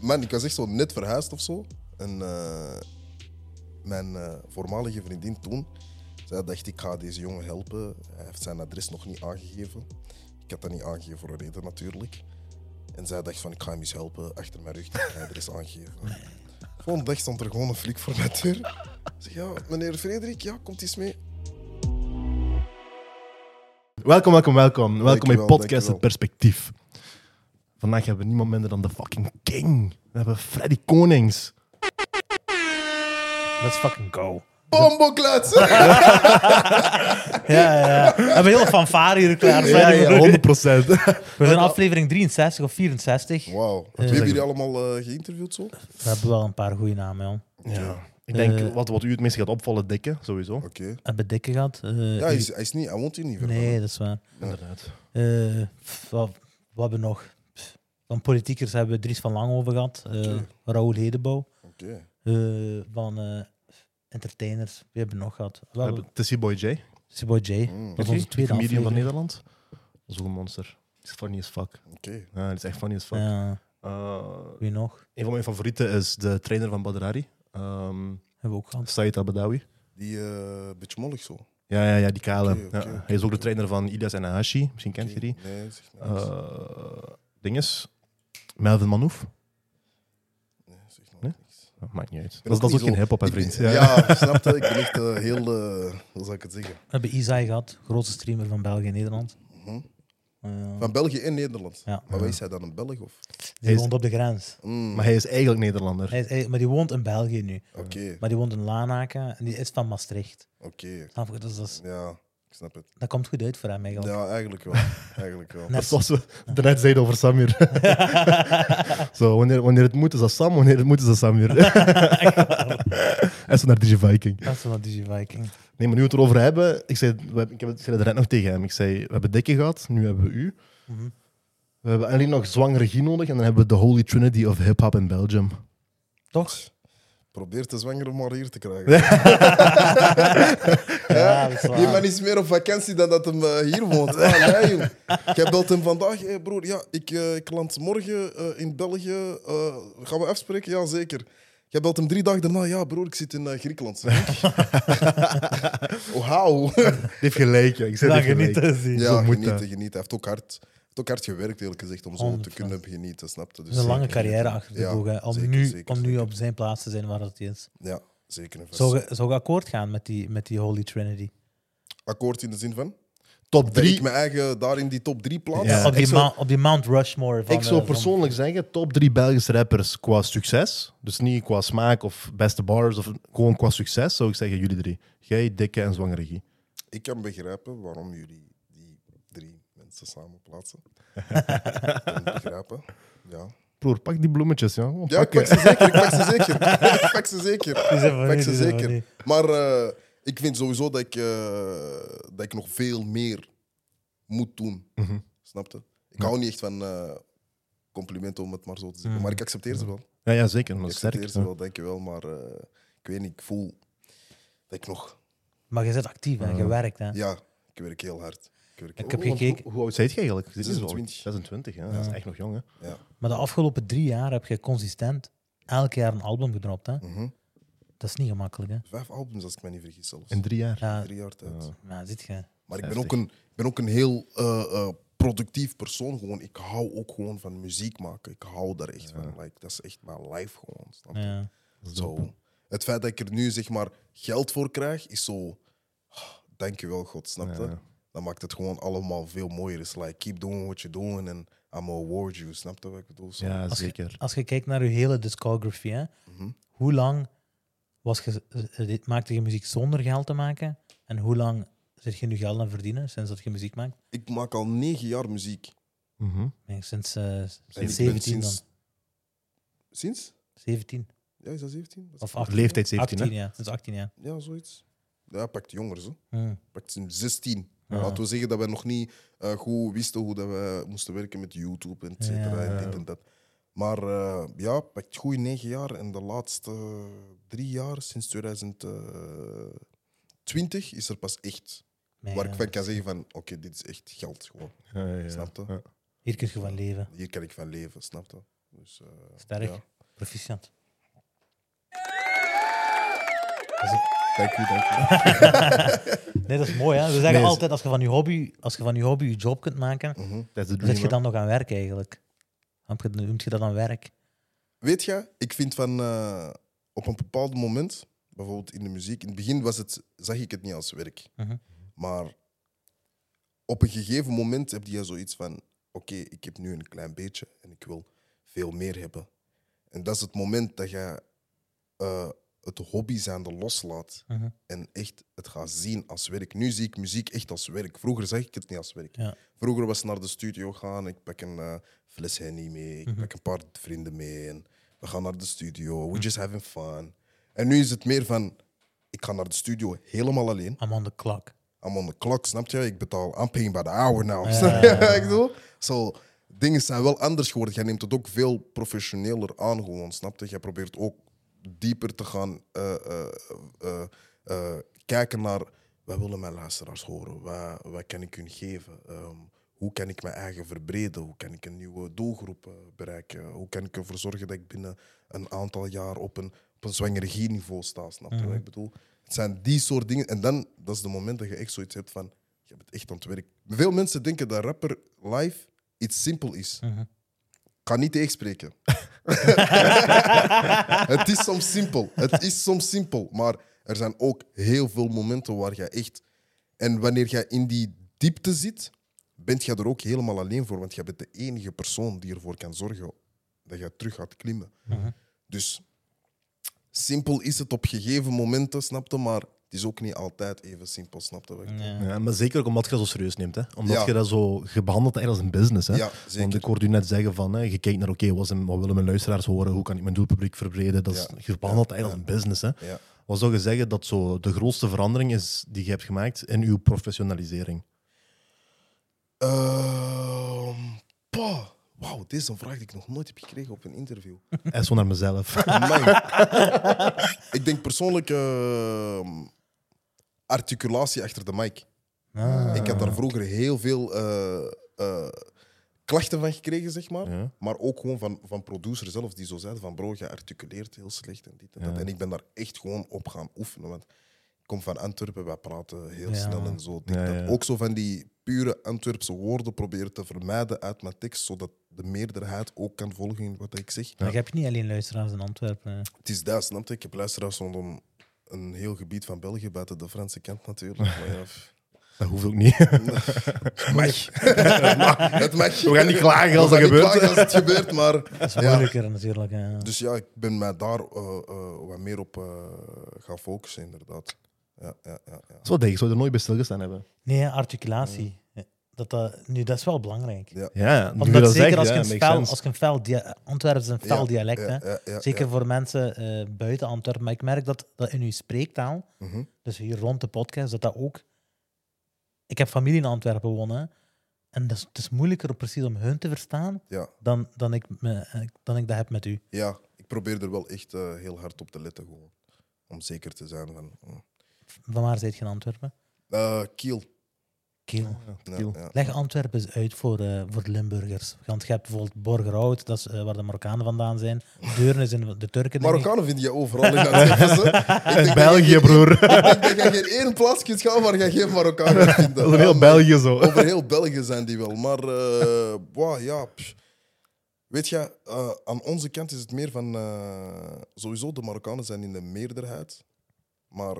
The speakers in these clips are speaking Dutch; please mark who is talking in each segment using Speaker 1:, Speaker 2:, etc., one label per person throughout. Speaker 1: Man, ik was echt zo net verhuisd of zo. En eh, mijn eh, voormalige vriendin toen, zij dacht ik ga deze jongen helpen. Hij heeft zijn adres nog niet aangegeven. Ik had dat niet aangegeven voor een reden natuurlijk. En zij dacht van ik ga hem eens helpen achter mijn rug, dat ik mijn adres aangeven. Volgende dag stond er gewoon een flik voor mijn deur. Ik zeg ja, meneer Frederik, ja, komt eens mee.
Speaker 2: Welkom, welkom, welkom. Welkom bij
Speaker 1: Dankjewel,
Speaker 2: Podcast
Speaker 1: dankjewel.
Speaker 2: Het Perspectief. Vandaag hebben we niemand minder dan de fucking king. We hebben Freddy Konings.
Speaker 3: Let's fucking go.
Speaker 1: Bombokluits!
Speaker 3: Ja, ja, ja. We hebben heel fanfare hier klaar.
Speaker 2: Ja, ja, 100 procent.
Speaker 3: We zijn aflevering 63 of 64. We
Speaker 1: Wauw. Wie hebben jullie allemaal eh, geïnterviewd zo?
Speaker 3: hebben wel een paar goede namen, joh.
Speaker 2: Ja. Ik denk
Speaker 3: Eh.
Speaker 2: wat, wat u het meest gaat opvallen, dikke, sowieso.
Speaker 1: Oké.
Speaker 3: Hebben Dikke gehad. eh,
Speaker 1: Ja, hij, is, hij, is niet, hij woont hier niet verder.
Speaker 3: Nee, dat is waar.
Speaker 2: Inderdaad.
Speaker 3: Eh, pff, wat, wat hebben we nog? Pff, Van politiekers hebben we Dries van Langhoven gehad. eh,
Speaker 1: Oké.
Speaker 3: Raoul Hedebouw.
Speaker 1: Oké.
Speaker 3: eh, van eh, entertainers. Wie hebben we nog gehad? We
Speaker 2: We
Speaker 3: hebben
Speaker 2: hebben Tessie Boy J.
Speaker 3: Ciboy J.
Speaker 1: Mm,
Speaker 3: Dat is onze tweede
Speaker 2: comedian van
Speaker 3: aflevering.
Speaker 2: Nederland. Zo'n monster. Is funny as fuck.
Speaker 1: Oké.
Speaker 2: Ja, het is echt funny as fuck.
Speaker 3: Ja,
Speaker 2: Eh,
Speaker 3: wie nog?
Speaker 2: een van mijn favorieten is de trainer van Badrari. Ehm
Speaker 3: Hebben we ook gehad.
Speaker 2: Said Abadawi.
Speaker 1: Die eh beetje mollig zo.
Speaker 2: Ja, ja, ja, die kale.
Speaker 1: Oké, oké,
Speaker 2: ja.
Speaker 1: oké,
Speaker 2: Hij is ook de
Speaker 1: oké.
Speaker 2: trainer van Ilias en Ahashi. Misschien kent je die.
Speaker 1: Oké, Nee, zeg niks.
Speaker 2: Eh dinges. Melvin Manouf.
Speaker 1: nee, zeg nou
Speaker 2: nee?
Speaker 1: niks.
Speaker 2: Dat maakt niet uit.
Speaker 1: ben
Speaker 2: Dat, is-
Speaker 1: ook
Speaker 2: dat is
Speaker 1: niet
Speaker 2: ook geen
Speaker 1: zo-
Speaker 2: hip-hop, hè,
Speaker 1: Ik ben- Ja,
Speaker 2: vriend. Ja.
Speaker 1: snap je? Ik ben echt eh, heel... eh, hoe zou ik het zeggen?
Speaker 3: We hebben Isai gehad. Grootste streamer van België en Nederland.
Speaker 1: Mhm.
Speaker 3: Eh,
Speaker 1: Van België en Nederland.
Speaker 3: Ja.
Speaker 1: Maar wij zijn dan een Belg of?
Speaker 3: Die
Speaker 2: Hij is-
Speaker 3: woont op de grens.
Speaker 1: Mm,
Speaker 2: Maar hij is eigenlijk Nederlander.
Speaker 3: Hij is, hij- maar die woont in België nu.
Speaker 1: Oké,
Speaker 3: Maar die woont in Lanaken en die is van Maastricht.
Speaker 1: oké.
Speaker 3: Snap je? Dus dat, is-
Speaker 1: Ja, ik snap het.
Speaker 3: dat komt goed uit voor hem eigenlijk.
Speaker 1: Ja, eigenlijk wel. Eigenlijk wel.
Speaker 2: Dat is zoals we daarnet zeiden over Samir. Zo, wanneer, wanneer het moet is dat Sam, wanneer het moet is dat Samir. en zo naar DJ Viking.
Speaker 3: Dat is wel DJ Viking.
Speaker 2: Nee, maar nu we het erover hebben, ik zei, we, hebben- ik heb het- ik zei dat net nog tegen hem. Ik zei, we hebben Dikke gehad, nu hebben we u.
Speaker 3: Mhm.
Speaker 2: We hebben alleen nog zwangere Guy nodig en dan hebben we de Holy Trinity of hip-hop in Belgium.
Speaker 3: Toch?
Speaker 1: Probeer de zwangere maar hier te krijgen.
Speaker 3: Ja, dat is
Speaker 1: Die
Speaker 3: waar.
Speaker 1: man is meer op vakantie dan dat hem eh, hier woont. Ah, nee, joh. Jij belt hem vandaag. Hé broer, ja, ik, eh, ik land morgen eh, in België. Eh, gaan we afspreken? Ja, zeker. Jij belt hem drie dagen daarna. Ja, broer, ik zit in eh, Griekenland. oh, hou.
Speaker 2: Die heeft gelijk, ja. Ik zei, die
Speaker 3: Dat
Speaker 2: heeft gelijk.
Speaker 3: genieten zien.
Speaker 1: Ja,
Speaker 2: moet
Speaker 1: genieten,
Speaker 2: dat.
Speaker 1: genieten. Hij heeft ook hard, heeft ook hard gewerkt, eerlijk gezegd, om zo te
Speaker 3: 100%.
Speaker 1: kunnen genieten. Snap je? Dus
Speaker 3: Het is een lange carrière achter de
Speaker 1: Ja,
Speaker 3: boeg. hè, Om,
Speaker 1: zeker,
Speaker 3: nu,
Speaker 1: zeker,
Speaker 3: om nu
Speaker 1: zeker.
Speaker 3: op zijn plaats te zijn waar dat hij is.
Speaker 1: Ja, zeker. en vast.
Speaker 3: Zou je, zou je akkoord gaan met die, met die Holy Trinity?
Speaker 1: Akkoord in de zin van?
Speaker 2: Top
Speaker 1: Dat ik
Speaker 2: 3.
Speaker 1: mijn eigen daar in die top drie plaats?
Speaker 2: Ja.
Speaker 3: op, die
Speaker 2: ik zou-
Speaker 3: Mount, op die Mount Rushmore van...
Speaker 2: Ik zou
Speaker 3: eh, van-
Speaker 2: persoonlijk zeggen, top 3 Belgische rappers qua succes. Dus niet qua smaak of beste bars, of gewoon qua succes zou ik zeggen jullie drie. Jij, Dikke en Zwangere Guy.
Speaker 1: Ik kan begrijpen waarom jullie die drie mensen samen plaatsen. Ik kan het begrijpen. Ja.
Speaker 2: Broer, pak die bloemetjes, ja. Oh,
Speaker 1: ja, ik
Speaker 2: pak,
Speaker 1: pak
Speaker 2: eh.
Speaker 1: ze zeker. Ik pak ze zeker. Ik pak ze zeker.
Speaker 3: Die zijn van
Speaker 1: Pak
Speaker 3: nu,
Speaker 1: ze
Speaker 3: die zijn
Speaker 1: zeker.
Speaker 3: van nu.
Speaker 1: Maar eh, ik vind sowieso dat ik, eh, dat ik nog veel meer moet doen.
Speaker 2: Mhm.
Speaker 1: Snap je? Ik hou niet echt van eh, complimenten, om het maar zo te zeggen.
Speaker 3: Mhm.
Speaker 1: Maar ik accepteer ze wel.
Speaker 2: Ja, ja, zeker. Maar
Speaker 1: Ik accepteer
Speaker 2: sterk.
Speaker 1: ze
Speaker 2: ja.
Speaker 1: wel, dankjewel. Maar eh, ik weet niet, ik voel dat ik nog...
Speaker 3: Maar je zit actief en je werkt. Hè.
Speaker 1: Ja, ik werk heel hard. Ik werk
Speaker 3: Ik
Speaker 1: heel
Speaker 3: heb
Speaker 2: Want
Speaker 3: gekeken.
Speaker 2: Hoe, hoe oud zijt je eigenlijk? Dit is wel
Speaker 1: 26.
Speaker 2: 26, ja. Dat is echt nog jong, hè.
Speaker 1: Ja.
Speaker 3: Maar de afgelopen drie jaar heb je consistent elk jaar een album gedropt. Hè?
Speaker 1: Mhm.
Speaker 3: Dat is niet gemakkelijk. Hè?
Speaker 1: Vijf albums, als ik me niet vergis zelfs.
Speaker 2: In drie jaar.
Speaker 3: Ja,
Speaker 1: Drie jaar tijd.
Speaker 3: ja, zit je.
Speaker 1: Maar ik ben,
Speaker 2: Heftig.
Speaker 1: ook een, ik ben ook een heel eh, eh, productief persoon. Gewoon. Ik hou ook gewoon van muziek maken. Ik hou daar echt van. Like, dat is echt mijn life gewoon. Snap je?
Speaker 3: Ja.
Speaker 1: Zo. Het feit dat ik er nu zeg maar geld voor krijg, is zo. ah, Dankjewel, God, snap je?
Speaker 2: Ja.
Speaker 1: Dan maakt het gewoon allemaal veel mooier. Is like, keep doing what you're doing and I'm gonna award you. Snap je wat ik bedoel? Zo.
Speaker 2: Ja,
Speaker 3: Als je-
Speaker 2: zeker.
Speaker 3: Als je kijkt naar je hele discography, hè?
Speaker 1: Mhm.
Speaker 3: hoe lang was je, eh, dit- maakte je muziek zonder geld te maken? En hoe lang zit je nu geld aan verdienen sinds dat je muziek maakt?
Speaker 1: Ik maak al negen jaar muziek.
Speaker 2: Mhm.
Speaker 3: Ik denk Sinds, eh,
Speaker 1: En ik ben
Speaker 3: sinds 17 dan.
Speaker 1: sinds... Sinds?
Speaker 3: 17
Speaker 1: Ja, is dat 17? Wat is
Speaker 3: of 18.
Speaker 2: Leeftijd 17, hè?
Speaker 3: 18, ja. Sinds 18 jaar.
Speaker 1: dat? Ja, zoiets. Ja, pakt jonger, zo.
Speaker 3: Hm.
Speaker 1: pakt in 16.
Speaker 3: Ja.
Speaker 1: Laten we zeggen dat we nog niet eh, goed wisten hoe dat we moesten werken met YouTube en et cetera,
Speaker 3: Ja.
Speaker 1: en dit en dat. Maar eh, ja, pakt goed negen jaar en de laatste drie jaar, sinds 2020, is er pas echt.
Speaker 3: Nee,
Speaker 1: Waar
Speaker 3: ja.
Speaker 1: ik van kan zeggen van, oké, dit is echt geld gewoon.
Speaker 2: Ja, ja, ja.
Speaker 1: Snap je?
Speaker 2: Ja.
Speaker 3: Hier kun je van leven.
Speaker 1: Hier kan ik van leven, snap je? Dus, eh,
Speaker 3: Sterk.
Speaker 1: Ja.
Speaker 3: Proficiat.
Speaker 1: Dank u, dank u.
Speaker 3: Nee, dat is mooi. Hè? We zeggen
Speaker 2: Nee, is-
Speaker 3: altijd, als je van je hobby, als je van je hobby je job kunt maken,
Speaker 2: That's the dream.
Speaker 3: zet je dan nog aan werk eigenlijk. Heb je- Noemt je dat aan werk?
Speaker 1: Weet je, ik vind van eh, op een bepaald moment, bijvoorbeeld in de muziek, in het begin was het, zag ik het niet als werk.
Speaker 3: Mhm.
Speaker 1: Maar op een gegeven moment heb je zoiets van: oké, ik heb nu een klein beetje en ik wil veel meer hebben. En dat is het moment dat je eh, het hobby zijnde loslaat
Speaker 3: Mhm.
Speaker 1: en echt het gaat zien als werk. Nu zie ik muziek echt als werk. Vroeger zag ik het niet als werk.
Speaker 3: Ja.
Speaker 1: Vroeger was naar de studio gaan, ik pak een eh, fles Henny mee, ik
Speaker 3: Mhm.
Speaker 1: pak een paar vrienden mee en we gaan naar de studio, we just having fun. En nu is het meer van, ik ga naar de studio helemaal alleen.
Speaker 3: I'm on the clock.
Speaker 1: I'm on the clock, snap je? Ik betaal, I'm paying by the hour now.
Speaker 3: Ja.
Speaker 1: Snap je wat ik bedoel? Zo, dingen zijn wel anders geworden. Jij neemt het ook veel professioneler aan gewoon, snap je? Jij probeert ook dieper te gaan eh, eh, eh, eh, kijken naar... Wat willen mijn luisteraars horen? Wat, wat kan ik hun geven? Ehm, hoe kan ik mijn eigen verbreden? Hoe kan ik een nieuwe doelgroep eh, bereiken? Hoe kan ik ervoor zorgen dat ik binnen een aantal jaar op een, op een zwangeregieniveau sta? Snap je wat ik bedoel? Het zijn die soort dingen. En dan, dat is het moment dat je echt zoiets hebt van... Je bent echt aan het werk. Veel mensen denken dat rapper live iets simpel is.
Speaker 3: Mhm.
Speaker 1: Ik ga niet tegenspreken. het is soms simpel. Het is soms simpel. Maar er zijn ook heel veel momenten waar jij echt... En wanneer jij in die diepte zit, bent jij er ook helemaal alleen voor. Want jij bent de enige persoon die ervoor kan zorgen dat jij terug gaat klimmen.
Speaker 3: Mhm.
Speaker 1: Dus simpel is het op gegeven momenten, snapte, maar het is ook niet altijd even simpel, snapte. Ja,
Speaker 3: Ja.
Speaker 2: Ja, maar zeker ook omdat je dat zo serieus neemt. Hè? Omdat
Speaker 1: Ja.
Speaker 2: je dat zo... Je behandelt het echt als een business. Hè?
Speaker 1: ja zeker.
Speaker 2: Want ik hoorde u net zeggen van, hè, je kijkt naar, oké, wat zijn- wat willen mijn luisteraars horen? Hoe kan ik mijn doelpubliek verbreden? Dat is,
Speaker 1: Ja.
Speaker 2: Je behandelt het
Speaker 1: Ja.
Speaker 2: eigenlijk als een business. Hè?
Speaker 1: Ja.
Speaker 2: Wat zou je zeggen dat zo de grootste verandering is die je hebt gemaakt in uw professionalisering?
Speaker 1: Ehm, pa, wauw, dit is een vraag die ik nog nooit heb gekregen op een interview.
Speaker 2: En zo naar mezelf.
Speaker 1: Amai. ik denk persoonlijk ehm, articulatie achter de mic.
Speaker 3: Ah.
Speaker 1: Ik heb daar vroeger heel veel eh, eh, klachten van gekregen, zeg maar.
Speaker 2: Ja.
Speaker 1: Maar ook gewoon van, van producers zelf die zo zeiden van bro, je articuleert heel slecht en dit en dat.
Speaker 2: Ja.
Speaker 1: En ik ben daar echt gewoon op gaan oefenen. Want ik kom van Antwerpen, wij praten heel
Speaker 3: Ja.
Speaker 1: snel en zo. dit,
Speaker 2: Ja,
Speaker 1: dat.
Speaker 2: ja.
Speaker 1: Ook zo van die pure Antwerpse woorden proberen te vermijden uit mijn tekst, zodat de meerderheid ook kan volgen in wat ik zeg.
Speaker 3: Maar je hebt niet alleen luisteraars in Antwerpen. hè.
Speaker 1: Het is daar, snap je? Ik heb luisteraars rondom een heel gebied van België, buiten de Franse kant natuurlijk. Maar ja, pff.
Speaker 2: Dat hoeft ook niet. We
Speaker 1: het mag. Het mag. Het mag.
Speaker 2: gaan niet klagen als
Speaker 1: We
Speaker 2: dat
Speaker 1: gaan niet
Speaker 2: gebeurt.
Speaker 1: klagen als het gebeurt, maar...
Speaker 3: Dat is
Speaker 1: Ja.
Speaker 3: moeilijker natuurlijk. hè.
Speaker 1: Dus ja, ik ben mij daar eh, eh, wat meer op eh, gaan focussen, inderdaad. Ja, ja, ja, ja.
Speaker 2: Zo denk ik, zou je er nooit bij stilgestaan hebben.
Speaker 3: Nee, articulatie. Dat, dat, nu, dat is wel belangrijk.
Speaker 2: Ja, nu
Speaker 3: Omdat
Speaker 2: dat
Speaker 3: zeker
Speaker 2: zegt,
Speaker 3: als,
Speaker 2: ja,
Speaker 3: je een
Speaker 2: makes
Speaker 3: fel,
Speaker 2: sense.
Speaker 3: als je een fel dia- Antwerpen is een fel
Speaker 1: Ja,
Speaker 3: dialect.
Speaker 1: ja,
Speaker 3: hè.
Speaker 1: ja, ja,
Speaker 3: Zeker voor mensen eh, buiten Antwerpen. Maar ik merk dat, dat in uw spreektaal,
Speaker 1: ja. Mhm.
Speaker 3: dus hier rond de podcast, dat dat ook... Ik heb familie in Antwerpen wonen. En dat is, het is moeilijker om precies om hun te verstaan
Speaker 1: Ja.
Speaker 3: dan, dan, ik, me, eh, dan ik dat heb met u.
Speaker 1: ja, ik probeer er wel echt eh, heel hard op te letten, gewoon. Om zeker te zijn van... mm.
Speaker 3: Van waar zijt je in Antwerpen?
Speaker 1: Eh, Kiel.
Speaker 3: Kiel.
Speaker 1: Ja,
Speaker 2: Kiel.
Speaker 1: ja.
Speaker 3: Leg Antwerpen eens uit voor, eh, voor de Limburgers. Want je hebt bijvoorbeeld Borgerhout, dat is eh, waar de Marokkanen vandaan zijn. Deuren is in de Turken. denk ik.
Speaker 1: Marokkanen vind je overal in Antwerpen. ze. Ik denk
Speaker 2: In
Speaker 1: dat
Speaker 2: België,
Speaker 1: je-
Speaker 2: broer.
Speaker 1: Ik denk dat je geen één plaats kunt gaan waar je geen Marokkanen vindt.
Speaker 2: Dat is een heel België zo.
Speaker 1: Over heel België zijn die wel. Maar eh, wow, ja. pff. Weet je, eh, aan onze kant is het meer van. eh, sowieso, de Marokkanen zijn in de meerderheid. Maar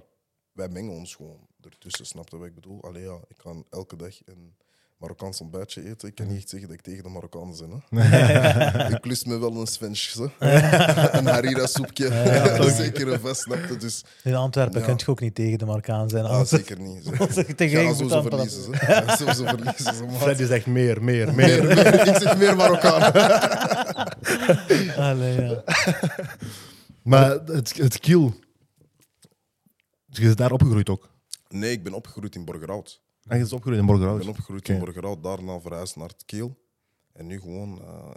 Speaker 1: wij mengen ons gewoon ertussen, snap je wat ik bedoel? Allee, ja, ik kan elke dag een Marokkaans ontbijtje eten. Ik kan niet echt zeggen dat ik tegen de Marokkanen ben. Hè? ik lust me wel een Svenschse. een harira-soepje. zeker een vest, snap je? Dus
Speaker 3: In Antwerpen
Speaker 1: Ja.
Speaker 3: kun je ook niet tegen de Marokkaan zijn.
Speaker 1: ah,
Speaker 3: Anders
Speaker 1: zeker niet. Zeker.
Speaker 3: Als ik
Speaker 1: Ja,
Speaker 3: tegen je
Speaker 1: sowieso
Speaker 3: moet aanpassen.
Speaker 1: verliezen ze. Ja, sowieso verliezen ze. maat.
Speaker 2: Freddy zegt meer, meer, meer.
Speaker 1: Meer, meer. ik zeg meer Marokkaan.
Speaker 3: Allee, ja.
Speaker 2: Maar het, het kiel. Dus je is daar opgegroeid ook.
Speaker 1: Nee, ik ben opgegroeid in Borgerhout.
Speaker 2: En je is opgegroeid in
Speaker 1: Ik
Speaker 2: Borgerhout.
Speaker 1: ben opgegroeid in
Speaker 2: Oké.
Speaker 1: Borgerhout, daarna verhuisd naar het Keel. En nu gewoon, eh,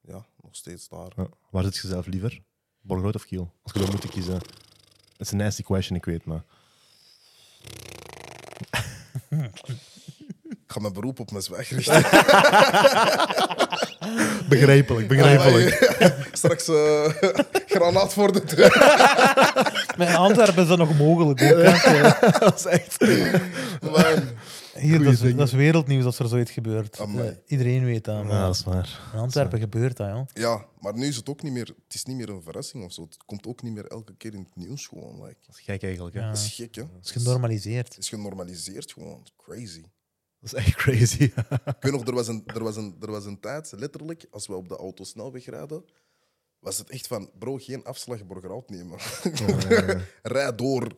Speaker 1: ja, nog steeds daar.
Speaker 2: Ja. Waar zit je zelf liever? Borgerhout of Kiel? Als je zou moeten kiezen. Het is een nasty question, ik weet, maar...
Speaker 1: Ik ga mijn beroep op mijn zwijg richten.
Speaker 2: Begrijpelijk, begrijpelijk.
Speaker 1: Straks eh, granaat voor de deur.
Speaker 3: Met Antwerpen is dat nog mogelijk. Ook, hè.
Speaker 2: dat is echt...
Speaker 1: Man.
Speaker 3: Hier, dat,
Speaker 2: Goeie
Speaker 3: is,
Speaker 2: zin.
Speaker 3: dat is wereldnieuws als er zoiets gebeurt.
Speaker 1: Amai.
Speaker 3: Eh, Iedereen weet dat. maar
Speaker 2: Ja, dat is waar.
Speaker 3: In Antwerpen gebeurt dat, joh.
Speaker 1: Ja, maar nu is het ook niet meer, het is niet meer een verrassing of zo. Het komt ook niet meer elke keer in het nieuws gewoon. Like.
Speaker 2: Dat is gek eigenlijk, hè.
Speaker 3: Ja.
Speaker 1: Dat is gek, hè?
Speaker 3: Het is genormaliseerd.
Speaker 1: Het is genormaliseerd gewoon. Crazy.
Speaker 2: Dat is echt crazy.
Speaker 1: Ik weet nog, er was, een, er, was een, er was een tijd, letterlijk, als we op de autosnelweg rijden, was het echt van, bro, geen afslag Borgerhout nemen.
Speaker 2: Oh,
Speaker 1: Rijd door.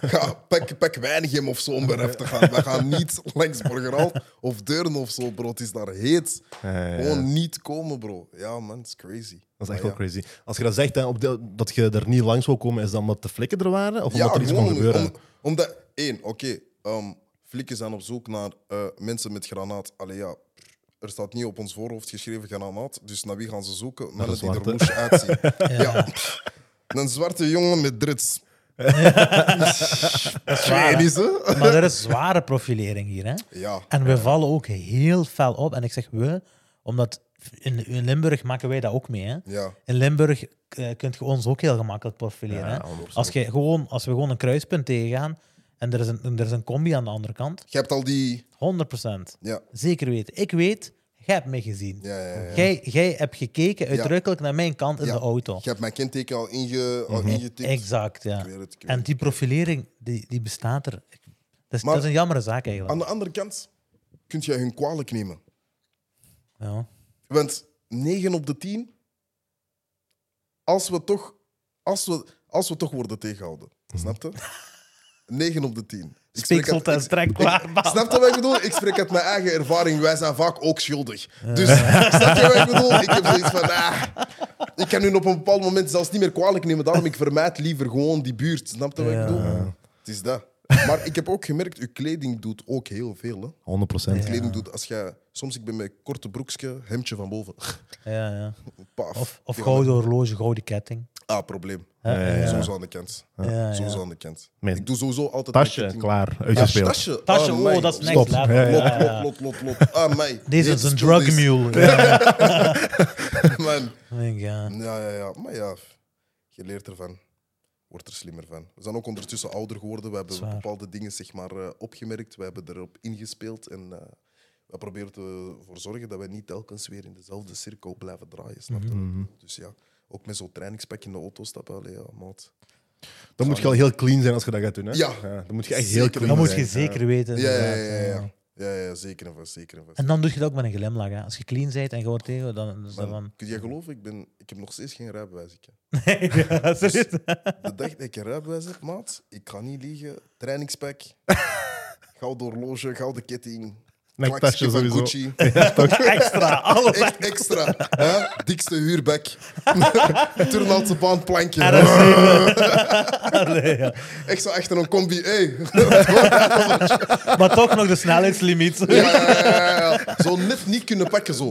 Speaker 1: Ga, pak, pak Weinigem of zo om eraf te gaan. We gaan niet langs Borgerhout of Deurne of zo, bro. Het is daar heet. Gewoon niet komen, bro. Ja, man, het is crazy.
Speaker 2: Dat is echt
Speaker 1: Maar
Speaker 2: wel crazy. Als je dat zegt, hè, op de- dat je er niet langs wil komen, is dat omdat de flikken er waren? Of
Speaker 1: ja.
Speaker 2: omdat er iets
Speaker 1: gewoon
Speaker 2: kon gebeuren?
Speaker 1: om- omdat, één, oké, ehm, flikken zijn op zoek naar eh, mensen met granaat. Allee, ja, er staat niet op ons voorhoofd geschreven granaat, dus naar wie gaan ze zoeken? Mannen die er
Speaker 2: zwarte.
Speaker 1: moes uitzien.
Speaker 3: Ja.
Speaker 1: Ja. pff, Een zwarte jongen met dreads.
Speaker 3: Dat is waar, hè.
Speaker 1: Chinese? hè?
Speaker 3: Maar er is zware profilering hier, hè.
Speaker 1: Ja,
Speaker 3: En we vallen ook heel fel op. En ik zeg we, omdat in, in Limburg maken wij dat ook mee, hè.
Speaker 1: ja.
Speaker 3: In Limburg eh, kunt je ons ook heel gemakkelijk profileren.
Speaker 2: Ja,
Speaker 3: hè.
Speaker 2: 100%.
Speaker 3: Als, je gewoon, als we gewoon een kruispunt tegengaan en er is een, en er is een combi aan de andere kant,
Speaker 1: Je hebt al die...
Speaker 3: 100%.
Speaker 1: Ja,
Speaker 3: Zeker weten. Ik weet, jij hebt mij gezien.
Speaker 1: ja, ja. ja.
Speaker 3: Jij, jij hebt gekeken uitdrukkelijk naar mijn kant in
Speaker 1: Ja.
Speaker 3: de auto.
Speaker 1: Je hebt mijn kenteken al, inge,
Speaker 2: Mhm.
Speaker 1: al ingetikt.
Speaker 3: Exact, ja.
Speaker 1: Ik weet het, ik weet
Speaker 3: En die profilering, die, die bestaat er. Ik- Dat is,
Speaker 1: Maar-
Speaker 3: dat is een jammere zaak eigenlijk.
Speaker 1: Aan de andere kant kun jij hun kwalijk nemen.
Speaker 3: Ja.
Speaker 1: Want 9 op de 10, als we toch, als we, als we toch worden tegengehouden. Snap je? 9 op de 10. Ik spreek
Speaker 3: Spiksel
Speaker 1: uit-
Speaker 3: en
Speaker 1: ik-
Speaker 3: strek
Speaker 1: ik-
Speaker 3: klaar.
Speaker 1: Snap je wat ik bedoel? Ik spreek uit mijn eigen ervaring. Wij zijn vaak ook schuldig. Dus snap je wat ik bedoel? Ik heb zoiets van... ah, ik kan hun op een bepaald moment zelfs niet meer kwalijk nemen. Daarom ik vermijd liever gewoon die buurt. Snap je wat ik bedoel? Het is dat. Maar ik heb ook gemerkt, uw kleding doet ook heel veel. Hè?
Speaker 2: 100 procent.
Speaker 1: Kleding doet als jij... Soms ik ben met korte broekje, hemdje van boven.
Speaker 3: Ja, ja.
Speaker 1: Paf.
Speaker 3: Of, of
Speaker 1: Ja,
Speaker 3: gouden horloge, gouden ketting.
Speaker 1: Ah, probleem.
Speaker 3: Hè? Ja.
Speaker 1: Sowieso aan de kant.
Speaker 3: Ja,
Speaker 1: Sowieso
Speaker 3: ja.
Speaker 1: aan de kant.
Speaker 2: Mijn
Speaker 1: Ik doe sowieso altijd...
Speaker 2: Tasje,
Speaker 1: mijn ketting-
Speaker 2: klaar,
Speaker 1: Ja,
Speaker 2: uitgespeeld.
Speaker 1: tasje.
Speaker 3: Tasje,
Speaker 1: Amai.
Speaker 3: oh, dat is next
Speaker 2: Stop.
Speaker 3: level.
Speaker 2: Ja, ja.
Speaker 1: Lot,
Speaker 3: Ja, ja.
Speaker 1: lot, lot, lot, lot. Ah, mij.
Speaker 3: Deze is een
Speaker 1: speelt
Speaker 3: drug
Speaker 1: deze.
Speaker 3: mule. Ja.
Speaker 1: Man.
Speaker 3: Ik denk, ja.
Speaker 1: Ja, ja, ja. Maar ja, je leert ervan. Wordt er slimmer van. We zijn ook ondertussen ouder geworden. We hebben
Speaker 3: Zwaar.
Speaker 1: bepaalde dingen zeg maar, eh, opgemerkt. We hebben erop ingespeeld. En eh we proberen ervoor te zorgen dat we niet telkens weer in dezelfde cirkel blijven draaien. Snap je?
Speaker 3: Mhm,
Speaker 1: Dus ja, ook met zo'n trainingspak in de auto stappen. Allee, ja, maat.
Speaker 2: Dan moet je al heel clean zijn als je dat gaat doen. Hè?
Speaker 1: Ja.
Speaker 2: dan moet je echt
Speaker 1: Zeker.
Speaker 2: heel clean
Speaker 3: Dat moet je
Speaker 2: zijn.
Speaker 3: zeker weten.
Speaker 1: Ja, ja,
Speaker 3: inderdaad.
Speaker 1: ja, ja, ja. ja, ja, zeker en vast. Zeker en vast.
Speaker 3: En dan doe je dat ook met een glimlach. Hè. Als je clean bent en je wordt tegen, dan is dat van...
Speaker 1: Kun jij geloven, ik, ben, ik heb nog steeds geen rijbewijs. ik, hè. Dus
Speaker 3: Nee, ja, serieus.
Speaker 1: De dag dat ik een rijbewijs heb, maat, ik kan niet liegen. Trainingspak, gouden horloge, gouden ketting.
Speaker 2: Nektasje
Speaker 1: klakske van
Speaker 2: sowieso.
Speaker 1: Gucci.
Speaker 3: Extra, alles
Speaker 1: Echt extra. hè? Dikste huurbek. Turnhoutse baanplankje.
Speaker 3: Allee, ja.
Speaker 1: Echt zo achter een combi. Hey.
Speaker 3: Maar toch nog de snelheidslimiet.
Speaker 1: Ja, ja, ja, ja. Zo net niet kunnen pakken zo.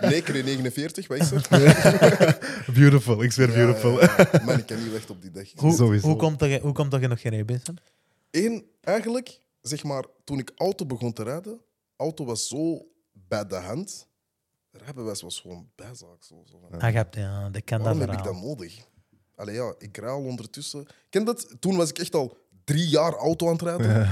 Speaker 1: Nee, keer 49, wat is het?
Speaker 2: Beautiful, ik zweer beautiful.
Speaker 1: Man, ik kan niet weg op die dag.
Speaker 3: Hoe,
Speaker 2: Sowieso.
Speaker 3: hoe, komt dat je, hoe komt dat je nog geen E rijbewijs hebt?
Speaker 1: Eén, eigenlijk, zeg maar, toen ik auto begon te rijden, auto was zo bij de hand. Rijbewijs was gewoon bijzaak. Zo, zo van,
Speaker 3: Ah, je hebt, ja, ik ken dat
Speaker 1: Waarom heb ik
Speaker 3: verhaal.
Speaker 1: dat nodig? Allee, ja, ik rij al ondertussen. Ken dat? Toen was ik echt al drie jaar auto aan het rijden.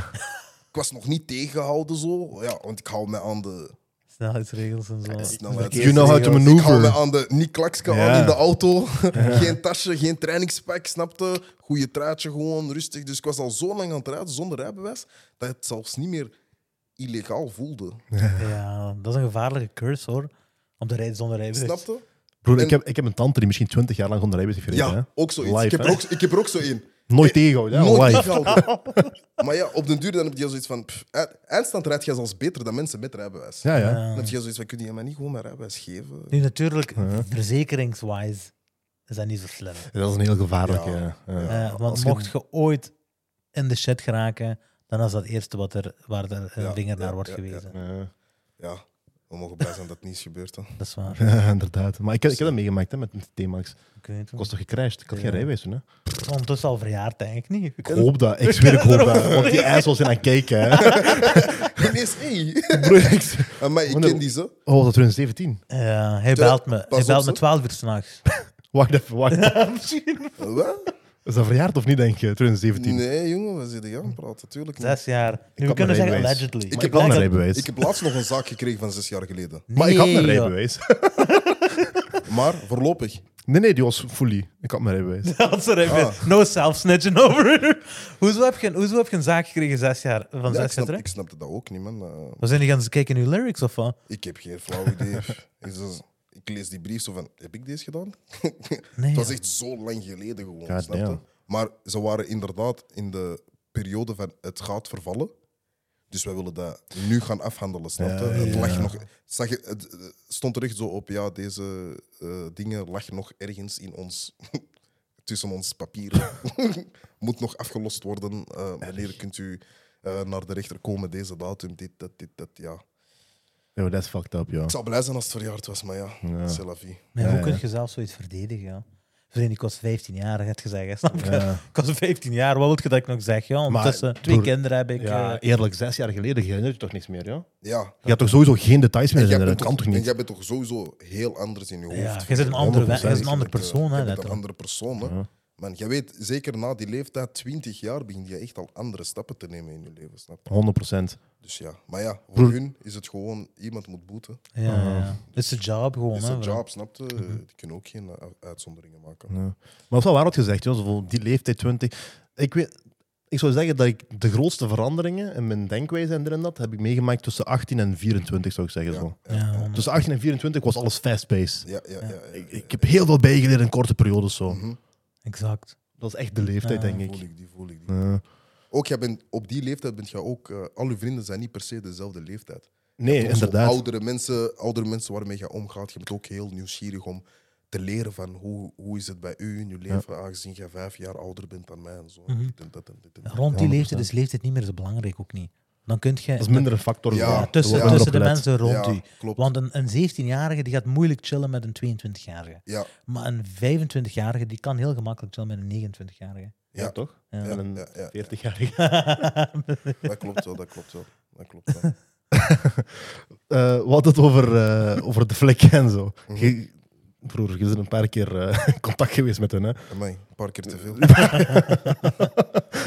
Speaker 1: Ik was nog niet tegengehouden zo. Ja, want ik hou me aan de...
Speaker 3: Snelheidsregels en zo.
Speaker 1: snelheid.
Speaker 2: You know how to
Speaker 1: nou Ik hou me
Speaker 2: maneuver.
Speaker 1: aan de niet klaksken
Speaker 2: Ja.
Speaker 1: aan in de auto. geen tasje, geen trainingspak, snapte. Goeie truitje gewoon, rustig. Dus ik was al zo lang aan het rijden zonder rijbewijs, dat het zelfs niet meer illegaal voelde.
Speaker 3: Ja, dat is een gevaarlijke curse hoor. Om te rijden zonder E rijbewijs.
Speaker 1: Snapte?
Speaker 2: Broer,
Speaker 1: En-
Speaker 2: ik heb, ik heb een tante die misschien 20 jaar lang zonder rijbewijs heeft gereden.
Speaker 1: Ja, ook zoiets.
Speaker 2: Live,
Speaker 1: ik, heb er
Speaker 2: hè?
Speaker 1: ook, ik heb er ook zo één.
Speaker 2: hè? Nooit tegenhouden, hè?
Speaker 1: Nooit
Speaker 2: live.
Speaker 1: tegenhouden. maar ja, op den duur dan heb je zoiets van... Pff, e- eindstand rijdt jij zelfs beter dan mensen met rijbewijs.
Speaker 2: Ja, ja.
Speaker 1: Dan heb je zoiets van, kun je mij niet gewoon mijn rijbewijs geven?
Speaker 3: Nu natuurlijk, verzekeringswise is dat niet zo slim.
Speaker 2: Dat is een heel gevaarlijke.
Speaker 1: Ja.
Speaker 2: ja.
Speaker 3: Eh, want
Speaker 2: Als je-
Speaker 3: mocht je ooit in de shit geraken, dan is dat het eerste wat er, waar er een
Speaker 1: Ja,
Speaker 3: vinger
Speaker 1: ja,
Speaker 3: naar wordt
Speaker 1: ja, ja.
Speaker 3: gewezen.
Speaker 2: Ja.
Speaker 1: Ja, 100%. We mogen blij zijn dat het niet is gebeurd. Hè.
Speaker 3: Dat is waar.
Speaker 2: Ja, eh, inderdaad. Maar ik, heb- ik heb dat meegemaakt hè, met een T-Max.
Speaker 3: Ik weet het
Speaker 2: Ik
Speaker 3: wel.
Speaker 2: was toch gecrashed? Ik had geen
Speaker 3: Ja.
Speaker 2: rijwijzen. Hè?
Speaker 3: Ondertussen al verjaard, denk ik niet.
Speaker 2: Ik hoop dat. Ik zweer, ik hoop dat. Want die assholes zijn aan het kijken. Hè.
Speaker 1: Ineens, hey. Ah,
Speaker 2: Broer, ik-
Speaker 1: Maar ik
Speaker 2: Wanneer-
Speaker 1: ken die zo.
Speaker 2: Oh, was dat 2017?
Speaker 3: Ja, Eh, hij
Speaker 1: Terwijl-
Speaker 3: belt me.
Speaker 1: pas
Speaker 3: Hij
Speaker 1: op,
Speaker 3: belt me
Speaker 1: zo.
Speaker 3: 12 uur s'nachts.
Speaker 2: Wacht even, wacht.
Speaker 1: Wat?
Speaker 2: Is dat verjaard of niet, denk je? 2017.
Speaker 1: Nee, jongen, we zitten aan het praten. Tuurlijk niet.
Speaker 3: Zes jaar. Nu, we
Speaker 2: had
Speaker 3: kunnen
Speaker 2: mijn
Speaker 3: zeggen
Speaker 2: rijbewijs.
Speaker 3: allegedly.
Speaker 1: Ik
Speaker 3: maar
Speaker 1: heb
Speaker 2: wel
Speaker 3: denk
Speaker 2: een
Speaker 3: dat-
Speaker 2: rijbewijs.
Speaker 1: Ik heb laatst nog een zaak gekregen van zes jaar geleden.
Speaker 2: Maar ik had
Speaker 3: Nee,
Speaker 2: mijn
Speaker 3: joh.
Speaker 2: rijbewijs.
Speaker 1: Maar voorlopig.
Speaker 2: Nee, nee, die was fully. Ik had mijn rijbewijs.
Speaker 3: Dat is een rijbewijs.
Speaker 1: Ah.
Speaker 3: No self-snitching over. hoezo, heb je, hoezo heb je een zaak gekregen zes jaar, van
Speaker 1: Ja, ik,
Speaker 3: zes jaar
Speaker 1: snap,
Speaker 3: terug?
Speaker 1: ik snapte dat ook niet, man. Eh,
Speaker 3: We zijn die gaan kijken in uw lyrics of wat?
Speaker 1: ik heb geen flauw idee. ik, zo- ik lees die brief zo van, heb ik deze gedaan?
Speaker 3: Nee.
Speaker 1: Het was echt zo lang geleden gewoon,
Speaker 2: God
Speaker 1: snap je?
Speaker 2: damn.
Speaker 1: Maar ze waren inderdaad in de periode van het gaat vervallen. Dus wij willen dat nu gaan afhandelen, snap je?
Speaker 2: Ja,
Speaker 1: Het
Speaker 2: ja.
Speaker 1: lag nog, zag je, het eh, stond er echt zo op, ja, deze eh, dingen lag nog ergens in ons, tussen ons papieren. Moet nog afgelost worden. Eh meneer, kunt u eh, naar de rechter komen, deze datum, dit, dat, dit, dat, ja.
Speaker 2: Yo, that's fucked up, joh.
Speaker 1: Ik zou blij zijn als het verjaard was, maar ja,
Speaker 2: Ja.
Speaker 1: c'est la vie.
Speaker 3: Maar hoe
Speaker 2: Ja,
Speaker 3: kun
Speaker 2: ja.
Speaker 3: je zelf zoiets verdedigen? Ja? Vriend, ik was 15 jaar, had je zeggen. Snap je?
Speaker 2: Ja.
Speaker 3: Ik was 15 jaar, wat wil je dat ik nog zeg? Ja? Ondertussen, twee
Speaker 2: broer,
Speaker 3: kinderen heb ik.
Speaker 2: Ja,
Speaker 3: eh,
Speaker 2: eerlijk, zes jaar geleden herinner je toch niks meer, joh?
Speaker 1: Ja,
Speaker 2: Je had toch sowieso geen details meer
Speaker 1: En jij,
Speaker 2: herinneren?
Speaker 1: bent
Speaker 2: Dat kan
Speaker 1: toch,
Speaker 2: toch
Speaker 1: en
Speaker 2: niet?
Speaker 1: jij bent toch sowieso heel anders in je hoofd.
Speaker 3: ja, je zit een andere, jij bent een andere persoon. Hè,
Speaker 1: Je bent een
Speaker 3: letterlijk.
Speaker 1: andere persoon. Hè.
Speaker 2: Ja.
Speaker 1: Man, jij weet, zeker na die leeftijd, 20 jaar, begin je echt al andere stappen te nemen in je leven. Snap? je?
Speaker 2: 100 procent.
Speaker 1: Dus ja, maar ja, voor
Speaker 2: Broer.
Speaker 1: hun is het gewoon iemand moet boeten.
Speaker 3: Ja, ja, ja. Het is een job gewoon.
Speaker 1: Het is
Speaker 3: hè, Mhm.
Speaker 1: een
Speaker 3: bro.
Speaker 1: job, snap je? Die kunnen ook geen eh, uitzonderingen maken.
Speaker 2: Ja. Maar dat is wel waar wat gezegd, joh. Zo van die leeftijd 20. Ik, weet, ik zou zeggen dat ik de grootste veranderingen in mijn denkwijze en dit en dat heb ik meegemaakt tussen 18 en 24, zou ik zeggen. Zo.
Speaker 3: Ja, man.
Speaker 2: Tussen 18 en 24 was alles fast-paced.
Speaker 1: Ja, ja, ja. ja,
Speaker 2: Ik, ik heb heel veel bijgeleerd in korte periodes. Zo.
Speaker 3: exact.
Speaker 2: Dat is echt de leeftijd,
Speaker 3: Ja.
Speaker 2: denk
Speaker 1: Die
Speaker 2: ik.
Speaker 1: Mhm. voel ik, die voel ik. Die.
Speaker 2: Ja.
Speaker 1: Ook jij bent, op die leeftijd bent je ook, eh, al je vrienden zijn niet per se dezelfde leeftijd.
Speaker 2: Nee,
Speaker 1: Ook zo
Speaker 2: inderdaad.
Speaker 1: Oudere mensen, oudere mensen waarmee je omgaat, je bent ook heel nieuwsgierig om te leren van hoe, hoe is het bij u in je leven, aangezien jij vijf jaar ouder bent dan mij en zo. Dit en dat en dit en dat.
Speaker 3: Rond die leeftijd is leeftijd niet meer zo belangrijk ook niet. Dan kun je
Speaker 2: Dat is minder een factor.
Speaker 1: Ja,
Speaker 2: zo.
Speaker 3: ja,
Speaker 2: Er
Speaker 3: tussen,
Speaker 2: wordt
Speaker 3: tussen de
Speaker 2: minder op
Speaker 3: mensen rond
Speaker 1: Ja,
Speaker 3: u.
Speaker 1: klopt.
Speaker 3: Want een, een 17-jarige die gaat moeilijk chillen met een 22-jarige.
Speaker 1: Ja,
Speaker 3: Maar een 25-jarige die kan heel gemakkelijk chillen met een 29-jarige.
Speaker 2: gelet. Ja,
Speaker 1: Ja.
Speaker 2: toch?
Speaker 3: Ja.
Speaker 1: Ja,
Speaker 2: En
Speaker 1: ja, ja.
Speaker 2: een 40-jarige.
Speaker 1: dat klopt wel, dat klopt wel. Dat klopt wel.
Speaker 2: Eh, we hadden het over, eh, over de vlek en zo. Je, broer, je bent een paar keer eh, in contact geweest met hen. Hè?
Speaker 1: Amai, een paar keer te veel.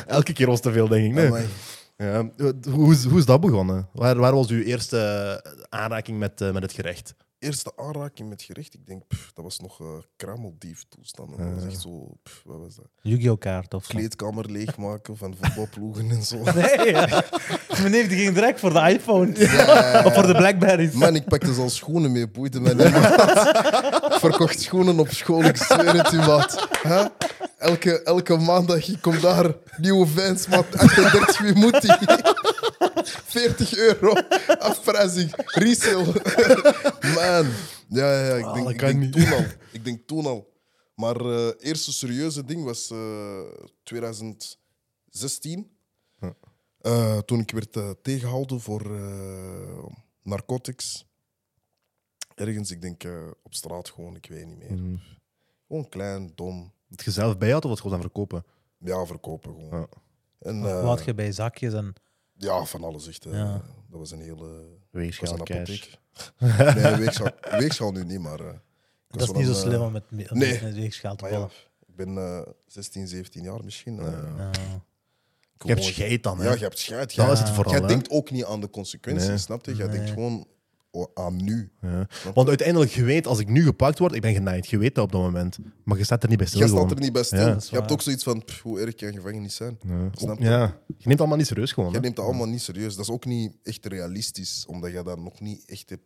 Speaker 2: Elke keer was te veel, denk ik. Nee.
Speaker 1: Amai.
Speaker 2: Ja, hoe, is, hoe is dat begonnen? Waar, waar was uw eerste eh, aanraking met, eh, met het gerecht?
Speaker 1: Eerste aanraking met gerecht, ik denk, pff, dat was nog eh krameldief toestand. Dat was echt zo, pff, wat was dat?
Speaker 3: Yu-Gi-Oh! kaart of zo.
Speaker 1: Kleedkamer leegmaken van voetbalploegen en zo.
Speaker 3: Nee, ja. meneer die ging direct voor de iPhone. of voor de Blackberries.
Speaker 1: Man, ik pakte zelfs schoenen mee, boeide mij niet. maat. ik verkocht schoenen op school, ik zweer het u, maat. Hè? Elke, elke maandag, ik kom daar, nieuwe fans, maat, 38, wie moet die? 40 euro, afprijzing, resale. Man, ja, ja, ja, ik
Speaker 2: Ah,
Speaker 1: denk,
Speaker 2: dat
Speaker 1: ik
Speaker 2: kan
Speaker 1: denk
Speaker 2: niet.
Speaker 1: toen al. Ik denk toen al. Maar eh eerste serieuze ding was eh 2016. Eh, toen ik werd eh, tegengehouden voor eh, narcotics. Ergens, ik denk eh, op straat gewoon, ik weet niet meer.
Speaker 2: Mm.
Speaker 1: Gewoon klein, dom.
Speaker 2: Dat je zelf bij had of wat gewoon aan verkopen?
Speaker 1: Ja, verkopen gewoon.
Speaker 2: Ja.
Speaker 1: En eh,
Speaker 3: Ah, Wat je bij zakjes en...
Speaker 1: ja, van alles echt. eh,
Speaker 3: Ja.
Speaker 1: Dat was een hele... was
Speaker 2: Weegschaal,
Speaker 1: een
Speaker 2: cash.
Speaker 1: apotheek. Nee, weegschaal, weegschaal nu niet, maar... eh, ik was
Speaker 3: Dat is
Speaker 1: wel
Speaker 3: niet zo
Speaker 1: een, eh,
Speaker 3: slim om met, met,
Speaker 1: nee.
Speaker 3: met weegschaal te
Speaker 1: Maar ja,
Speaker 3: vallen.
Speaker 1: ik ben eh, 16, 17 jaar misschien. eh,
Speaker 3: Ah.
Speaker 1: ik
Speaker 2: Je hebt
Speaker 1: gewoon-
Speaker 2: scheid dan, hè?
Speaker 1: Ja, je hebt scheid.
Speaker 2: Dat
Speaker 1: Jij,
Speaker 2: is het vooral.
Speaker 1: jij
Speaker 2: hè?
Speaker 1: denkt ook niet aan de consequenties,
Speaker 2: Nee.
Speaker 1: snap je? Jij denkt
Speaker 3: Nee.
Speaker 1: gewoon o- aan nu.
Speaker 2: Ja. Want uiteindelijk, je weet, als ik nu gepakt word, ik ben genaaid. Je weet dat op dat moment. Maar je staat er niet bij stil.
Speaker 1: Jij staat
Speaker 2: gewoon.
Speaker 1: er niet bij stil.
Speaker 2: Ja.
Speaker 3: Dat is
Speaker 1: Je hebt
Speaker 3: waar.
Speaker 1: ook zoiets van, pff, hoe erg kan gevangenis zijn?
Speaker 2: Ja.
Speaker 1: Snap je?
Speaker 2: Ja. Je neemt allemaal niet serieus gewoon.
Speaker 1: Jij
Speaker 2: hè?
Speaker 1: neemt dat allemaal niet serieus. Dat is ook niet echt realistisch, omdat jij dat nog niet echt hebt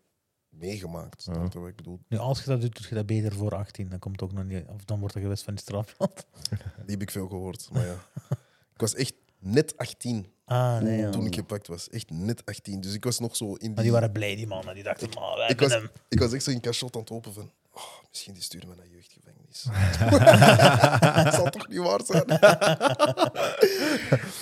Speaker 1: meegemaakt. Snap je wat ik bedoel?
Speaker 3: Nu, als je dat doet, doe je dat beter voor 18. Dan komt het ook nog niet... Of dan wordt er gewist van die strafblad.
Speaker 1: Die heb ik veel gehoord. Maar ja. ik was echt net 18
Speaker 3: Ah, nee, ja.
Speaker 1: toen ik gepakt was. Echt net 18. Dus ik was nog zo in
Speaker 3: Maar
Speaker 1: die...
Speaker 3: die waren blij, die mannen. Die dachten, man, wij
Speaker 1: ik,
Speaker 3: hebben
Speaker 1: was,
Speaker 3: hem.
Speaker 1: ik was echt zo in cachot aan het hopen van... Oh, misschien die sturen me naar jeugdgevangenis. Dat zal toch niet waar zijn?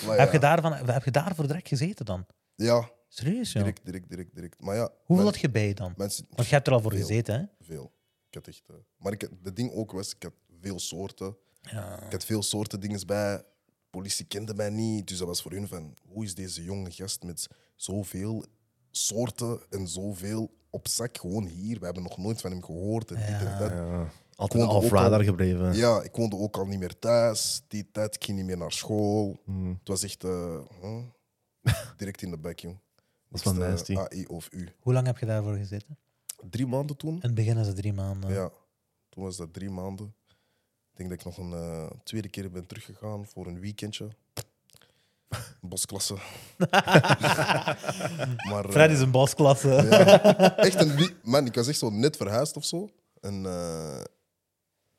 Speaker 1: Maar ja.
Speaker 3: Heb, je daarvan, heb je daarvoor direct gezeten dan?
Speaker 1: Ja,
Speaker 3: Serieus, ja.
Speaker 1: Direct, direct, direct, direct. Maar ja,
Speaker 3: Hoeveel
Speaker 1: men-
Speaker 3: had je bij je dan?
Speaker 1: mensen,
Speaker 3: Want je hebt er al voor
Speaker 1: Veel.
Speaker 3: gezeten, hè?
Speaker 1: veel. Ik had echt, eh, maar ik, had- de ding ook was, ik had veel soorten.
Speaker 3: Ja.
Speaker 1: Ik had veel soorten dingen bij. Politie kende mij niet, dus dat was voor hun van hoe is deze jonge gast met zoveel soorten en zoveel op zak gewoon hier? We hebben nog nooit van hem gehoord en dit en dat.
Speaker 2: Ja. Altijd
Speaker 1: Kon er
Speaker 2: off
Speaker 1: ook al-
Speaker 2: radar gebleven.
Speaker 1: Ja, ik woonde ook al niet meer thuis. Die tijd ik ging niet meer naar school.
Speaker 2: Hmm.
Speaker 1: Het was echt eh, huh? direct in de bek, jong.
Speaker 2: Dat is wel
Speaker 1: Niks,
Speaker 2: nasty.
Speaker 1: eh, AI of U.
Speaker 3: Hoe lang heb je daarvoor gezeten?
Speaker 1: Drie maanden toen?
Speaker 3: In het begin is het drie maanden.
Speaker 1: Ja, toen was dat drie maanden. Ik denk dat ik nog een eh, tweede keer ben teruggegaan voor een weekendje. Bosklasse. maar, eh,
Speaker 3: Fred is een bosklasse.
Speaker 1: ja. Echt een wie- Man, ik was echt zo net verhuisd of zo. En eh,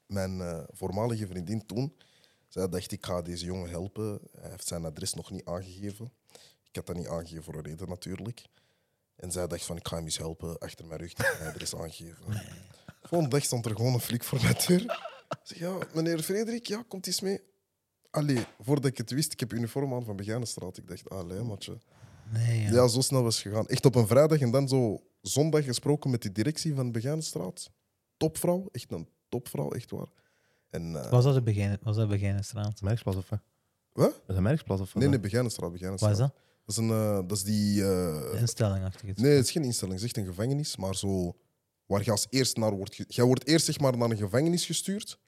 Speaker 1: mijn eh, voormalige vriendin toen, zij dacht ik ga deze jongen helpen. Hij heeft zijn adres nog niet aangegeven. Ik had dat niet aangegeven voor een reden natuurlijk. En zij dacht van ik ga hem eens helpen achter mijn rug mijn adres aangeven. Volgende dag stond er gewoon een flik voor mijn deur. Ik zeg ja, meneer Frederik, ja, komt eens mee. Allee, voordat ik het wist, ik heb uniform aan van Begijnenstraat. Ik dacht, allee, matje.
Speaker 3: Nee, ja.
Speaker 1: Ja, zo snel was het gegaan. Echt op een vrijdag en dan zo zondag gesproken met de directie van Begijnenstraat. Topvrouw, echt een topvrouw, echt waar. En, eh,
Speaker 3: Was dat de begin, was dat Begijnenstraat?
Speaker 2: Merksplas of wat?
Speaker 1: Wat?
Speaker 2: Is dat Merksplas of wat?
Speaker 1: nee, nee, Begijnenstraat, Begijnenstraat.
Speaker 3: Wat is dat?
Speaker 1: Dat is, een, eh, dat is die... eh,
Speaker 3: De instelling achter iets.
Speaker 1: nee, het is geen instelling, het is echt een gevangenis, maar zo... Waar je als eerst naar wordt... ge- Jij wordt eerst zeg maar naar een gevangenis gestuurd,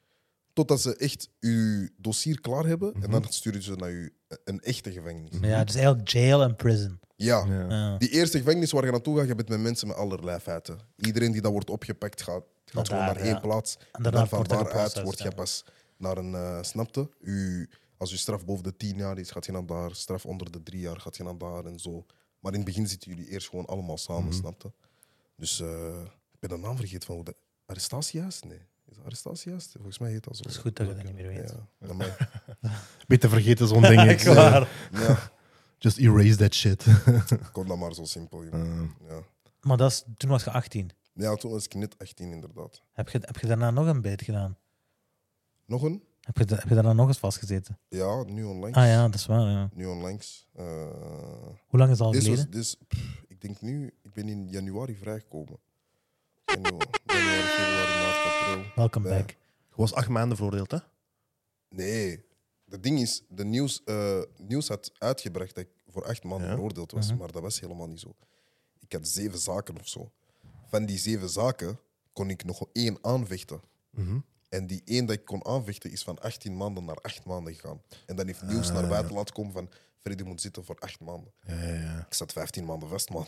Speaker 1: totdat ze echt je dossier klaar hebben. En dan sturen ze naar je, een echte gevangenis.
Speaker 3: Mhm. Ja, het is eigenlijk jail en prison.
Speaker 1: Ja.
Speaker 2: Ja.
Speaker 3: Ja.
Speaker 1: Die eerste gevangenis waar je naartoe gaat, je bent met mensen met allerlei feiten. Iedereen die dat wordt opgepakt, gaat,
Speaker 3: Naar
Speaker 1: gaat gewoon
Speaker 3: daar,
Speaker 1: naar één
Speaker 3: ja.
Speaker 1: plaats.
Speaker 3: En daarna
Speaker 1: dan van
Speaker 3: wordt er
Speaker 1: daaruit
Speaker 3: geprocessed,
Speaker 1: wordt je
Speaker 3: ja.
Speaker 1: pas naar een eh snapte. U, als je straf boven de tien jaar is, gaat je naar daar. Straf onder de drie jaar gaat je naar daar en zo. Maar in het begin zitten jullie eerst gewoon allemaal samen, snapte. Dus eh, ik ben de naam vergeten van hoe dat. Arrestatiehuis? Nee. Is dat arrestatiehuis? Volgens mij heet dat zo.
Speaker 3: Het is goed dat je dat niet meer weet.
Speaker 1: Ja, amai.
Speaker 2: Beter vergeten zo'n ding.
Speaker 3: Echt waar.
Speaker 1: ja,
Speaker 2: Just erase that shit.
Speaker 1: kon dat maar zo simpel. joh.
Speaker 2: Eh,
Speaker 1: Ja.
Speaker 3: Maar dat is, toen was je 18.
Speaker 1: ja, toen was ik net 18 inderdaad.
Speaker 3: Heb je, heb je daarna nog een bijt gedaan?
Speaker 1: Nog een?
Speaker 3: Heb je, da- heb je daarna nog eens vastgezeten?
Speaker 1: Ja, nu onlangs.
Speaker 3: Ah ja, dat is waar. Ja.
Speaker 1: Nu onlangs. Eh,
Speaker 3: Hoe lang is dat al
Speaker 1: dit was,
Speaker 3: geleden?
Speaker 1: dit is- pff, ik denk nu, ik ben in januari vrijgekomen. Januari, januari, februari, maart, april.
Speaker 3: Welcome
Speaker 1: Ja.
Speaker 3: back.
Speaker 2: Je was acht maanden veroordeeld, hè?
Speaker 1: Nee, het ding is, de nieuws, eh, nieuws had uitgebracht dat ik voor acht maanden
Speaker 2: Ja.
Speaker 1: veroordeeld was,
Speaker 3: Mhm.
Speaker 1: maar dat was helemaal niet zo. Ik had zeven zaken of zo. Van die zeven zaken kon ik nog één aanvechten.
Speaker 2: Mhm.
Speaker 1: En die één dat ik kon aanvechten is van 18 maanden naar 8 maanden gegaan. En dan heeft
Speaker 2: Ah,
Speaker 1: nieuws naar buiten laten komen van Freddy moet zitten voor 8 maanden.
Speaker 2: Ja, ja, ja.
Speaker 1: Ik zat 15 maanden vast, man.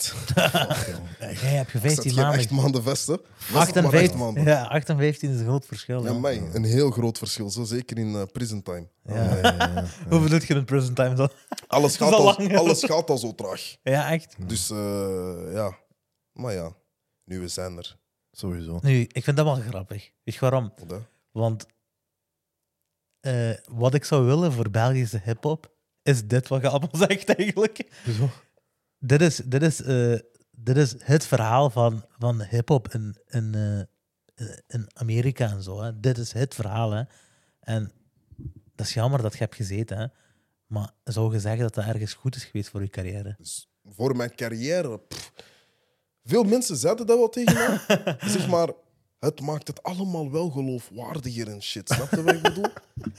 Speaker 3: Jij hebt je
Speaker 1: Ik zat
Speaker 3: 15
Speaker 1: geen
Speaker 3: maanden.
Speaker 1: acht maanden vast, hè. Was het maar
Speaker 3: 8 en
Speaker 1: acht
Speaker 3: 15,
Speaker 1: maanden.
Speaker 3: ja, 8 en 15 is een groot verschil.
Speaker 1: Ja,
Speaker 3: ja.
Speaker 1: mij, een heel groot verschil. Zo zeker in eh, prison time.
Speaker 3: Ja. Hoeveel doet je in prison time dan?
Speaker 1: Alles,
Speaker 3: Dat
Speaker 1: gaat
Speaker 3: is al
Speaker 1: al,
Speaker 3: lang.
Speaker 1: alles gaat al zo traag.
Speaker 3: Ja, echt.
Speaker 1: Dus eh, ja. Maar ja, nu we zijn er.
Speaker 2: Sowieso.
Speaker 3: Nu, ik vind dat wel grappig. Weet je waarom?
Speaker 1: Wat, hè?
Speaker 3: Want eh, wat ik zou willen voor Belgische hip-hop is dit wat je allemaal zegt eigenlijk. Dit is, dit is, eh, dit is het verhaal van, van hip-hop in, in, eh, in Amerika en zo. Hè. Dit is het verhaal. Hè. En dat is jammer dat je hebt gezeten. Hè. Maar zou je zeggen dat dat ergens goed is geweest voor je carrière?
Speaker 1: Dus voor mijn carrière. pff, veel mensen zeiden dat wel tegen mij. zeg maar, het maakt het allemaal wel geloofwaardiger en shit. Snap je wat ik bedoel?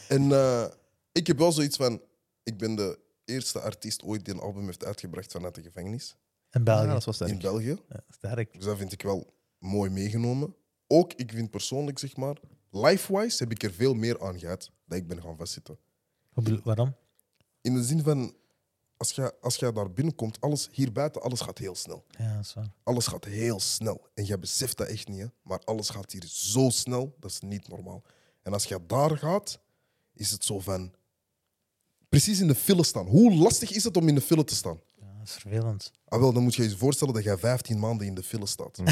Speaker 1: En eh, ik heb wel zoiets van. Ik ben de eerste artiest ooit die een album heeft uitgebracht vanuit de gevangenis.
Speaker 2: Ja,
Speaker 3: In België.
Speaker 2: dat was
Speaker 1: In
Speaker 2: sterk.
Speaker 1: België.
Speaker 3: Ja, Sterk.
Speaker 1: Dus dat vind ik wel mooi meegenomen. Ook, ik vind persoonlijk, zeg maar, life-wise heb ik er veel meer aan gehad dat ik ben gaan vastzitten.
Speaker 3: Hoe bedoel- Waarom?
Speaker 1: In de zin van, als jij, als jij daar binnenkomt, alles hier buiten, alles gaat heel snel.
Speaker 3: Ja, dat is waar.
Speaker 1: Alles gaat heel snel. En jij beseft dat echt niet, hè? maar alles gaat hier zo snel, dat is niet normaal. En als jij daar gaat, is het zo van... Precies in de file staan. Hoe lastig is het om in de file te staan?
Speaker 3: Ja, dat is vervelend.
Speaker 1: Ah wel, dan moet je je voorstellen dat jij 15 maanden in de file staat.
Speaker 3: Wat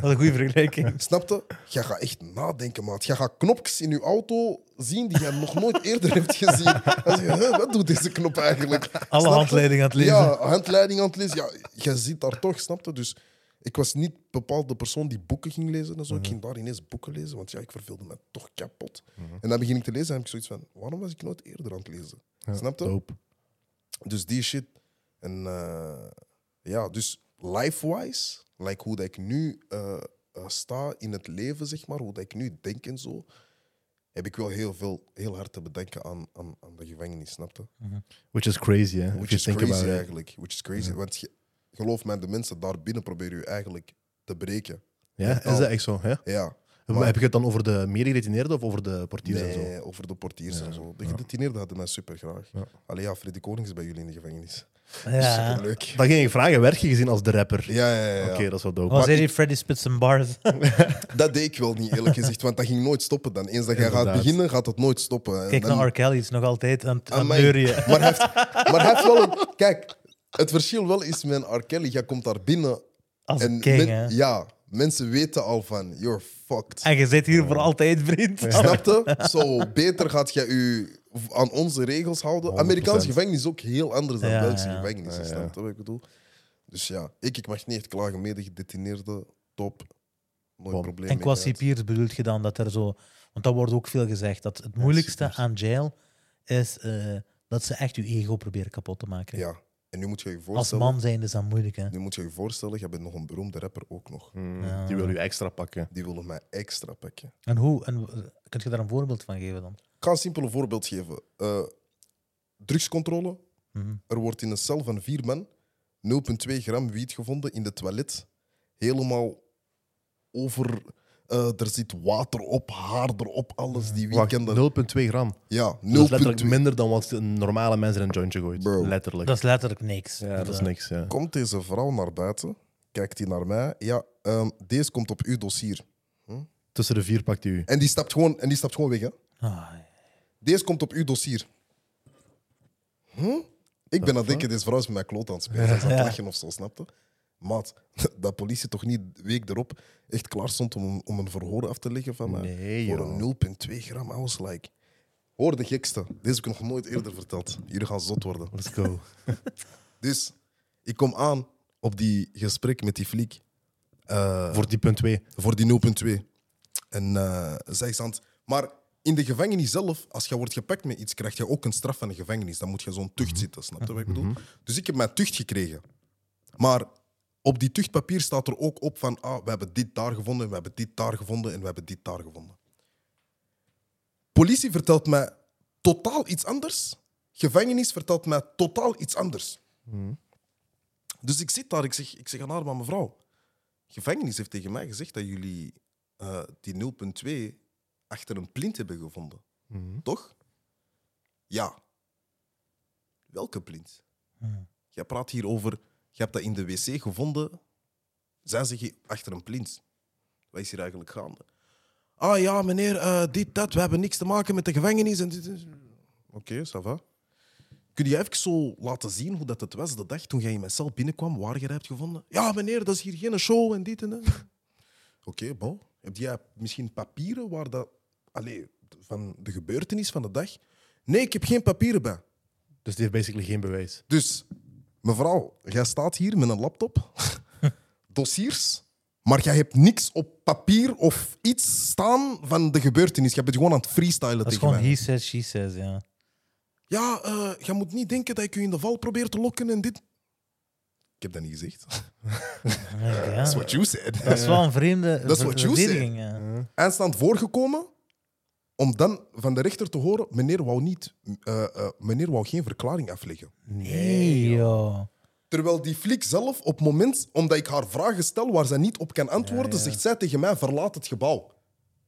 Speaker 3: een goede vergelijking.
Speaker 1: Snapte? Jij gaat echt nadenken, maat. Jij gaat knopjes in je auto zien die jij nog nooit eerder hebt gezien. Dan zeg je, "Huh, wat doet deze knop eigenlijk? Snap
Speaker 3: Alle
Speaker 1: je?
Speaker 3: handleidingen aan het lezen.
Speaker 1: Ja, handleiding aan het lezen. Ja, jij zit daar toch, snapte? Dus ik was niet bepaald de persoon die boeken ging lezen en zo.
Speaker 3: Mhm.
Speaker 1: Ik ging daar ineens boeken lezen, want ja, ik verveelde me toch kapot.
Speaker 3: Mhm.
Speaker 1: En dan begin ik te lezen en heb ik zoiets van, waarom was ik nooit eerder aan het lezen? Snapte?
Speaker 2: Dope.
Speaker 1: Dus die shit. En eh, ja, dus life-wise, like hoe dat ik nu eh, eh, sta in het leven, zeg maar, hoe dat ik nu denk en zo, heb ik wel heel veel, heel hard te bedenken aan, aan, aan de gevangenis, snapte?
Speaker 2: Which is crazy, hè? If
Speaker 1: Which
Speaker 2: you
Speaker 1: is
Speaker 2: think
Speaker 1: crazy
Speaker 2: about it.
Speaker 1: eigenlijk. Which is crazy, want je- geloof me, de mensen daar binnen proberen je eigenlijk te breken.
Speaker 2: Ja, is dat echt zo? Ja?
Speaker 1: Ja.
Speaker 2: Heb je het dan over de meer geretineerden of over de portiers en zo?
Speaker 1: Nee, over de portiers en zo. De gedetineerden hadden mij super graag. Allee, ja, Freddy Konings is bij jullie in de gevangenis.
Speaker 3: Ja.
Speaker 1: Superleuk.
Speaker 2: Dan ging ik vragen, werd je gezien als de rapper?
Speaker 1: Ja, ja, ja. ja.
Speaker 2: Oké, dat is wel dope.
Speaker 3: Was hij Oh, Freddy Spits en Bars?
Speaker 1: Dat deed ik wel niet, eerlijk gezegd, want dat ging nooit stoppen dan. Eens dat jij gaat
Speaker 2: Inderdaad.
Speaker 1: beginnen, gaat het nooit stoppen. En
Speaker 3: Kijk
Speaker 1: dan-
Speaker 3: naar R. Kelly, is nog altijd aan het aan het
Speaker 1: Amai.
Speaker 3: neurien.
Speaker 1: Maar hij heeft, maar hij heeft wel een... Kijk, het verschil wel is met R. Kelly, jij komt daar binnen...
Speaker 3: Als king,
Speaker 1: men-
Speaker 3: hè.
Speaker 1: Ja, mensen weten al van, you're fucked.
Speaker 3: En je zit hier voor altijd, vriend.
Speaker 1: Snapte? Zo, beter gaat jij je aan onze regels houden.
Speaker 2: 100%.
Speaker 1: Amerikaanse gevangenis is ook heel anders dan
Speaker 3: Ja,
Speaker 1: Belgische
Speaker 3: ja.
Speaker 1: gevangenis.
Speaker 2: Ja, ja.
Speaker 1: Snap je wat ik bedoel? Dus ja, ik, ik mag niet echt klagen. Mede gedetineerde, top. Nooit
Speaker 2: Bom.
Speaker 1: probleem.
Speaker 3: En
Speaker 1: mee
Speaker 3: qua
Speaker 1: gehad.
Speaker 3: cipiers bedoel je dan dat er zo... Want dat wordt ook veel gezegd, dat het moeilijkste
Speaker 2: cipiers.
Speaker 3: aan jail is eh, dat ze echt je ego proberen kapot te maken.
Speaker 1: Ja, en nu moet je je
Speaker 3: Als
Speaker 1: voorstellen...
Speaker 3: man zijn is dat moeilijk, hè.
Speaker 1: Nu moet je je voorstellen, je bent nog een beroemde rapper ook nog.
Speaker 2: Hmm,
Speaker 3: Ja.
Speaker 2: Die wil je extra pakken.
Speaker 1: Die willen mij extra pakken.
Speaker 3: En hoe? En, eh, kunt je daar een voorbeeld van geven dan?
Speaker 1: Ik ga een simpel voorbeeld geven. Eh, drugscontrole.
Speaker 3: Mhm.
Speaker 1: Er wordt in een cel van vier man 0,2 gram wiet gevonden in de toilet. Helemaal over... eh, er zit water op, haar erop, alles. Die
Speaker 2: Wacht, 0,2
Speaker 1: weekenden...
Speaker 2: gram.
Speaker 1: Ja, 0,2.
Speaker 2: Dat is letterlijk minder dan wat een normale mens in een jointje gooit.
Speaker 1: Bro.
Speaker 2: Letterlijk.
Speaker 3: Dat is letterlijk niks.
Speaker 2: ja, dat is niks. Ja.
Speaker 1: Komt deze vrouw naar buiten, kijkt die naar mij. Ja, ehm, deze komt op uw dossier.
Speaker 2: Tussen de vier pakt hij u.
Speaker 1: En die stapt gewoon, en die stapt gewoon weg, hè.
Speaker 3: Ah,
Speaker 1: Deze komt op uw dossier. Hm? Ik ben aan het denken, deze vrouw is met mijn kloot aan het spelen. Ze is aan het
Speaker 3: Ja.
Speaker 1: lachen of zo, snapte? Maat, dat politie toch niet de week erop echt klaar stond om, een- om een verhoor af te leggen van mij.
Speaker 2: Nee,
Speaker 1: Voor
Speaker 2: joh.
Speaker 1: een 0,2 gram, I was like... Hoor de gekste. Deze heb ik nog nooit eerder verteld. Jullie gaan zot worden.
Speaker 2: Let's go.
Speaker 1: Dus, ik kom aan op die gesprek met die fliek. Eh,
Speaker 2: Voor die punt 2.
Speaker 1: voor die 0,2. En eh zij zand. Maar in de gevangenis zelf, als je wordt gepakt met iets, krijg je ook een straf van de gevangenis. Dan moet je zo'n tucht zitten, snap je wat ik bedoel? Dus ik heb mijn tucht gekregen. Maar op die tuchtpapier staat er ook op van, ah, we hebben dit daar gevonden, we hebben dit daar gevonden en we hebben dit daar gevonden. Politie vertelt mij totaal iets anders. Gevangenis vertelt mij totaal iets anders.
Speaker 2: Hmm.
Speaker 1: Dus ik zit daar, ik zeg, ik zeg aan haar, maar mevrouw, gevangenis heeft tegen mij gezegd dat jullie eh, die 0.2 achter een plint hebben gevonden.
Speaker 2: Mhm.
Speaker 1: Toch? Ja. Welke plint?
Speaker 3: Mhm.
Speaker 1: Jij praat hier over, je hebt dat in de wc gevonden. Zij zeggen achter een plint. Wat is hier eigenlijk gaande? Ah ja, meneer, eh, dit, dat, we hebben niks te maken met de gevangenis. en dit is- Oké, ça va. Kun je even zo laten zien hoe dat het was de dag toen jij in mijn cel binnenkwam, waar je dat hebt gevonden? Ja, meneer, dat is hier geen show en dit en dat. Oké, bon. Heb jij misschien papieren waar dat... Allee, van de gebeurtenis van de dag? Nee, ik heb geen papieren bij.
Speaker 2: Dus die heeft basically geen bewijs.
Speaker 1: Dus, mevrouw, jij staat hier met een laptop, dossiers, maar jij hebt niks op papier of iets staan van de gebeurtenis. Je bent gewoon aan het freestylen
Speaker 3: Dat is
Speaker 1: tegen
Speaker 3: gewoon
Speaker 1: mij.
Speaker 3: he says, she says, ja.
Speaker 1: Ja, eh jij moet niet denken dat ik u in de val probeer te lokken en dit. Ik heb dat niet gezegd.
Speaker 3: Ja,
Speaker 1: That's what you said.
Speaker 3: Dat is wel een vreemde
Speaker 1: That's what
Speaker 3: ver-
Speaker 1: you
Speaker 3: verdediging, ja.
Speaker 1: Aanstaand voorgekomen om dan van de rechter te horen, meneer wou, niet, eh, eh, meneer wou geen verklaring afleggen.
Speaker 3: Nee, joh.
Speaker 1: Terwijl die flik zelf, op het moment omdat ik haar vragen stel waar zij niet op kan antwoorden, zegt zij tegen mij: verlaat het gebouw.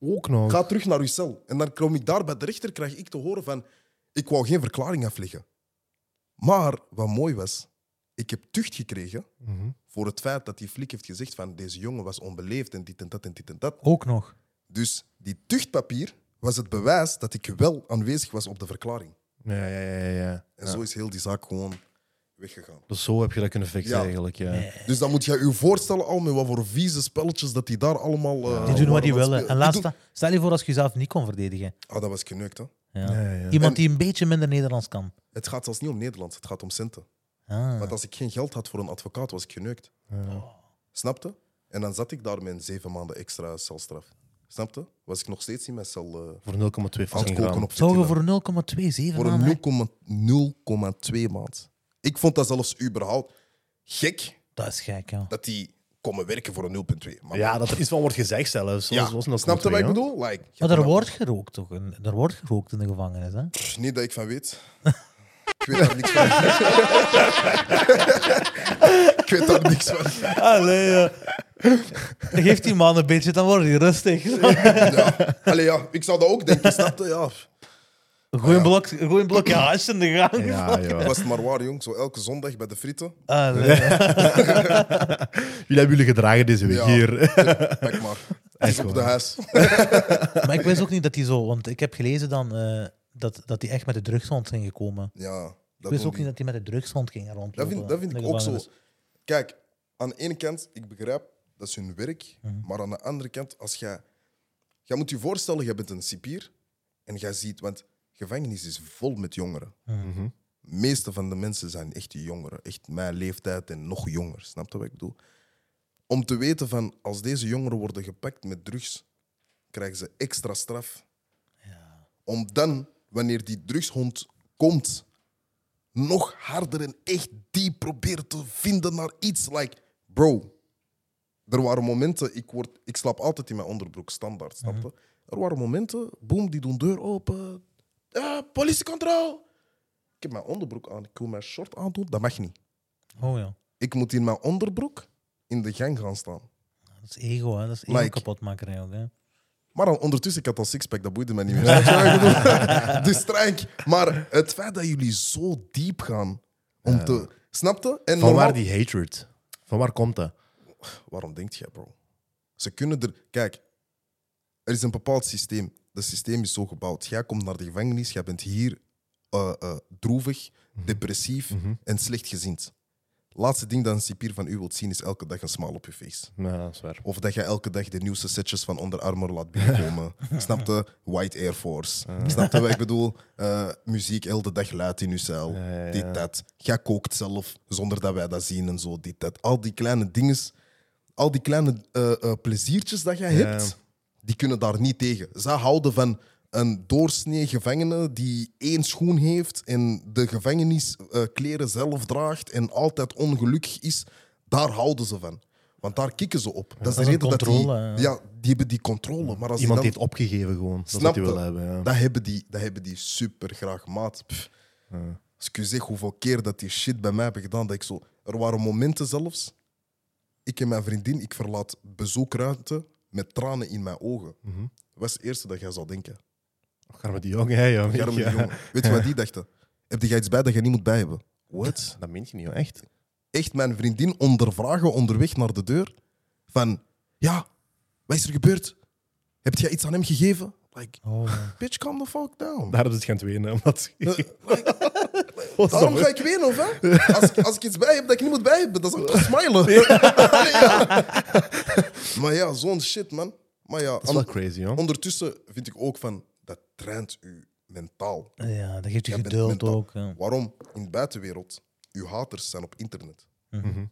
Speaker 2: Ook nog.
Speaker 1: Ga terug naar uw cel. En dan kom ik daar bij de rechter, krijg ik te horen van... Ik wou geen verklaring afleggen. Maar wat mooi was, ik heb tucht gekregen voor het feit dat die flik heeft gezegd van deze jongen was onbeleefd en dit en dat en dit en dat.
Speaker 3: Ook nog.
Speaker 1: Dus die tuchtpapier was het bewijs dat ik wel aanwezig was op de verklaring.
Speaker 2: Ja, ja, ja, ja, ja.
Speaker 1: En zo is heel die zaak gewoon weggegaan.
Speaker 2: Dus zo heb je dat kunnen fixen
Speaker 1: Ja.
Speaker 2: eigenlijk. Ja.
Speaker 1: Dus dan moet je je voorstellen al met wat voor vieze spelletjes dat die daar allemaal... eh,
Speaker 3: Die
Speaker 1: waren
Speaker 3: doen wat die
Speaker 1: aan het
Speaker 3: willen.
Speaker 1: spelen.
Speaker 3: En
Speaker 1: Die
Speaker 3: laat
Speaker 1: doen-
Speaker 3: staan- stel je voor als je jezelf niet kon verdedigen.
Speaker 1: Ah, dat was geneukt, hè.
Speaker 3: Ja.
Speaker 2: Ja, ja.
Speaker 3: Iemand die een beetje minder Nederlands kan.
Speaker 1: Het gaat zelfs niet om Nederland, het gaat om centen.
Speaker 3: Ah.
Speaker 1: Want als ik geen geld had voor een advocaat, was ik geneukt. Snapte? En dan zat ik daar met een zeven maanden extra celstraf. Snapte? Was ik nog steeds in mijn cel eh
Speaker 2: Voor 0,2
Speaker 1: aan het
Speaker 2: fucking
Speaker 1: koken
Speaker 2: gram.
Speaker 1: op
Speaker 3: Zou je
Speaker 1: 14
Speaker 3: voor 0,27
Speaker 1: voor
Speaker 3: aan, hè?
Speaker 1: een 0,2 maand. Ik vond dat zelfs überhaupt gek
Speaker 3: Dat is gek, ja.
Speaker 1: dat die komen werken voor een 0.2. Maar
Speaker 2: Ja, dat er iets van wordt gezegd zelfs.
Speaker 1: Ja, snap je wat ik bedoel? Like,
Speaker 3: Maar er wordt gerookt toch? In- Er wordt gerookt in de gevangenis, hè?
Speaker 1: Pff, Niet dat ik van weet. Ik weet daar niks van. ik weet daar niks van.
Speaker 3: Allee, ja. Geef die man een beetje, dan wordt hij rustig.
Speaker 1: Ja. Allee, ja, ik zou dat ook denken, snap je? Ja.
Speaker 3: Gooi een, blok, gooi een blokje hash in de gang.
Speaker 2: Ja, joh.
Speaker 1: Was het maar waar, jong. Zo elke zondag bij de frieten.
Speaker 3: Allee.
Speaker 2: Jullie hebben jullie gedragen deze week
Speaker 1: Ja.
Speaker 2: hier.
Speaker 1: Pak maar. Het is op de
Speaker 2: waar.
Speaker 1: huis.
Speaker 3: Maar ik wist ook niet dat hij zo... Want ik heb gelezen dan eh, dat, dat hij echt met de drugshond ging gekomen.
Speaker 1: Ja,
Speaker 3: Ik
Speaker 1: dat
Speaker 3: wist
Speaker 1: doen
Speaker 3: ook
Speaker 1: die.
Speaker 3: niet dat hij met de drugshond ging rondlopen.
Speaker 1: Dat vind, dat vind
Speaker 3: in
Speaker 1: ik
Speaker 3: de
Speaker 1: ook zo.
Speaker 3: gevangenis.
Speaker 1: Kijk, aan de ene kant, ik begrijp, dat is hun werk. Maar aan de andere kant, als jij... Jij moet je voorstellen, je bent een cipier. En jij ziet, want gevangenis is vol met jongeren. De meeste van de mensen zijn echt die jongeren. Echt mijn leeftijd en nog jonger. Snap je wat ik bedoel? Om te weten van, als deze jongeren worden gepakt met drugs, krijgen ze extra straf. Om dan, wanneer die drugshond komt, nog harder en echt die probeert te vinden naar iets. Like, bro, er waren momenten, ik, word, ik slaap altijd in mijn onderbroek, standaard, snap je?
Speaker 2: Mhm.
Speaker 1: Er waren momenten, boem, die doen deur open. Eh, politiecontrole. Ik heb mijn onderbroek aan, ik wil mijn short aandoen, dat mag niet.
Speaker 3: Oh ja.
Speaker 1: Ik moet in mijn onderbroek in de gang gaan staan.
Speaker 3: Dat is ego, hè. Dat is ego
Speaker 1: Like-
Speaker 3: kapotmakerij ook, hè.
Speaker 1: Maar dan, ondertussen, ik had al sixpack, dat boeide mij niet meer. Snap je wat ik bedoel? dus streng. Maar het feit dat jullie zo diep gaan om te... Snapte? En
Speaker 2: Van
Speaker 1: normaal-
Speaker 2: waar die hatred? Van waar komt dat?
Speaker 1: Waarom denkt jij, bro? Ze kunnen er. Kijk, er is een bepaald systeem. Dat systeem is zo gebouwd. Jij komt naar de gevangenis, jij bent hier eh, eh, droevig, depressief en slechtgezind. Laatste ding dat een cipier van u wilt zien is elke dag een smaal op je face.
Speaker 2: Nou, dat is waar.
Speaker 1: Of dat je elke dag de nieuwste setjes van Under Armour laat binnenkomen. Snap je? White Air Force. Snap je wat ik bedoel? Eh, muziek heel de dag luid in je cel.
Speaker 2: ja, ja.
Speaker 1: Dit, dat. Jij kookt zelf, zonder dat wij dat zien en zo. Dit, dat. Al die kleine dingen, al die kleine eh, eh, pleziertjes dat jij
Speaker 2: Ja.
Speaker 1: hebt, die kunnen daar niet tegen. Zij houden van een doorsnee gevangene die één schoen heeft en de gevangeniskleren kleren zelf draagt en altijd ongelukkig is. Daar houden ze van. Want daar kikken ze op. Dat is de
Speaker 3: is een
Speaker 1: reden dat die...
Speaker 3: controle, ja.
Speaker 1: Ja, die hebben die controle. Maar als die
Speaker 2: Iemand
Speaker 1: dan-
Speaker 2: heeft opgegeven gewoon. Dat is wat
Speaker 1: Snap
Speaker 2: hij
Speaker 1: je?
Speaker 2: wil hebben. Ja.
Speaker 1: dat hebben die, dat hebben die super graag, maat. Pff. Als ik u zeg hoeveel keer dat die shit bij mij hebben gedaan, dat ik zo... Er waren momenten zelfs, ik en mijn vriendin, ik verlaat bezoekruimte met tranen in mijn ogen.
Speaker 2: Mhm.
Speaker 1: Wat is het eerste dat jij zou denken?
Speaker 2: Och, arme die jongen, hè, joh.
Speaker 1: Garme die
Speaker 2: Ja.
Speaker 1: jongen. Weet je wat die dachten? Heb jij iets bij dat je niet moet bij hebben? What?
Speaker 2: Dat meent je niet, joh. echt.
Speaker 1: Echt mijn vriendin ondervragen onderweg naar de deur. Van, ja, wat is er gebeurd? Heb jij iets aan hem gegeven? Like,
Speaker 3: Oh, ja.
Speaker 1: bitch, calm the fuck down.
Speaker 2: Daar hebben ze het gaan wenen. Omdat...
Speaker 1: Daarom ga ik wenen, of hè? Als, als ik iets bij heb dat ik niet moet bij hebben, dan zou ik toch smilen. Allee, ja. Maar ja, zo'n shit, man. Maar ja,
Speaker 2: Dat is wel crazy, hoor.
Speaker 1: ondertussen vind ik ook van, dat traint u mentaal.
Speaker 3: ja, dat geeft je
Speaker 1: Jij bent
Speaker 3: geduld
Speaker 1: mentaal.
Speaker 3: ook. hè.
Speaker 1: Waarom? In de buitenwereld, uw haters zijn op internet.
Speaker 3: Mhm.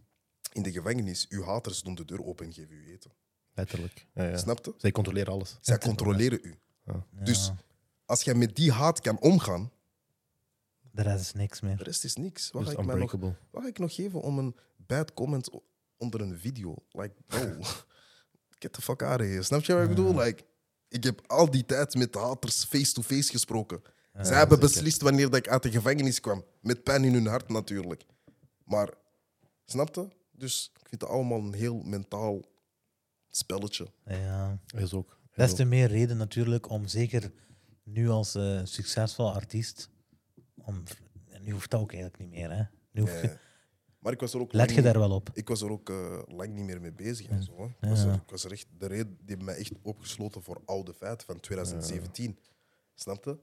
Speaker 1: In de gevangenis, uw haters doen de deur open en geven u eten.
Speaker 2: Letterlijk. Ja, ja.
Speaker 1: Snap je?
Speaker 2: Zij controleren alles.
Speaker 1: Zij controleren u.
Speaker 3: Ja,
Speaker 1: Dus als jij met die haat kan omgaan,
Speaker 3: De rest is niks
Speaker 1: de
Speaker 3: meer.
Speaker 1: rest is niks. Wat
Speaker 2: Dat
Speaker 1: ga
Speaker 2: is
Speaker 1: ik mij nog
Speaker 2: unbreakable.
Speaker 1: Wat ga ik nog geven om een bad comment o- onder een video? Like, bro, get the fuck out of here. Snap je wat ik bedoel? Like, ik heb al die tijd met de haters face-to-face gesproken. Zij hebben beslist wanneer dat ik uit de gevangenis kwam. Met pijn in hun hart natuurlijk. Maar, snap je? Dus ik vind het allemaal een heel mentaal spelletje.
Speaker 3: Ja.
Speaker 2: Is ook. Is
Speaker 3: Des
Speaker 2: ook.
Speaker 3: te meer reden natuurlijk om zeker nu als eh, succesvol artiest. Om, en nu hoeft dat ook eigenlijk niet meer. Hè? Nu hoef je-
Speaker 1: Eh, maar ik was er ook
Speaker 3: let je
Speaker 1: lang-
Speaker 3: daar wel op.
Speaker 1: ik was er ook eh, lang niet meer mee bezig en zo. Hè. Ik,
Speaker 3: Ja.
Speaker 1: was er, ik was er echt, de reden die heeft mij echt opgesloten voor oude feiten van 2017. Snap je?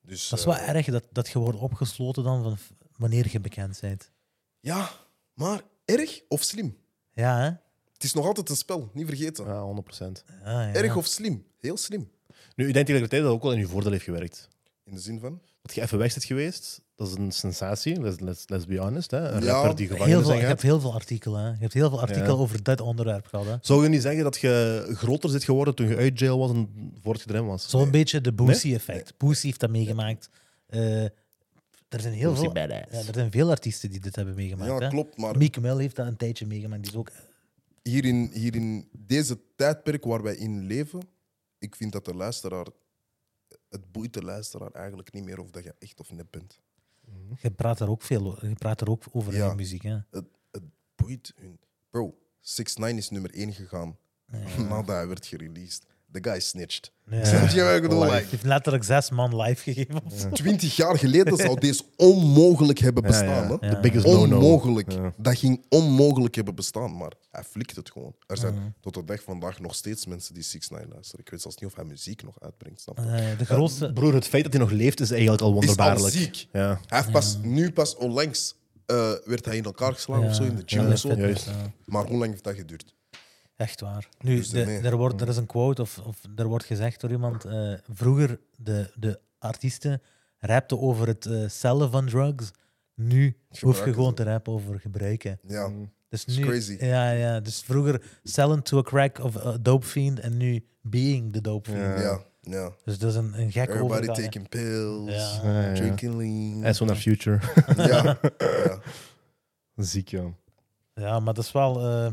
Speaker 1: Dus,
Speaker 3: Dat is
Speaker 1: eh,
Speaker 3: wel erg dat, dat je wordt opgesloten dan van f- wanneer je bekend bent.
Speaker 1: Ja, maar erg of slim?
Speaker 3: Ja, hè?
Speaker 1: Het is nog altijd een spel, niet vergeten.
Speaker 2: Ja, 100 procent.
Speaker 3: Ja, ja.
Speaker 1: Erg of slim? Heel slim.
Speaker 2: Nu, ik denk tegelijkertijd dat het ook wel in je voordeel heeft gewerkt.
Speaker 1: In de zin van...
Speaker 2: Dat je even weg bent geweest, dat is een sensatie. Let's, let's, let's be honest. Hè. Een
Speaker 1: Ja.
Speaker 2: rapper die gevangenis
Speaker 3: Heel veel,
Speaker 2: in
Speaker 3: je
Speaker 2: gaat.
Speaker 3: hebt heel veel artikelen. hè. Je hebt heel veel artikelen
Speaker 2: Ja.
Speaker 3: over dit onderwerp gehad. Hè.
Speaker 2: Zou je niet zeggen dat je groter zit geworden toen je uit jail was en voordat je erin was?
Speaker 3: Zo'n beetje de Boosie-effect. Boosie heeft dat meegemaakt. Eh, Er zijn heel
Speaker 4: Lucy
Speaker 3: veel, ja,
Speaker 4: Badass.
Speaker 3: er zijn veel artiesten die dit hebben meegemaakt.
Speaker 1: Ja,
Speaker 3: hè.
Speaker 1: klopt, maar
Speaker 3: Meek Mill heeft dat een tijdje meegemaakt. Die is ook...
Speaker 1: hier in, hier in deze tijdperk waar wij in leven, ik vind dat de luisteraar, het boeit de luisteraar eigenlijk niet meer of dat je echt of nep bent.
Speaker 3: Je praat er ook veel over. Je praat er ook over in
Speaker 1: Ja.
Speaker 3: je muziek. Hè?
Speaker 1: Het, het boeit hun. Bro, 6 9 is nummer 1 gegaan nadat hij werd gereleased. The guy snitched.
Speaker 3: Ja.
Speaker 1: Snap je wat ik bedoel?
Speaker 3: Hij heeft letterlijk zes man live gegeven. of zo.
Speaker 1: Twintig jaar geleden zou deze onmogelijk hebben
Speaker 2: Ja, ja.
Speaker 1: bestaan. hè?
Speaker 2: The biggest no-no.
Speaker 1: Onmogelijk.
Speaker 2: Ja.
Speaker 1: Dat ging onmogelijk hebben bestaan, maar hij flikt het gewoon. Er zijn tot de dag vandaag nog steeds mensen die 6 9 luisteren. Ik weet zelfs niet of hij muziek nog uitbrengt, snap je?
Speaker 3: Eh, de grootste...
Speaker 2: Broer, het feit dat hij nog leeft is eigenlijk al
Speaker 1: is al
Speaker 2: wonderbaarlijk.
Speaker 1: ziek.
Speaker 2: Ja.
Speaker 1: Hij heeft pas, nu pas onlangs eh, werd hij in elkaar geslagen of zo, in de gym
Speaker 3: Ja,
Speaker 1: of zo.
Speaker 3: dat is
Speaker 2: Juist.
Speaker 3: vet, ja.
Speaker 1: Maar hoe lang heeft dat geduurd?
Speaker 3: Echt waar. Nu,
Speaker 1: Dus
Speaker 3: de-
Speaker 1: daarmee.
Speaker 3: er, wordt, er is een quote, of, of er wordt gezegd door iemand. eh, vroeger, de, de artiesten rapten over het eh, cellen van drugs. Nu hoef je
Speaker 1: Gebruiken
Speaker 3: gewoon
Speaker 1: ze.
Speaker 3: te rappen over gebruiken.
Speaker 1: Ja,
Speaker 3: Dus
Speaker 1: It's
Speaker 3: nu,
Speaker 1: crazy.
Speaker 3: Ja, ja. Dus vroeger selling to a crack of a dope fiend en nu being the dope fiend.
Speaker 2: Ja.
Speaker 1: ja, ja.
Speaker 3: Dus dat is een, een gek
Speaker 1: Everybody
Speaker 3: overgang. hè.
Speaker 1: taking pills,
Speaker 3: Ja.
Speaker 2: Ja, ja, ja.
Speaker 1: drinking
Speaker 2: Hij
Speaker 1: lean.
Speaker 2: is zo naar Future.
Speaker 1: Ja, ja.
Speaker 2: ziek, ja.
Speaker 3: Ja, maar dat is wel. eh,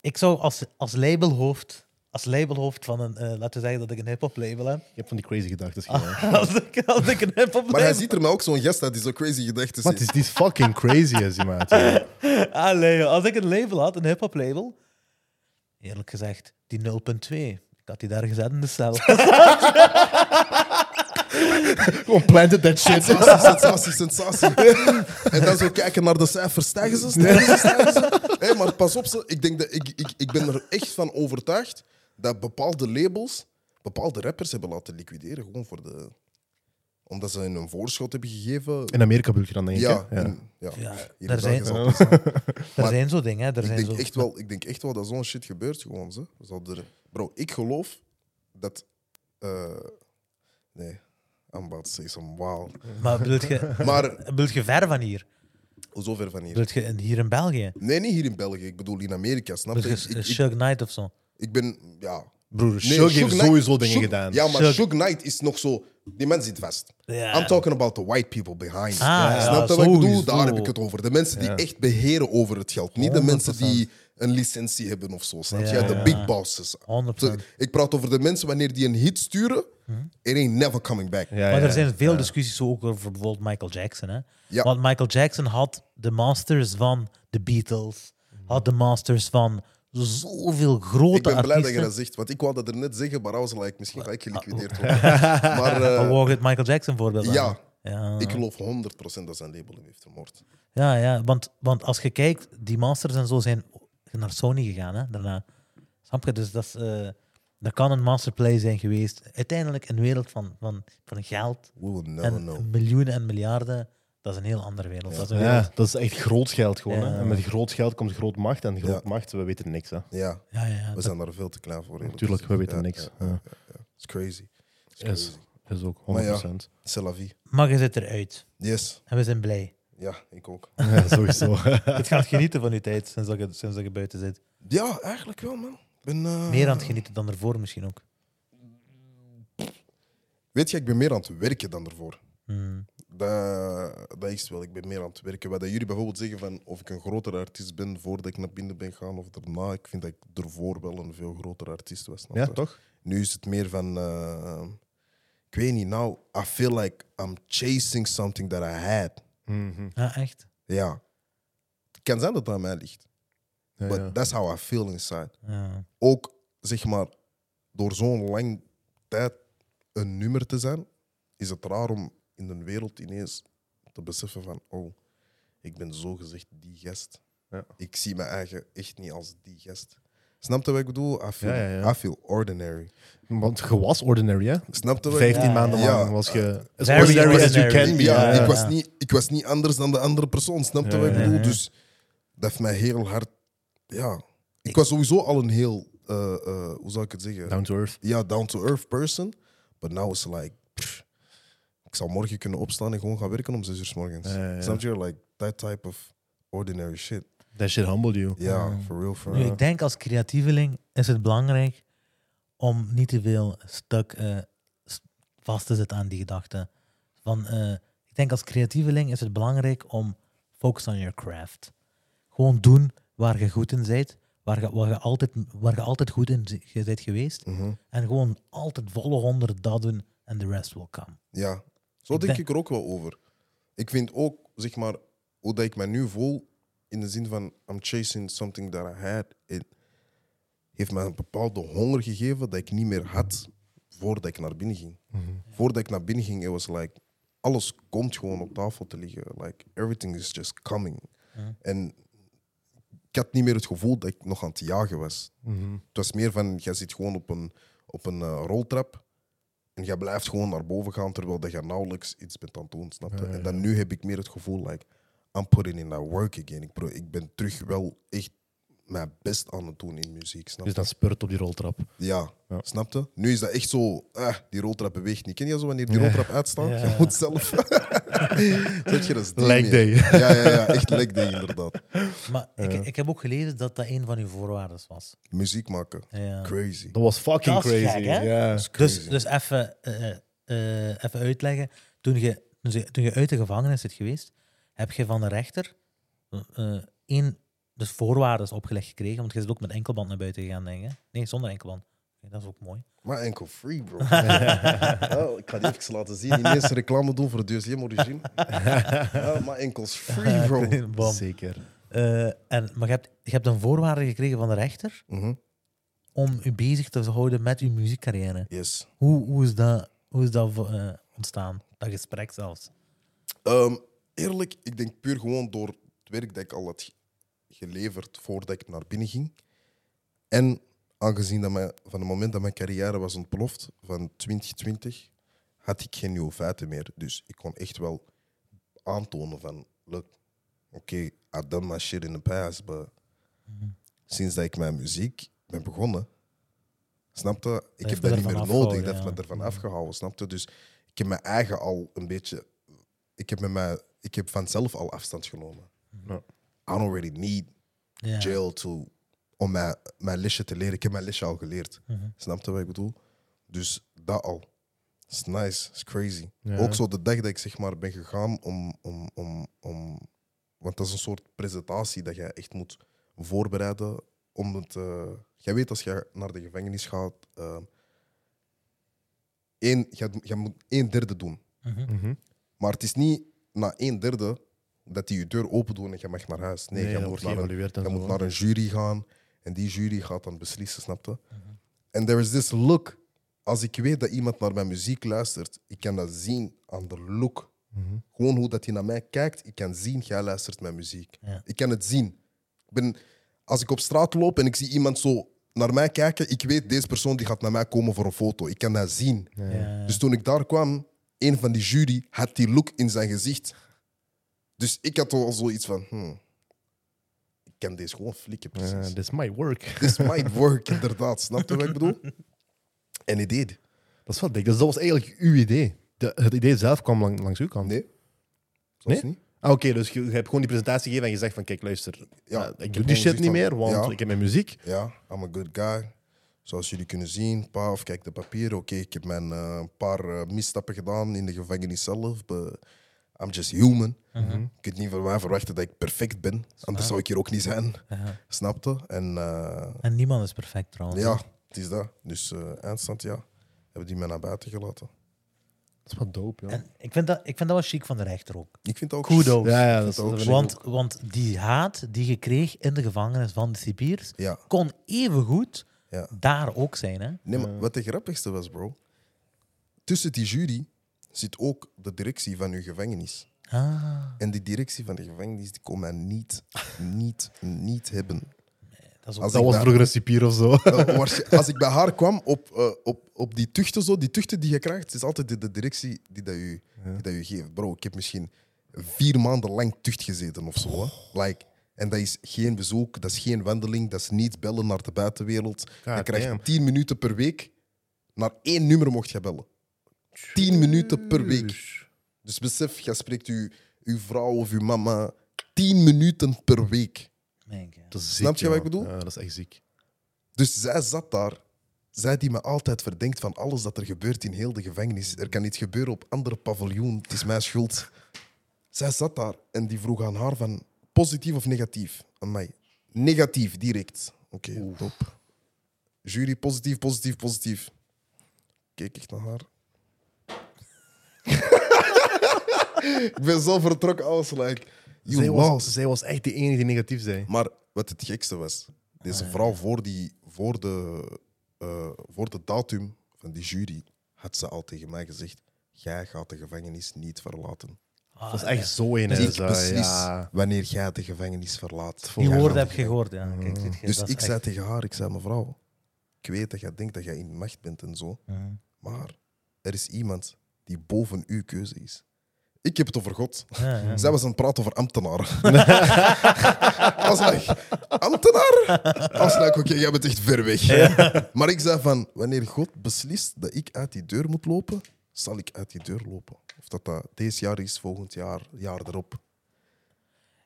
Speaker 3: ik zou als, als labelhoofd. Als labelhoofd van een. eh, laten we zeggen dat ik een hip-hop label heb.
Speaker 2: Je hebt van die crazy gedachten. ja.
Speaker 3: als, ik, als ik een hip-hop
Speaker 1: Maar hij
Speaker 3: label.
Speaker 1: ziet er mij ook zo'n gast uit die zo crazy gedachten
Speaker 2: Maar het
Speaker 1: heeft.
Speaker 2: is, die is fucking crazy, is die maat. ja.
Speaker 3: Allee, joh, als ik een label had, een hip-hop label. Eerlijk gezegd, die 0.2. Ik had die daar gezet in de cel.
Speaker 2: Gewoon planted that shit.
Speaker 1: Sensatie, sensatie, sensatie. En dan zo kijken naar de cijfers. Stijgen ze, stijgen ze, stijgen ze. Hé, maar pas op, ze. Ik, denk dat, ik, ik, ik ben er echt van overtuigd dat bepaalde labels, bepaalde rappers hebben laten liquideren. Gewoon voor de... Omdat ze hun een voorschot hebben gegeven.
Speaker 2: In Amerika bedoel je dan, denk ik.
Speaker 1: Ja,
Speaker 2: hè?
Speaker 1: in- ja.
Speaker 3: Ja,
Speaker 1: in België
Speaker 3: daar zijn,
Speaker 1: is
Speaker 3: er
Speaker 1: dat zo.
Speaker 3: zijn zo dingen. hè, Er
Speaker 1: Ik
Speaker 3: zijn zo,
Speaker 1: denk, echt wel, ik denk echt wel dat zo'n shit gebeurt gewoon. Ze. We zouden er- Bro, ik geloof dat... eh, nee, I'm about to say some wow.
Speaker 3: Maar bedoelt je,
Speaker 1: Maar
Speaker 3: bedoelt je ver van hier?
Speaker 1: zo ver van hier.
Speaker 3: Bedoelt je in- hier in België?
Speaker 1: Nee, niet hier in België. Ik bedoel in Amerika, snap je?
Speaker 3: Bedoelt
Speaker 1: Ik,
Speaker 3: je
Speaker 1: ik, ik,
Speaker 3: Shug Knight of zo?
Speaker 1: ik ben... Ja.
Speaker 2: Broer,
Speaker 1: Nee,
Speaker 2: Shug
Speaker 1: Suge
Speaker 2: heeft
Speaker 1: Knight-
Speaker 2: sowieso dingen
Speaker 1: Suge-
Speaker 2: gedaan.
Speaker 1: Ja, maar
Speaker 3: Suge-
Speaker 1: Shug Knight is nog zo... Die man zit vast.
Speaker 3: Ja.
Speaker 1: I'm talking about the white people behind.
Speaker 3: Ah, ja,
Speaker 1: Snap je wat ik bedoel?
Speaker 3: sowieso.
Speaker 1: Daar heb ik het over. De mensen die echt beheren over het geld. Niet de mensen die een licentie hebben of zo. Snap je?
Speaker 3: Ja,
Speaker 1: De
Speaker 3: ja.
Speaker 1: big bosses.
Speaker 3: 100%.
Speaker 1: Ik praat over de mensen wanneer die een hit sturen.
Speaker 3: Hm?
Speaker 1: It ain't never coming back.
Speaker 2: Ja,
Speaker 3: maar
Speaker 2: ja.
Speaker 3: er zijn veel discussies ook over bijvoorbeeld Michael Jackson. Hè?
Speaker 1: Ja.
Speaker 3: Want Michael Jackson had de masters van de Beatles, had de masters van zoveel grote
Speaker 1: Mhm. Ik ben blij dat je
Speaker 3: artiesten.
Speaker 1: dat zegt, want ik wou dat er net zeggen, maar I was like, misschien ga ik
Speaker 3: Oh.
Speaker 1: geliquideerd worden. Maar eh,
Speaker 3: Dan wou je het Michael Jackson voorbeeld
Speaker 1: Ja.
Speaker 3: aan. Ja,
Speaker 1: ik geloof 100% dat zijn label hem heeft vermoord.
Speaker 3: ja, ja want, want als je kijkt, die masters en zo zijn naar Sony gegaan hè, daarna. Snap je? Dus dat is, eh, er kan een masterplay zijn geweest. Uiteindelijk een wereld van, van, van geld
Speaker 1: We will never
Speaker 3: en
Speaker 1: know.
Speaker 3: miljoenen en miljarden. Dat is een heel andere wereld. Dat is een wereld
Speaker 2: Ja, dat is echt groot geld gewoon.
Speaker 3: Ja.
Speaker 2: Hè? En met groot geld komt groot macht. En groot macht, we weten niks. Hè?
Speaker 1: Ja,
Speaker 3: Ja, ja, ja.
Speaker 1: we
Speaker 3: Dat-
Speaker 1: zijn daar veel te klein voor. eerlijk
Speaker 2: Tuurlijk, we
Speaker 1: gezegd.
Speaker 2: weten
Speaker 1: Ja,
Speaker 2: niks.
Speaker 1: ja,
Speaker 2: Ja.
Speaker 1: It's crazy. It's crazy.
Speaker 2: Is, is ook 100%.
Speaker 1: Maar ja. C'est la vie.
Speaker 3: Maar je zit eruit.
Speaker 1: Yes.
Speaker 3: En we zijn blij.
Speaker 1: Ja, ik ook.
Speaker 2: Ja, sowieso.
Speaker 3: Het gaat genieten van die tijd sinds dat je, sinds dat je buiten zit.
Speaker 1: Ja, eigenlijk wel, man. Ik Ben, eh,
Speaker 3: Meer aan het genieten dan ervoor misschien ook.
Speaker 1: Weet je, ik ben meer aan het werken dan ervoor.
Speaker 3: Hmm.
Speaker 1: Dat, dat is wel, ik ben meer aan het werken. Wat dat jullie bijvoorbeeld zeggen van of ik een grotere artiest ben voordat ik naar binnen ben gaan of daarna, ik vind dat ik ervoor wel een veel grotere artiest was. snap
Speaker 2: ja,
Speaker 1: je?
Speaker 2: toch?
Speaker 1: Nu is het meer van, eh, ik weet niet, nou, I feel like I'm chasing something that I had.
Speaker 2: Mhm.
Speaker 3: Ja, echt.
Speaker 1: Ja. Het kan zijn dat het aan mij ligt.
Speaker 2: Ja,
Speaker 1: But
Speaker 2: ja.
Speaker 1: that's how I feel inside.
Speaker 3: Ja.
Speaker 1: Ook, zeg maar, door zo'n lang tijd een nummer te zijn, is het raar om in de wereld ineens te beseffen van, oh, ik ben zo gezegd die gast.
Speaker 2: Ja.
Speaker 1: Ik zie mijn eigen echt niet als die gast. Snap je wat ik bedoel? I feel,
Speaker 2: Ja, ja, ja.
Speaker 1: I feel ordinary.
Speaker 2: Want je was ordinary, hè?
Speaker 1: Snap je wat ik
Speaker 2: 15 maanden
Speaker 1: Ja.
Speaker 2: lang was je... As
Speaker 3: Very
Speaker 2: ordinary as you
Speaker 3: ordinary.
Speaker 2: can be.
Speaker 1: Ja,
Speaker 2: hè.
Speaker 1: Ik, was niet, ik was niet anders dan de andere persoon, snap je
Speaker 2: Ja,
Speaker 1: wat ik
Speaker 2: ja,
Speaker 1: bedoel?
Speaker 3: ja.
Speaker 1: Dus dat heeft mij heel hard... Ja. Ik, was sowieso al een heel... eh, eh, hoe zou ik het zeggen?
Speaker 2: Down to earth.
Speaker 1: Ja, down-to-earth person. But now it's like... pff, ik zou morgen kunnen opstaan en gewoon gaan werken om zes uur 's morgens.
Speaker 2: Ja, ja, ja.
Speaker 1: Snap je? Like, that type of ordinary shit.
Speaker 2: That shit humbled you.
Speaker 1: Ja, for real, for
Speaker 3: Nu,
Speaker 1: real.
Speaker 3: ik denk als creatieveling is het belangrijk om niet te veel stuk eh, s- vast te zitten aan die gedachten. Van, eh, ik denk als creatieveling is het belangrijk om focus on your craft. Gewoon doen waar je goed in bent, waar je, waar je, altijd, waar je altijd goed in zi- je bent geweest.
Speaker 1: Mhm.
Speaker 3: En gewoon altijd volle honderd dat doen en de rest will come.
Speaker 1: Ja, zo
Speaker 3: Ik
Speaker 1: denk
Speaker 3: ben-
Speaker 1: ik er ook wel over. Ik vind ook, zeg maar, hoe dat ik me nu voel, in de zin van I'm chasing something that I had, it heeft me een bepaalde honger gegeven dat ik niet meer had voordat ik naar binnen ging.
Speaker 3: Mhm.
Speaker 1: Voordat ik naar binnen ging, it was like, alles komt gewoon op tafel te liggen. Like, everything is just coming. En ik had niet meer het gevoel dat ik nog aan het jagen was.
Speaker 2: Mhm.
Speaker 1: Het was meer van, jij zit gewoon op een, op een eh, roltrap en jij blijft gewoon naar boven gaan terwijl dat je nauwelijks iets bent aan het doen, snap je? En dan nu heb ik meer het gevoel, like, I'm putting in that work again. Ik, pro- ik ben terug wel echt mijn best aan het doen in muziek, snap je?
Speaker 2: Dus dan spurt op die roltrap.
Speaker 1: Ja,
Speaker 2: Ja.
Speaker 1: snapte? Nu is dat echt zo, ah, die roltrap beweegt niet. Ken je zo wanneer die
Speaker 2: Ja.
Speaker 1: roltrap uitstaat?
Speaker 3: Ja.
Speaker 1: Je moet zelf... Zet je dat is die
Speaker 2: Leg
Speaker 1: meer.
Speaker 2: day.
Speaker 1: Ja, ja, ja, echt leg day inderdaad.
Speaker 3: Maar ik, ik heb ook gelezen dat dat een van uw voorwaarden was.
Speaker 1: Muziek maken,
Speaker 3: Ja.
Speaker 1: crazy.
Speaker 2: Dat was fucking
Speaker 3: Dat is
Speaker 2: crazy.
Speaker 3: gek, hè?
Speaker 2: Ja.
Speaker 1: Dat is
Speaker 3: Dus,
Speaker 1: crazy.
Speaker 3: dus even, eh, eh, even uitleggen. Toen je, toen je- toen je uit de gevangenis zit geweest, heb je van de rechter eh, eh, één dus voorwaarden opgelegd gekregen. Want je bent ook met enkelband naar buiten gegaan, denk ik. hè? Nee, zonder enkelband. Nee, dat is ook mooi.
Speaker 1: Maar enkel free, bro. oh, ik ga die even laten zien. Die mensen reclame doen voor DSM Origine. Ja, maar enkels free, bro.
Speaker 3: Bom.
Speaker 2: Zeker.
Speaker 3: Eh, en, maar je hebt, je hebt een voorwaarde gekregen van de rechter
Speaker 1: Mhm.
Speaker 3: om je bezig te houden met je muziekcarrière.
Speaker 1: Yes.
Speaker 3: Hoe, hoe is dat, hoe is dat vo- eh, ontstaan? Dat gesprek zelfs.
Speaker 1: Ehm, eerlijk, ik denk puur gewoon door het werk dat ik al had ge- geleverd voordat ik naar binnen ging. En aangezien dat mijn, van het moment dat mijn carrière was ontploft, van 2020, had ik geen nieuwe feiten meer. Dus ik kon echt wel aantonen van, look, oké, I done my shit in the past, but
Speaker 3: Mhm.
Speaker 1: sinds dat ik mijn muziek ben begonnen, snap je? Ik heb
Speaker 3: heeft me
Speaker 1: dat niet meer
Speaker 3: ervan
Speaker 1: nodig, dat
Speaker 3: afgehouden,
Speaker 1: heeft me
Speaker 3: ja. Mhm.
Speaker 1: ervan afgehouden, snap je? Dus ik heb mijn eigen al een beetje ik heb, met mij, ik heb vanzelf al afstand genomen.
Speaker 2: Ja.
Speaker 1: I don't really need
Speaker 3: Ja.
Speaker 1: jail to, om mijn, mijn lesje te leren. Ik heb mijn lesje al geleerd.
Speaker 3: Mhm.
Speaker 1: Snap je wat ik bedoel? Dus dat al. It's nice, it's crazy.
Speaker 2: Ja.
Speaker 1: Ook zo de dag dat ik zeg maar ben gegaan om, om, om, om... Want dat is een soort presentatie dat jij echt moet voorbereiden om het... eh, jij weet als jij naar de gevangenis gaat... eh één, jij, jij moet één derde doen.
Speaker 3: Mhm.
Speaker 2: Mhm.
Speaker 1: Maar het is niet na een derde dat die je deur open doen en je mag naar huis. Nee,
Speaker 2: Nee,
Speaker 1: je,
Speaker 2: dat
Speaker 1: moet
Speaker 2: wordt
Speaker 1: naar, een,
Speaker 2: geëvalueerd en
Speaker 1: je
Speaker 2: zo,
Speaker 1: moet
Speaker 2: hè?
Speaker 1: naar een jury gaan en die jury gaat dan beslissen, snapte?
Speaker 2: Mhm.
Speaker 1: En there is this look. Als ik weet dat iemand naar mijn muziek luistert, ik kan dat zien aan de look.
Speaker 2: Mhm.
Speaker 1: Gewoon hoe dat hij naar mij kijkt, ik kan zien, jij luistert mijn muziek.
Speaker 3: Ja.
Speaker 1: Ik kan het zien. Ik ben, als ik op straat loop en ik zie iemand zo naar mij kijken, ik weet, deze persoon die gaat naar mij komen voor een foto. Ik kan dat zien.
Speaker 3: Ja.
Speaker 1: Dus toen ik daar kwam, een van die jury had die look in zijn gezicht. Dus ik had al zoiets van, hmm, ik kan deze gewoon flikken precies.
Speaker 2: Ja, this might work.
Speaker 1: This might work, inderdaad. Snap je wat ik bedoel? En it did.
Speaker 2: Dat is wel dik. Dus dat was eigenlijk uw idee. De- het idee zelf kwam lang, langs uw kant.
Speaker 1: Nee. Zelfs
Speaker 2: Nee?
Speaker 1: niet.
Speaker 2: Ah, Oké, dus je, je hebt gewoon die presentatie gegeven en je zegt van kijk, luister,
Speaker 1: Ja,
Speaker 2: eh,
Speaker 1: ik
Speaker 2: ik
Speaker 1: heb
Speaker 2: doe
Speaker 1: gewoon
Speaker 2: die shit
Speaker 1: gezegd
Speaker 2: niet
Speaker 1: van-
Speaker 2: meer, want
Speaker 1: Ja.
Speaker 2: ik heb mijn muziek.
Speaker 1: Ja, I'm a good guy. Zoals jullie kunnen zien, paf, kijk de papieren. Oké, ik heb mijn eh, paar eh, misstappen gedaan in de gevangenis zelf. but I'm just human. Je kunt niet van mij verwachten dat ik perfect ben. Anders zou ik hier ook niet zijn.
Speaker 3: Ja.
Speaker 1: Snapte? En eh,
Speaker 3: En niemand is perfect trouwens.
Speaker 1: Ja, het is dat. Dus eh eindstand, ja. Hebben die mij naar buiten gelaten.
Speaker 2: Dat is wel dope, ja.
Speaker 3: En ik vind, dat, ik vind dat wel chic van de rechter ook.
Speaker 1: Ik vind dat ook...
Speaker 3: Kudos.
Speaker 2: Ja, ja, dat, is-
Speaker 1: ook
Speaker 2: dat vind ik
Speaker 3: Want,
Speaker 2: ook.
Speaker 3: want die haat die je kreeg in de gevangenis van de Sibiers,
Speaker 1: Ja,
Speaker 3: kon evengoed
Speaker 1: ja.
Speaker 3: daar ook zijn. Hè?
Speaker 1: Nee, maar wat de grappigste was, bro... Tussen die jury zit ook de directie van uw gevangenis.
Speaker 3: Ah,
Speaker 1: En die directie van de gevangenis die kon mij niet, niet, niet hebben.
Speaker 3: dat is ook
Speaker 1: Als ik
Speaker 2: Dat was
Speaker 1: daar-
Speaker 2: vroeger een cipier of zo.
Speaker 1: Eh, waarsch- Als ik bij haar kwam op, eh, op, op die tuchten, zo, die tuchten die je krijgt, het is altijd de, de directie die dat, u, die dat u geeft. Bro, ik heb misschien vier maanden lang tucht gezeten of zo. Hè. Like, en dat is geen bezoek, dat is geen wandeling, dat is niet bellen naar de buitenwereld.
Speaker 2: God
Speaker 1: je krijgt
Speaker 2: damn.
Speaker 1: tien minuten per week. Naar één nummer mocht je bellen. Tien minuten per week. Dus besef, je spreekt uw, uw vrouw of uw mama tien minuten per week.
Speaker 3: mijn god.
Speaker 2: Dat is ziek,
Speaker 1: Snap je wat ik
Speaker 2: ja.
Speaker 1: bedoel?
Speaker 2: Ja, dat is echt ziek.
Speaker 1: Dus zij zat daar. Zij die me altijd verdenkt van alles dat er gebeurt in heel de gevangenis. Er kan iets gebeuren op andere paviljoen. Het is mijn schuld. Zij zat daar en die vroeg aan haar van positief of negatief. Aan mij. Negatief, direct. Oké, top. Jury, positief, positief, positief. Keek ik naar haar. ik ben zo vertrokken, I was like, you
Speaker 2: Zij
Speaker 1: lost.
Speaker 2: was, zij was echt de enige die negatief zei.
Speaker 1: Maar wat het gekste was,
Speaker 3: Ah,
Speaker 1: deze vrouw voor, die, voor, de, eh, voor de datum van die jury had ze al tegen mij gezegd: Jij gaat de gevangenis niet verlaten.
Speaker 3: Ah,
Speaker 2: Dat is echt zo een.
Speaker 1: ik
Speaker 2: zo,
Speaker 1: beslis
Speaker 2: ja.
Speaker 1: wanneer jij de gevangenis verlaat.
Speaker 3: Die
Speaker 1: Jij
Speaker 3: woorden
Speaker 1: gaat
Speaker 3: heb
Speaker 1: de
Speaker 3: je gehoord, ja. Kijk, dit,
Speaker 1: gevangenis- Dus
Speaker 3: dat
Speaker 1: ik
Speaker 3: is
Speaker 1: zei
Speaker 3: echt-
Speaker 1: tegen haar: Ik zei, mevrouw, ik weet dat jij denkt dat jij in de macht bent en zo,
Speaker 3: Mhm.
Speaker 1: maar er is iemand die boven uw keuze is. Ik heb het over God.
Speaker 3: Ja, ja.
Speaker 1: Zij Dus was aan het praten over ambtenaren. I was like, ambtenaar? I was like, oké, jij bent echt ver weg. Maar ik zei van, wanneer God beslist dat ik uit die deur moet lopen, zal ik uit die deur lopen. Of dat dat deze jaar is, volgend jaar, jaar erop.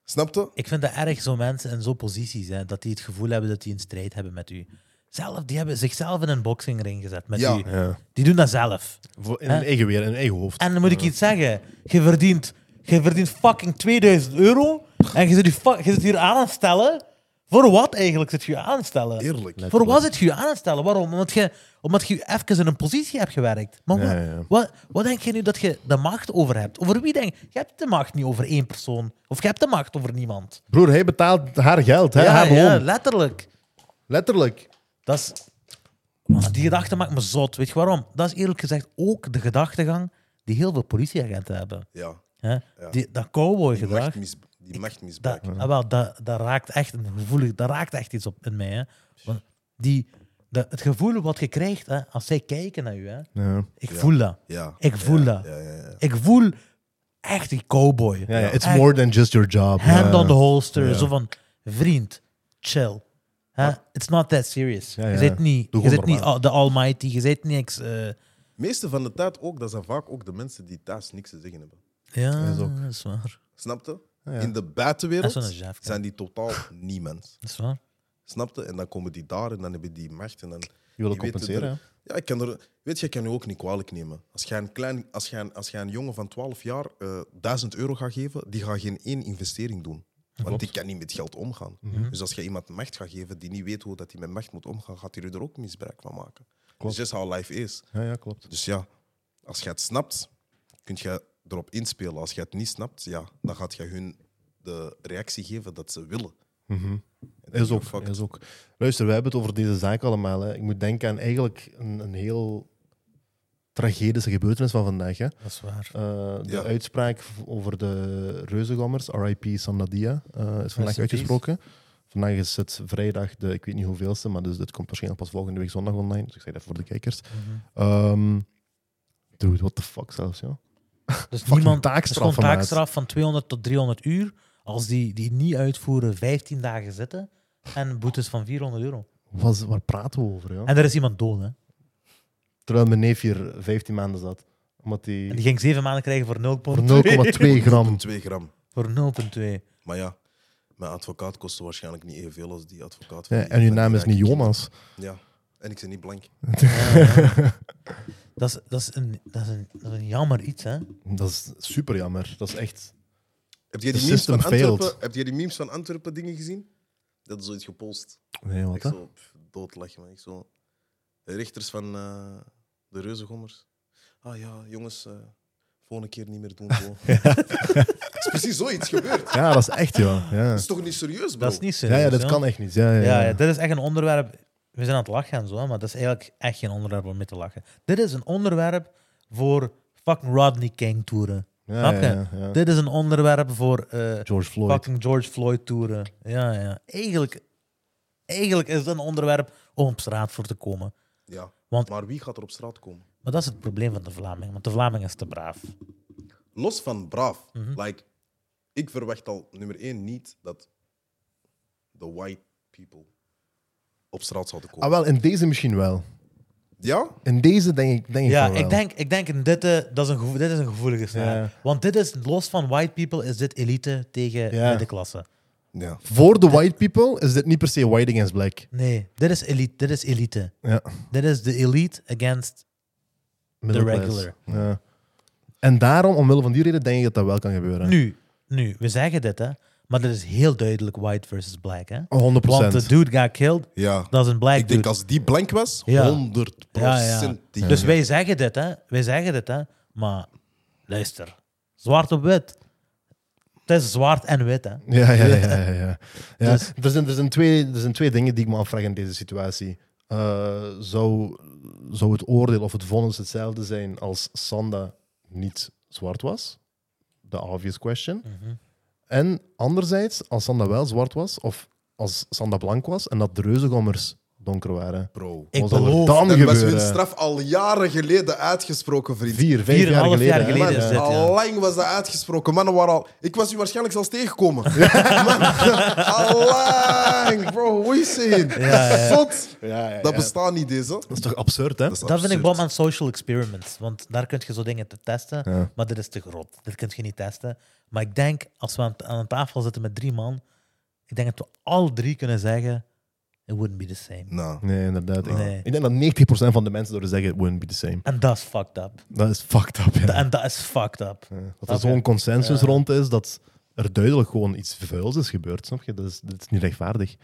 Speaker 1: Snapte?
Speaker 3: Ik vind dat erg, zo mensen in zo'n posities, hè, dat die het gevoel hebben dat die een strijd hebben met u. Zelf, die hebben zichzelf in een boxingring gezet met
Speaker 1: Ja.
Speaker 3: u.
Speaker 2: Ja.
Speaker 3: Die doen dat zelf.
Speaker 2: Voor- In een eigen weer, in een eigen hoofd.
Speaker 3: En dan moet ik iets zeggen. Je verdient, je verdient fucking 2000 euro en je zit, je, fu- je zit hier aan het stellen. Voor wat eigenlijk zit je je aan het stellen?
Speaker 1: Eerlijk.
Speaker 3: Voor wat zit je je aan het stellen? Waarom? Omdat je, omdat je even in een positie hebt gewerkt. Maar
Speaker 2: Ja,
Speaker 3: wat,
Speaker 2: ja.
Speaker 3: Wat, wat denk je nu dat je de macht over hebt? Over wie denk je? Je hebt de macht niet over één persoon. Of je hebt de macht over niemand.
Speaker 2: Broer, hij betaalt haar geld, hè,
Speaker 3: ja,
Speaker 2: haar
Speaker 3: ja,
Speaker 2: loon.
Speaker 3: letterlijk.
Speaker 2: Letterlijk.
Speaker 3: Dat is... Man, die gedachte maakt me zot. Weet je waarom? Dat is eerlijk gezegd ook de gedachtegang die heel veel politieagenten hebben.
Speaker 1: Ja,
Speaker 3: Hè? Die, dat cowboy
Speaker 1: die
Speaker 3: gedrag,
Speaker 1: machtmis- die
Speaker 3: dat,
Speaker 1: machtmisbruik.
Speaker 3: ah, wel, dat, dat raakt echt een gevoelig, dat raakt echt iets op in mij. Hè? Want die, dat- het gevoel wat je krijgt hè, als zij kijken naar je, hè?
Speaker 2: Ja.
Speaker 3: ik voel dat.
Speaker 1: Ja.
Speaker 3: Ik voel dat.
Speaker 1: Ja, ja, ja.
Speaker 3: Ik voel echt die cowboy.
Speaker 2: Ja, ja, it's
Speaker 3: Echt
Speaker 2: more than just your job.
Speaker 3: Hand
Speaker 2: ja.
Speaker 3: on the holster.
Speaker 2: Ja.
Speaker 3: Zo van, vriend, chill. Hè? It's not that serious.
Speaker 2: Ja, ja.
Speaker 3: Je zit niet,
Speaker 2: Doe
Speaker 3: je
Speaker 2: gewoon
Speaker 3: zit niet
Speaker 2: normaal.
Speaker 3: al- de almighty, je zit niks. eh,
Speaker 1: meeste van de tijd ook, dat zijn vaak ook de mensen die thuis niks te zeggen hebben.
Speaker 3: ja, dat
Speaker 2: is
Speaker 3: is,
Speaker 2: ook-
Speaker 3: waar.
Speaker 1: Snapte?
Speaker 2: Ja.
Speaker 1: In de
Speaker 3: Ah, Dat
Speaker 1: buitenwereld
Speaker 3: is wel een jaf, ja.
Speaker 1: zijn die totaal niemand.
Speaker 3: Dat is waar.
Speaker 1: Snapte? En dan komen die daar en dan hebben die macht. En dan,
Speaker 2: Je wil
Speaker 1: die weten
Speaker 2: compenseren,
Speaker 1: er- Ja, ik kan er, weet je, ik kan je ook niet kwalijk nemen. Als jij een, klein, als jij een, als jij een jongen van 12 jaar eh 1000 euro gaat geven, die gaat geen één investering doen. Want die kan niet met geld omgaan.
Speaker 2: Mhm.
Speaker 1: Dus als je iemand macht gaat geven die niet weet hoe dat hij met macht moet omgaan, gaat hij er ook misbruik van maken. Dus dat is how life is.
Speaker 2: Ja, ja, klopt.
Speaker 1: Dus ja, als jij het snapt, kun je erop inspelen. Als jij het niet snapt, ja, dan gaat je hun de reactie geven dat ze willen. En dan
Speaker 2: Is
Speaker 1: je
Speaker 2: ook,
Speaker 1: fucked.
Speaker 2: is ook. Luister, we hebben het over deze zaak allemaal. Hè. Ik moet denken aan eigenlijk een, een heel tragedische gebeurtenis van vandaag. Hè.
Speaker 3: Dat is waar.
Speaker 2: Eh, de
Speaker 1: Ja.
Speaker 2: uitspraak v- over de reuzengammers, RIP Sandadia, eh is vandaag
Speaker 3: peace.
Speaker 2: uitgesproken. Vandaag is het vrijdag, de, ik weet niet hoeveelste, maar dus dit komt waarschijnlijk pas volgende week zondag online. Dus ik zeg dat voor de kijkers.
Speaker 3: Mhm.
Speaker 2: Ehm, dude, what the fuck zelfs, ja.
Speaker 3: Dus
Speaker 2: Fucking
Speaker 3: niemand
Speaker 2: taakstraf
Speaker 3: er stond
Speaker 2: van mij.
Speaker 3: taakstraf van 200 tot 300 uur. Als die die niet uitvoeren, 15 dagen zitten. En boetes van 400 euro.
Speaker 2: Was, waar praten we over, ja?
Speaker 3: En er is iemand dood, hè?
Speaker 2: Terwijl mijn neef hier 15 maanden zat. Omdat
Speaker 3: En
Speaker 2: hij
Speaker 3: die ging 7 maanden krijgen voor 0,2.
Speaker 2: voor 0,2 gram...
Speaker 1: 2 gram.
Speaker 3: Voor 0,2.
Speaker 1: Maar ja, mijn advocaat kostte waarschijnlijk niet evenveel als die advocaat. van
Speaker 2: Ja,
Speaker 1: die-
Speaker 2: en uw
Speaker 1: van die
Speaker 2: naam is niet
Speaker 1: rijke kinderen.
Speaker 2: Jonas.
Speaker 1: Ja, en ik ben niet blank.
Speaker 3: Eh, Dat is, dat, is een, dat, is een, dat is een jammer iets, hè?
Speaker 2: Dat is super jammer. Dat is echt.
Speaker 1: Heb jij
Speaker 2: The
Speaker 1: die, memes van,
Speaker 2: system failed.
Speaker 1: Antwerpen, heb jij die memes van Antwerpen dingen gezien? Dat is zoiets gepost.
Speaker 2: Nee, wat
Speaker 1: Ik
Speaker 2: hè?
Speaker 1: zo pff, doodlachen, man. Ik zo. De richters van eh, de reuzengommers. Ah ja, jongens, eh volgende keer niet meer doen. zo. Het is precies zoiets gebeurd. Het
Speaker 2: Ja, dat is echt, ja. Ja,
Speaker 1: is toch niet serieus, bro?
Speaker 3: Dat is niet zo.
Speaker 2: ja, ja dat kan echt niet. Ja, ja,
Speaker 3: Ja,
Speaker 2: ja.
Speaker 3: ja, dit is echt een onderwerp. We zijn aan het lachen en zo, hè, maar dat is eigenlijk echt geen onderwerp om mee te lachen. Dit is een onderwerp voor fucking Rodney King toeren.
Speaker 2: Ja,
Speaker 3: Snap je?
Speaker 2: ja, ja.
Speaker 3: Dit is een onderwerp voor eh,
Speaker 2: George Floyd.
Speaker 3: fucking George Floyd toeren. Ja, ja. Eigenlijk, eigenlijk is het een onderwerp om op straat voor te komen.
Speaker 1: Ja.
Speaker 3: Want-
Speaker 1: Maar wie gaat er op straat komen?
Speaker 3: Maar dat is het probleem van de Vlaming, want de Vlaming is te braaf.
Speaker 1: Los van braaf.
Speaker 3: Mhm.
Speaker 1: like, ik verwacht al, nummer één, niet dat de white people op straat zouden komen.
Speaker 2: Ah, wel, in deze misschien wel.
Speaker 1: Ja?
Speaker 2: In deze denk ik, denk
Speaker 3: Ja,
Speaker 2: ik wel.
Speaker 3: ik denk, ik denk in dit, eh, dat is een gevo- dit is een gevoelige snaar.
Speaker 2: Ja.
Speaker 3: Want dit is, los van white people, is dit elite tegen
Speaker 2: Ja.
Speaker 3: middenklasse.
Speaker 1: Ja.
Speaker 2: Voor de white people is dit niet per se white against black.
Speaker 3: Nee, dit is elite. Dit is elite.
Speaker 2: Ja.
Speaker 3: Dit is de elite against.
Speaker 2: middle
Speaker 3: The
Speaker 2: class.
Speaker 3: regular.
Speaker 2: Ja. En daarom, omwille van die reden, denk ik dat dat wel kan gebeuren.
Speaker 3: Nu, Nu, we zeggen dit, hè. Maar dat is heel duidelijk white versus black, hè.
Speaker 2: 100
Speaker 3: Want de dude got killed,
Speaker 1: Ja.
Speaker 3: dat is een black
Speaker 1: Ik
Speaker 3: dude.
Speaker 1: denk als die blank was, 100%
Speaker 3: Ja. Ja, ja.
Speaker 1: die
Speaker 3: Dus wij zeggen dit, hè. Wij zeggen dit, hè. Maar luister. Zwart op wit. Het is zwart en wit, hè.
Speaker 2: Ja, ja, ja. ja, ja. ja.
Speaker 3: Dus-
Speaker 2: er, zijn, er, zijn twee, er zijn twee dingen die ik me afvraag in deze situatie. Eh, zou, zou het oordeel of het vonnis hetzelfde zijn als Sanda niet zwart was? The obvious question.
Speaker 3: Mhm.
Speaker 2: En anderzijds, als Sanda wel zwart was, of als Sanda blank was en dat de reuzengommers donker waren.
Speaker 1: Bro.
Speaker 3: Ik
Speaker 2: Wat zal er
Speaker 3: beloof-
Speaker 2: dan
Speaker 1: Dan was hun
Speaker 2: gebeuren?
Speaker 1: straf al jaren geleden uitgesproken, vriend.
Speaker 2: Vier, vijf
Speaker 3: Vier en
Speaker 2: jaar
Speaker 3: half
Speaker 2: geleden.
Speaker 3: jaar
Speaker 2: hè?
Speaker 3: geleden
Speaker 1: Man,
Speaker 3: is dit, ja.
Speaker 1: al lang was dat uitgesproken. Mannen waren al... Ik was u waarschijnlijk zelfs tegengekomen. Man, al lang. Bro, hoe is het? Zot.
Speaker 2: Ja, ja,
Speaker 1: Dat
Speaker 2: ja.
Speaker 1: bestaat niet, deze.
Speaker 2: Dat is toch absurd, hè?
Speaker 1: is
Speaker 3: Dat vind ik
Speaker 1: absurd.
Speaker 3: bom aan social experiments. Want daar kun je zo dingen te testen.
Speaker 2: Ja.
Speaker 3: Maar dit is te groot. Dit kun je niet testen. Maar ik denk, als we aan, aan een tafel zitten met drie man, ik denk dat we al drie kunnen zeggen, it wouldn't be the same.
Speaker 1: Nou,
Speaker 2: Nee, inderdaad. Ik-
Speaker 3: Nee.
Speaker 2: Ik denk dat 90% van de mensen zouden zeggen, it wouldn't be the same.
Speaker 3: En dat is fucked up.
Speaker 2: Dat is fucked up, ja.
Speaker 3: En dat is fucked up.
Speaker 2: Dat er
Speaker 3: Oké.
Speaker 2: zo'n consensus rond is dat er duidelijk gewoon iets vuils is gebeurd. Snap je? Dat is, dat is niet rechtvaardig.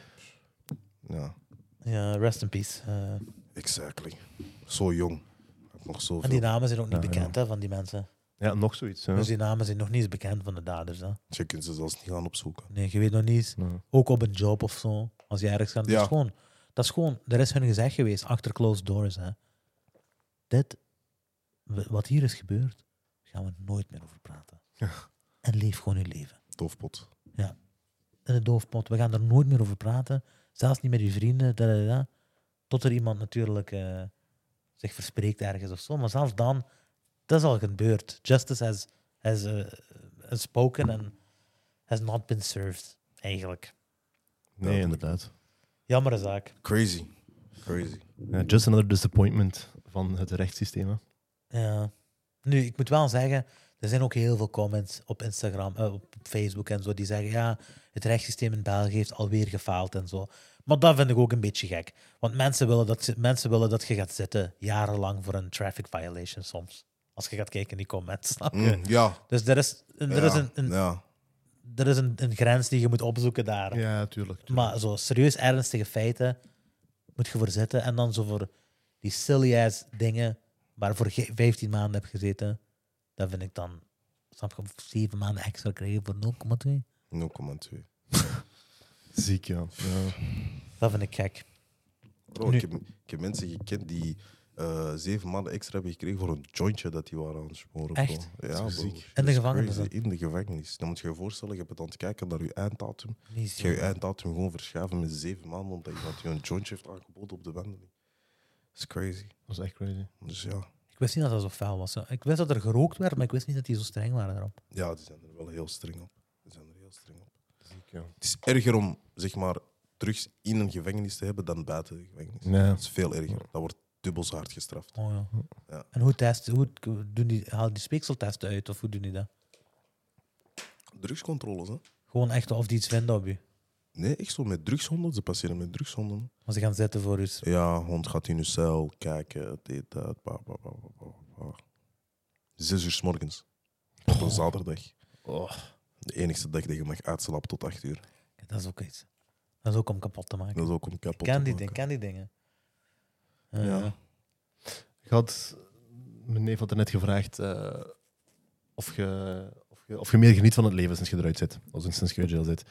Speaker 1: ja.
Speaker 3: Ja, rest in peace. Eh,
Speaker 1: Exactly. Zo jong. Ik heb Nog
Speaker 3: en
Speaker 1: zoveel.
Speaker 3: die namen zijn ook niet bekend hè, van die mensen.
Speaker 2: Ja, nog zoiets. Ja.
Speaker 3: Dus die namen zijn nog niet eens bekend van de daders. Hè.
Speaker 1: Je kunt ze zelfs niet gaan opzoeken.
Speaker 3: Nee, je weet nog niet eens. Ook op een job of zo. Als je ergens gaat. Dat,
Speaker 1: Ja.
Speaker 3: is gewoon, dat is gewoon, er is hun gezegd geweest achter closed doors. Hè. Dit, w- wat hier is gebeurd, gaan we nooit meer over praten. En leef gewoon je leven.
Speaker 1: Doofpot.
Speaker 3: In de doofpot, we gaan er nooit meer over praten. Zelfs niet met je vrienden. da, da, da. Tot er iemand natuurlijk eh, zich verspreekt ergens of zo. Maar zelfs dan, dat is al gebeurd. Justice has, has, eh, has spoken and has not been served, eigenlijk.
Speaker 2: Nee, inderdaad.
Speaker 3: Jammere zaak.
Speaker 1: Crazy. Crazy.
Speaker 2: Ja, just another disappointment van het rechtssysteem. hè.
Speaker 3: Ja. Nu, ik moet wel zeggen, er zijn ook heel veel comments op Instagram, eh, op Facebook en zo, die zeggen, ja, het rechtssysteem in België heeft alweer gefaald en zo. Maar dat vind ik ook een beetje gek. Want mensen willen dat, ze- mensen willen dat je gaat zitten jarenlang voor een traffic violation soms. Als je gaat kijken in die comments. snap je?
Speaker 1: Mm, ja.
Speaker 3: Dus er is, er
Speaker 1: ja.
Speaker 3: is, een, een-
Speaker 1: ja.
Speaker 3: er is een, een grens die je moet opzoeken daar.
Speaker 2: Ja, tuurlijk.
Speaker 3: Maar zo serieus ernstige feiten moet je voor zitten. En dan zo voor die silly-ass dingen waar voor ge- 15 maanden heb gezeten. Dat vind ik dan... Snap je, 7 maanden extra krijgen voor 0,2?
Speaker 1: 0,2.
Speaker 2: Ziek, ja. ja.
Speaker 3: Dat vind ik gek.
Speaker 1: Bro, ik, heb, ik heb mensen gekend die eh, zeven maanden extra hebben gekregen voor een jointje dat die waren aan het smoren. bro.
Speaker 3: Echt?
Speaker 1: Ja, bro.
Speaker 2: ziek.
Speaker 1: Dat is
Speaker 3: gevangenis
Speaker 1: crazy.
Speaker 3: dan?
Speaker 1: In de gevangenis. Dan moet je je voorstellen, je hebt aan het kijken naar je einddatum.
Speaker 3: Niet
Speaker 1: Je gaat je
Speaker 3: zo.
Speaker 1: einddatum gewoon verschuiven met zeven maanden omdat iemand je een jointje heeft aangeboden op de wandeling. Dat is crazy.
Speaker 2: Dat is echt crazy.
Speaker 1: Dus ja.
Speaker 3: Ik wist niet dat dat zo fel was. Ik wist dat er gerookt werd, maar ik wist niet dat die zo streng waren erop.
Speaker 1: ja, die zijn er wel heel streng op. Die zijn er heel streng op.
Speaker 2: Ziek, ja.
Speaker 1: Het is erger om zeg maar, drugs in een gevangenis te hebben dan buiten de gevangenis.
Speaker 2: Nee.
Speaker 1: Dat is veel erger. Dat wordt dubbel zo hard gestraft.
Speaker 3: Oh, ja.
Speaker 1: Ja.
Speaker 3: En hoe, test, hoe doen die, haal die speekseltesten uit? Of hoe doen die dat?
Speaker 1: Drugscontroles, hè?
Speaker 3: Gewoon echt of die iets vinden op je.
Speaker 1: Nee, echt zo met drugshonden. Ze passeren met drugshonden.
Speaker 3: Als ze gaan zitten voor je.
Speaker 1: Ja, hond gaat in uw cel, kijken, dit, dat, ba, ba, ba, ba, ba, ba. Zes uur s morgens. Op een zaterdag.
Speaker 2: Oh.
Speaker 1: De enige dag dat je mag uitslapen tot acht uur.
Speaker 3: Dat is ook iets. Dat is ook om kapot te maken.
Speaker 1: Dat is ook om kapot
Speaker 3: ken
Speaker 1: te
Speaker 3: die,
Speaker 1: maken.
Speaker 3: ding, ken die dingen.
Speaker 1: Ja.
Speaker 3: Eh,
Speaker 2: Ik had, mijn neef had er net gevraagd eh, of, je, of, je, of je meer geniet van het leven sinds je eruit zit. Of sinds je in jail zit.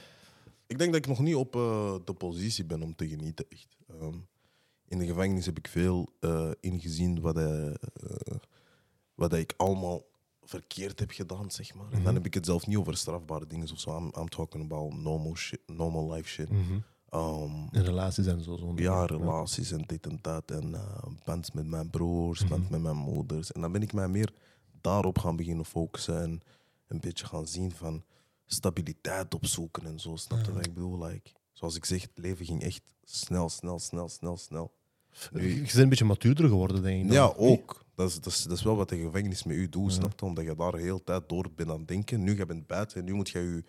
Speaker 1: Ik denk dat ik nog niet op eh, de positie ben om te genieten, echt. Ehm, in de gevangenis heb ik veel eh, ingezien wat, eh, eh, wat ik allemaal verkeerd heb gedaan, zeg maar. En dan heb ik het zelf niet over strafbare dingen of zo. I'm, I'm talking about normal, shit, normal life shit.
Speaker 2: Mhm.
Speaker 1: Ehm,
Speaker 2: In relaties en zo. zo
Speaker 1: ja, relaties en dit en dat. En eh, band met mijn broers, band met mijn moeders. En dan ben ik mij meer daarop gaan beginnen focussen. En een beetje gaan zien van stabiliteit opzoeken en zo. Snap je wat ik bedoel? Like, zoals ik zeg, het leven ging echt snel, snel, snel, snel, snel.
Speaker 2: Je bent een beetje matuurder geworden, denk ik. dan.
Speaker 1: Ja, ook. Dat is, dat, is, dat is wel wat de gevangenis met u doet, snap je? Omdat je daar de hele tijd door bent aan het denken. Nu je bent buiten en nu moet je je,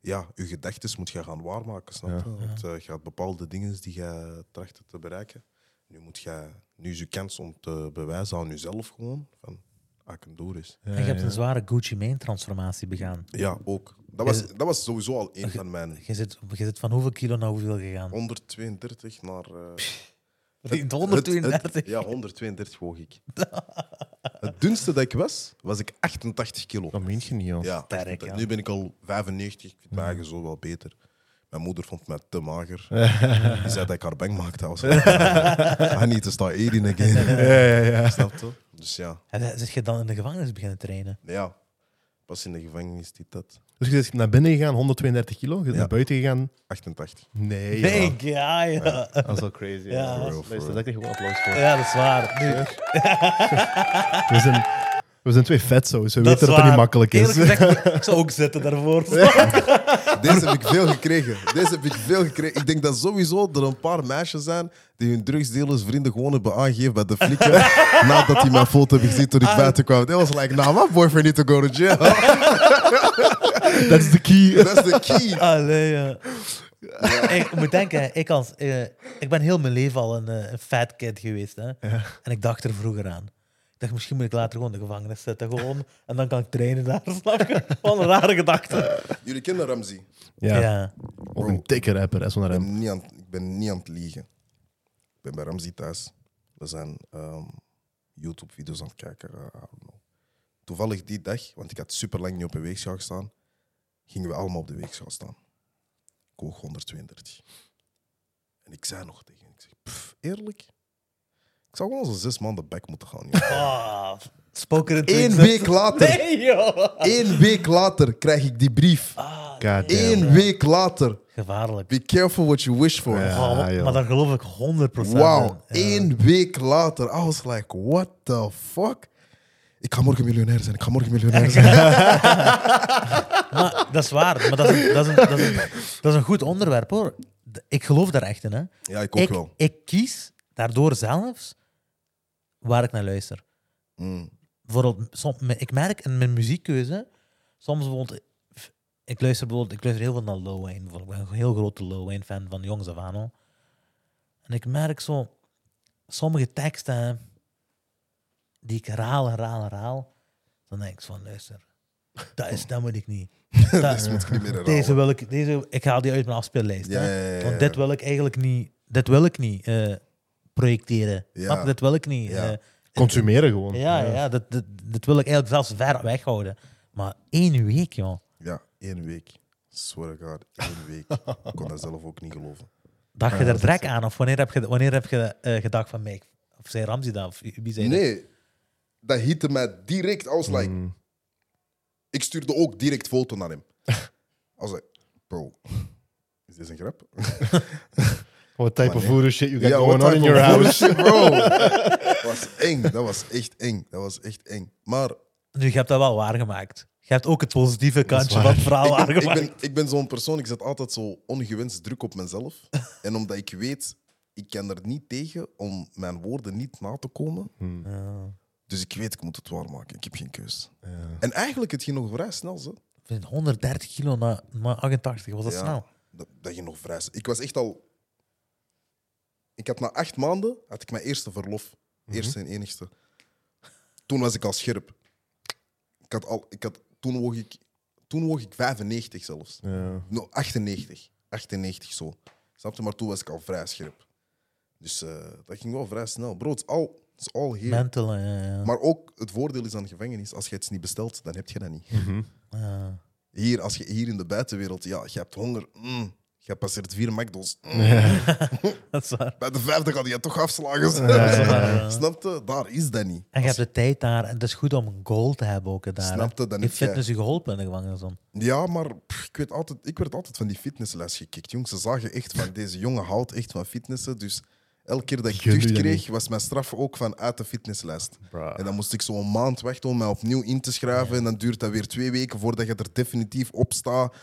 Speaker 1: ja, je gedachten moet je gaan waarmaken, snap je? Want eh, je gaat bepaalde dingen die je tracht te bereiken. Nu, moet je, nu is je kans om te bewijzen aan jezelf gewoon, van, ah, ik kan door is.
Speaker 3: en je hebt een zware Gucci Mane transformatie begaan.
Speaker 1: Ja, ook. Dat was, dat was sowieso al één van mijn
Speaker 3: Je zit, je zit van hoeveel kilo naar hoeveel gegaan?
Speaker 1: 132 naar. eh,
Speaker 3: Die
Speaker 1: het-
Speaker 3: 132.
Speaker 1: het- het- ja, 132 woog ik. het dunste dat ik was, was ik 88 kilo.
Speaker 2: Dat meent je niet, joh.
Speaker 1: Ja,
Speaker 3: Sterk,
Speaker 1: 88.
Speaker 3: ja.
Speaker 1: Nu ben ik al 95, ik vind mijn eigen zo wel beter. Mijn moeder vond mij te mager. Die zei dat ik Ah, haar bang maakte. Als I need to start eating again.
Speaker 2: Ja, ja, ja.
Speaker 1: Snap je? Dus ja.
Speaker 3: En dan zit je dan in de gevangenis beginnen trainen?
Speaker 1: ja, pas in de gevangenis dit dat.
Speaker 2: Dus je bent naar binnen gegaan, 132 kilo. Je bent
Speaker 1: Ja.
Speaker 2: naar buiten gegaan.
Speaker 1: 88.
Speaker 2: Nee, joh.
Speaker 3: Nee, ja, ja.
Speaker 2: Dat is wel crazy. Ja.
Speaker 3: Ja.
Speaker 2: Dat is- Daar is echt een goed applaus voor.
Speaker 3: Ja, dat is waar. Nu,
Speaker 2: We, zijn, we zijn twee vetzo's. We weten
Speaker 3: dat is
Speaker 2: dat dat niet
Speaker 3: waar.
Speaker 2: makkelijk is.
Speaker 3: Eerlijk gezegd, ik zou ook zitten daarvoor.
Speaker 1: Deze heb ik veel gekregen. Deze heb ik veel gekregen. Ik denk dat sowieso er een paar meisjes zijn die hun drugsdealersvrienden gewoon hebben aangegeven bij de flikken. nadat die mijn foto hebben gezien toen ik buiten kwam. They was like, nah, my boyfriend need to go to jail.
Speaker 2: Dat is de key.
Speaker 1: That's the key.
Speaker 3: Allee, ja. Ik moet denken, ik, als, eh, ik ben heel mijn leven al een, eh, een fat kid geweest. Hè? En ik dacht er vroeger aan. Ik dacht, misschien moet ik later gewoon in de gevangenis zitten. Gewoon, en dan kan ik trainen daar. Snap je? Wat een rare gedachte.
Speaker 1: Jullie kennen Ramzi.
Speaker 2: Ja.
Speaker 3: Ja.
Speaker 2: Of een dikke rapper, hè, zo'n
Speaker 1: Ik
Speaker 2: rem.
Speaker 1: ben niet aan, ik ben niet aan het liegen. Ik ben bij Ramzi thuis. We zijn ehm, YouTube-video's aan het kijken. eh, I don't know. Toevallig die dag, want ik had super lang niet op een weegschaal gestaan, gingen we allemaal op de weegschaal staan. Ik woog 132. En ik zei nog tegen hem, ik zeg, "Pff, eerlijk? Ik zou gewoon zo'n zes maanden back moeten gaan. joh."
Speaker 3: Ah, spoken in
Speaker 1: Eén
Speaker 3: Twitter.
Speaker 1: week later,
Speaker 3: Nee, joh.
Speaker 1: één week later krijg ik die brief.
Speaker 3: Ah,
Speaker 2: God damn.
Speaker 1: Eén week later.
Speaker 3: gevaarlijk.
Speaker 1: Be careful what you wish for.
Speaker 2: Ja.
Speaker 3: Oh,
Speaker 2: joh.
Speaker 3: maar daar geloof ik 100%
Speaker 1: Wauw,
Speaker 3: in. Ja.
Speaker 1: één week later. I was like, what the fuck? Ik ga morgen miljonair zijn, ik ga morgen miljonair zijn.
Speaker 3: Maar Ah, dat is waar. Maar dat is, een- dat, is een, dat, is een, dat is een goed onderwerp hoor. D- Ik geloof daar echt in. Hè.
Speaker 1: Ja, ik ook
Speaker 3: Ik,
Speaker 1: wel.
Speaker 3: ik kies daardoor zelfs waar ik naar luister.
Speaker 1: Mm.
Speaker 3: Bijvoorbeeld, som- me- ik merk in mijn muziekkeuze, soms bijvoorbeeld, ik luister, bijvoorbeeld, ik luister heel veel naar Low Wayne. bijvoorbeeld. Ik ben een heel grote Low Wayne fan van jongs af aan al. En ik merk zo, sommige teksten hè, die ik herhaal, herhaal, herhaal, dan denk ik zo van, luister, dat, is, dat moet ik niet. Dat,
Speaker 1: Deze moet ik niet meer herhalen.
Speaker 3: deze wil ik, deze, ik haal die uit mijn afspeellijst.
Speaker 1: Ja,
Speaker 3: hè.
Speaker 1: ja, ja, ja.
Speaker 3: Want dit wil ik eigenlijk niet, dit wil ik niet eh, projecteren.
Speaker 1: Ja.
Speaker 3: Snap je? Dit wil ik niet.
Speaker 1: Ja.
Speaker 3: eh,
Speaker 2: Consumeren gewoon.
Speaker 3: ja, ja. dat, dat, dat wil ik eigenlijk zelfs ver weghouden. Maar één week, joh.
Speaker 1: Ja, één week. Swear to God, één week. Ik kon dat zelf ook niet geloven.
Speaker 3: Dacht je er drek aan? Of wanneer heb je, wanneer heb je eh, gedacht van, mij? Of zei Ramzi dat? Of wie zei dat?
Speaker 1: Nee, dat hitte mij direct. I was like, ik stuurde ook direct foto naar hem. I was like, bro, is dit een grap?
Speaker 2: What type
Speaker 1: Maar
Speaker 2: of
Speaker 1: nee.
Speaker 2: voodoo shit you got
Speaker 1: Ja,
Speaker 2: going
Speaker 1: what
Speaker 2: on in
Speaker 1: type
Speaker 2: your
Speaker 1: of
Speaker 2: house?
Speaker 1: bullshit, bro. dat was eng, dat was echt eng. Dat was echt eng. Maar
Speaker 3: Nu, je hebt dat wel waargemaakt. Je hebt ook het positieve kantje
Speaker 2: waar.
Speaker 3: van het verhaal
Speaker 1: ik, ik
Speaker 3: waargemaakt.
Speaker 1: ben, ik ben zo'n persoon, ik zet altijd zo ongewenst druk op mezelf. en omdat ik weet, ik kan er niet tegen om mijn woorden niet na te komen.
Speaker 3: Ja.
Speaker 1: Dus ik weet, ik moet het waarmaken. Ik heb geen keus.
Speaker 2: Ja.
Speaker 1: En eigenlijk, het ging nog vrij snel. Zo.
Speaker 3: Ik vind 130 kilo naar, naar 88, was dat
Speaker 1: Ja,
Speaker 3: snel?
Speaker 1: Dat, dat ging nog vrij snel. Ik was echt al... Ik had na acht maanden had ik mijn eerste verlof. Eerste en enigste. Toen was ik al scherp. Ik had al, ik had, toen, woog ik, toen woog ik 95 zelfs.
Speaker 2: Ja.
Speaker 1: No, 98. 98 zo. Snap je? Maar toen was ik al vrij scherp. Dus eh, dat ging wel vrij snel. Bro, het is al, het is al hier.
Speaker 3: Mental, ja, ja.
Speaker 1: Maar ook het voordeel is aan gevangenis: als je iets niet bestelt, dan heb je dat niet.
Speaker 3: ja.
Speaker 1: Hier, als je, hier in de buitenwereld, ja, je hebt honger. Mm. Je passeert vier McDonald's. Mm.
Speaker 3: Dat is waar.
Speaker 1: Bij de vijfde kan je toch afslagen. Snap je? Daar is dat niet.
Speaker 3: En je hebt de tijd daar. En het is goed om een goal te hebben ook hè, daar. hè.
Speaker 1: Snap je? Dan
Speaker 3: Die
Speaker 1: heb jij-
Speaker 3: fitness je geholpen in de gevangenis dan.
Speaker 1: Ja, maar pff, ik, weet altijd, ik werd altijd van die fitnessles gekikt. Jongens, ze zagen echt van deze jongen houdt echt van fitnessen. Dus elke keer dat ik
Speaker 2: Gun je
Speaker 1: tucht
Speaker 2: dat
Speaker 1: kreeg, was mijn straf ook van uit de fitnesslijst.
Speaker 2: Bruh.
Speaker 1: En dan moest ik zo'n maand wachten om mij opnieuw in te schrijven. En dan duurt dat weer twee weken voordat je er definitief op staat.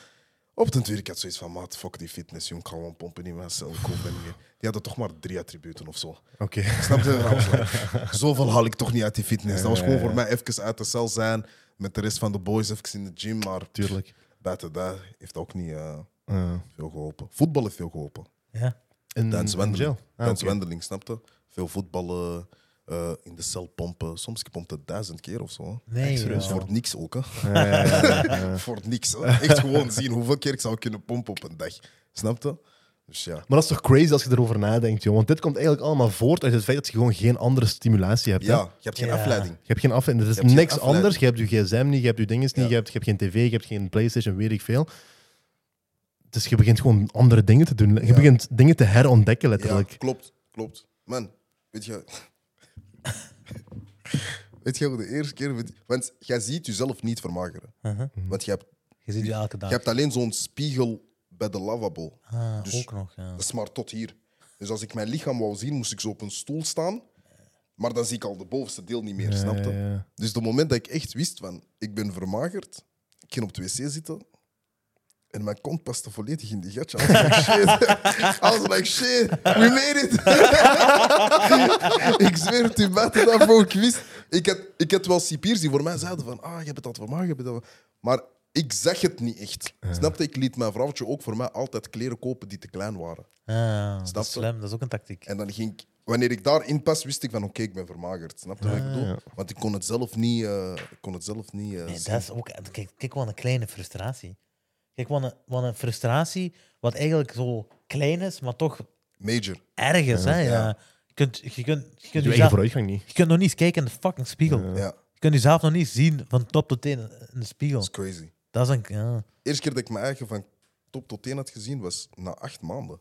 Speaker 1: Op den duur, ik had zoiets van, maat, fuck die fitness, jong, ik ga gewoon pompen in mijn cel. Ik hoef dat niet meer." Die hadden toch maar drie attributen of zo.
Speaker 2: Oké.
Speaker 1: Snap je? Dat was like, Zoveel haal ik toch niet uit die fitness. Dat was gewoon voor mij even uit de cel zijn. Met de rest van de boys even in de gym. Maar
Speaker 2: Tuurlijk.
Speaker 1: buiten dat heeft ook niet eh,
Speaker 2: Ja.
Speaker 1: veel geholpen. Voetbal heeft veel geholpen.
Speaker 3: Ja.
Speaker 2: In,
Speaker 1: Dance
Speaker 2: in jail.
Speaker 1: Wendeling.
Speaker 2: Ah,
Speaker 1: Dance
Speaker 2: oké.
Speaker 1: Wendeling, snapte? Veel voetballen, eh, in de cel pompen. Soms ik pomp het duizend keer of zo. hè.
Speaker 3: Nee,
Speaker 2: Echt serieus,
Speaker 3: joh.
Speaker 1: Voor niks ook, hè.
Speaker 2: Ja, ja, ja, ja.
Speaker 1: Voor niks. hè. Echt gewoon zien hoeveel keer ik zou kunnen pompen op een dag. Snap je? Dus ja.
Speaker 2: Maar dat is toch crazy als je erover nadenkt, joh. Want dit komt eigenlijk allemaal voort uit het feit dat je gewoon geen andere stimulatie hebt. hè?
Speaker 1: Ja, je hebt geen
Speaker 3: Ja.
Speaker 1: afleiding.
Speaker 2: Je hebt geen afleiding. Er
Speaker 1: Je
Speaker 2: is
Speaker 1: hebt geen
Speaker 2: niks
Speaker 1: afleiding.
Speaker 2: anders. Je hebt je gsm niet, je hebt je dinges niet,
Speaker 1: Ja.
Speaker 2: je, hebt, je hebt geen tv, je hebt geen playstation, weet ik veel. Dus je begint gewoon andere dingen te doen. Je
Speaker 1: Ja.
Speaker 2: begint dingen te herontdekken,
Speaker 1: Ja,
Speaker 2: letterlijk.
Speaker 1: klopt, klopt. Man, weet je... weet je, voor de eerste keer... weet- Want jij ziet jezelf niet vermageren.
Speaker 3: Uh-huh.
Speaker 1: Want je hebt,
Speaker 3: Je ziet je elke dag.
Speaker 1: je hebt alleen zo'n spiegel bij de lavabo.
Speaker 3: Ah,
Speaker 1: dus-
Speaker 3: ook nog, ja.
Speaker 1: Dat is maar tot hier. Dus als ik mijn lichaam wou zien, moest ik zo op een stoel staan. Maar dan zie ik al de bovenste deel niet meer, snap je?
Speaker 2: Ja, ja, ja.
Speaker 1: Dus het moment dat ik echt wist van, ik ben vermagerd, ik ging op de wc zitten en mijn kont paste volledig in die gatje. I was like, shit. I was like, shit, we made it. ik zweer het u, buiten daarvoor, ik wist... Ik had, ik had wel cipiers die voor mij zeiden van, ah, je bent dat vermagerd, je bent dat... Maar ik zag het niet echt. Snapte? Ik liet mijn vrouwtje ook voor mij altijd kleren kopen die te klein waren.
Speaker 3: Ah,
Speaker 1: Snap
Speaker 3: dat
Speaker 1: je?
Speaker 3: is slim, dat is ook een tactiek.
Speaker 1: En dan ging ik, wanneer ik daarin pas, wist ik van oké, ik ben vermagerd. Snap je wat
Speaker 3: Ah,
Speaker 1: ik bedoel?
Speaker 2: ja.
Speaker 1: Want ik kon het zelf niet. eh, ik kon het zelf niet eh,
Speaker 3: Nee,
Speaker 1: zien.
Speaker 3: dat is ook... Kijk, kijk wat een kleine frustratie. Kijk wat een, wat een frustratie, wat eigenlijk zo klein is, maar toch
Speaker 1: Major.
Speaker 3: erg is, hè.
Speaker 1: ja.
Speaker 3: Ja. Je kunt, je kunt,
Speaker 2: Je
Speaker 3: je kunt
Speaker 2: eigen
Speaker 3: jezelf-
Speaker 2: vooruitgang niet.
Speaker 3: je kunt nog niet eens kijken in de fucking spiegel.
Speaker 1: Ja.
Speaker 3: Je kunt jezelf nog niet zien van top tot teen in de
Speaker 1: dat
Speaker 3: spiegel.
Speaker 1: is crazy.
Speaker 3: Dat is een... Ja.
Speaker 1: De eerste keer dat ik mijn eigen van top tot teen had gezien was na acht maanden.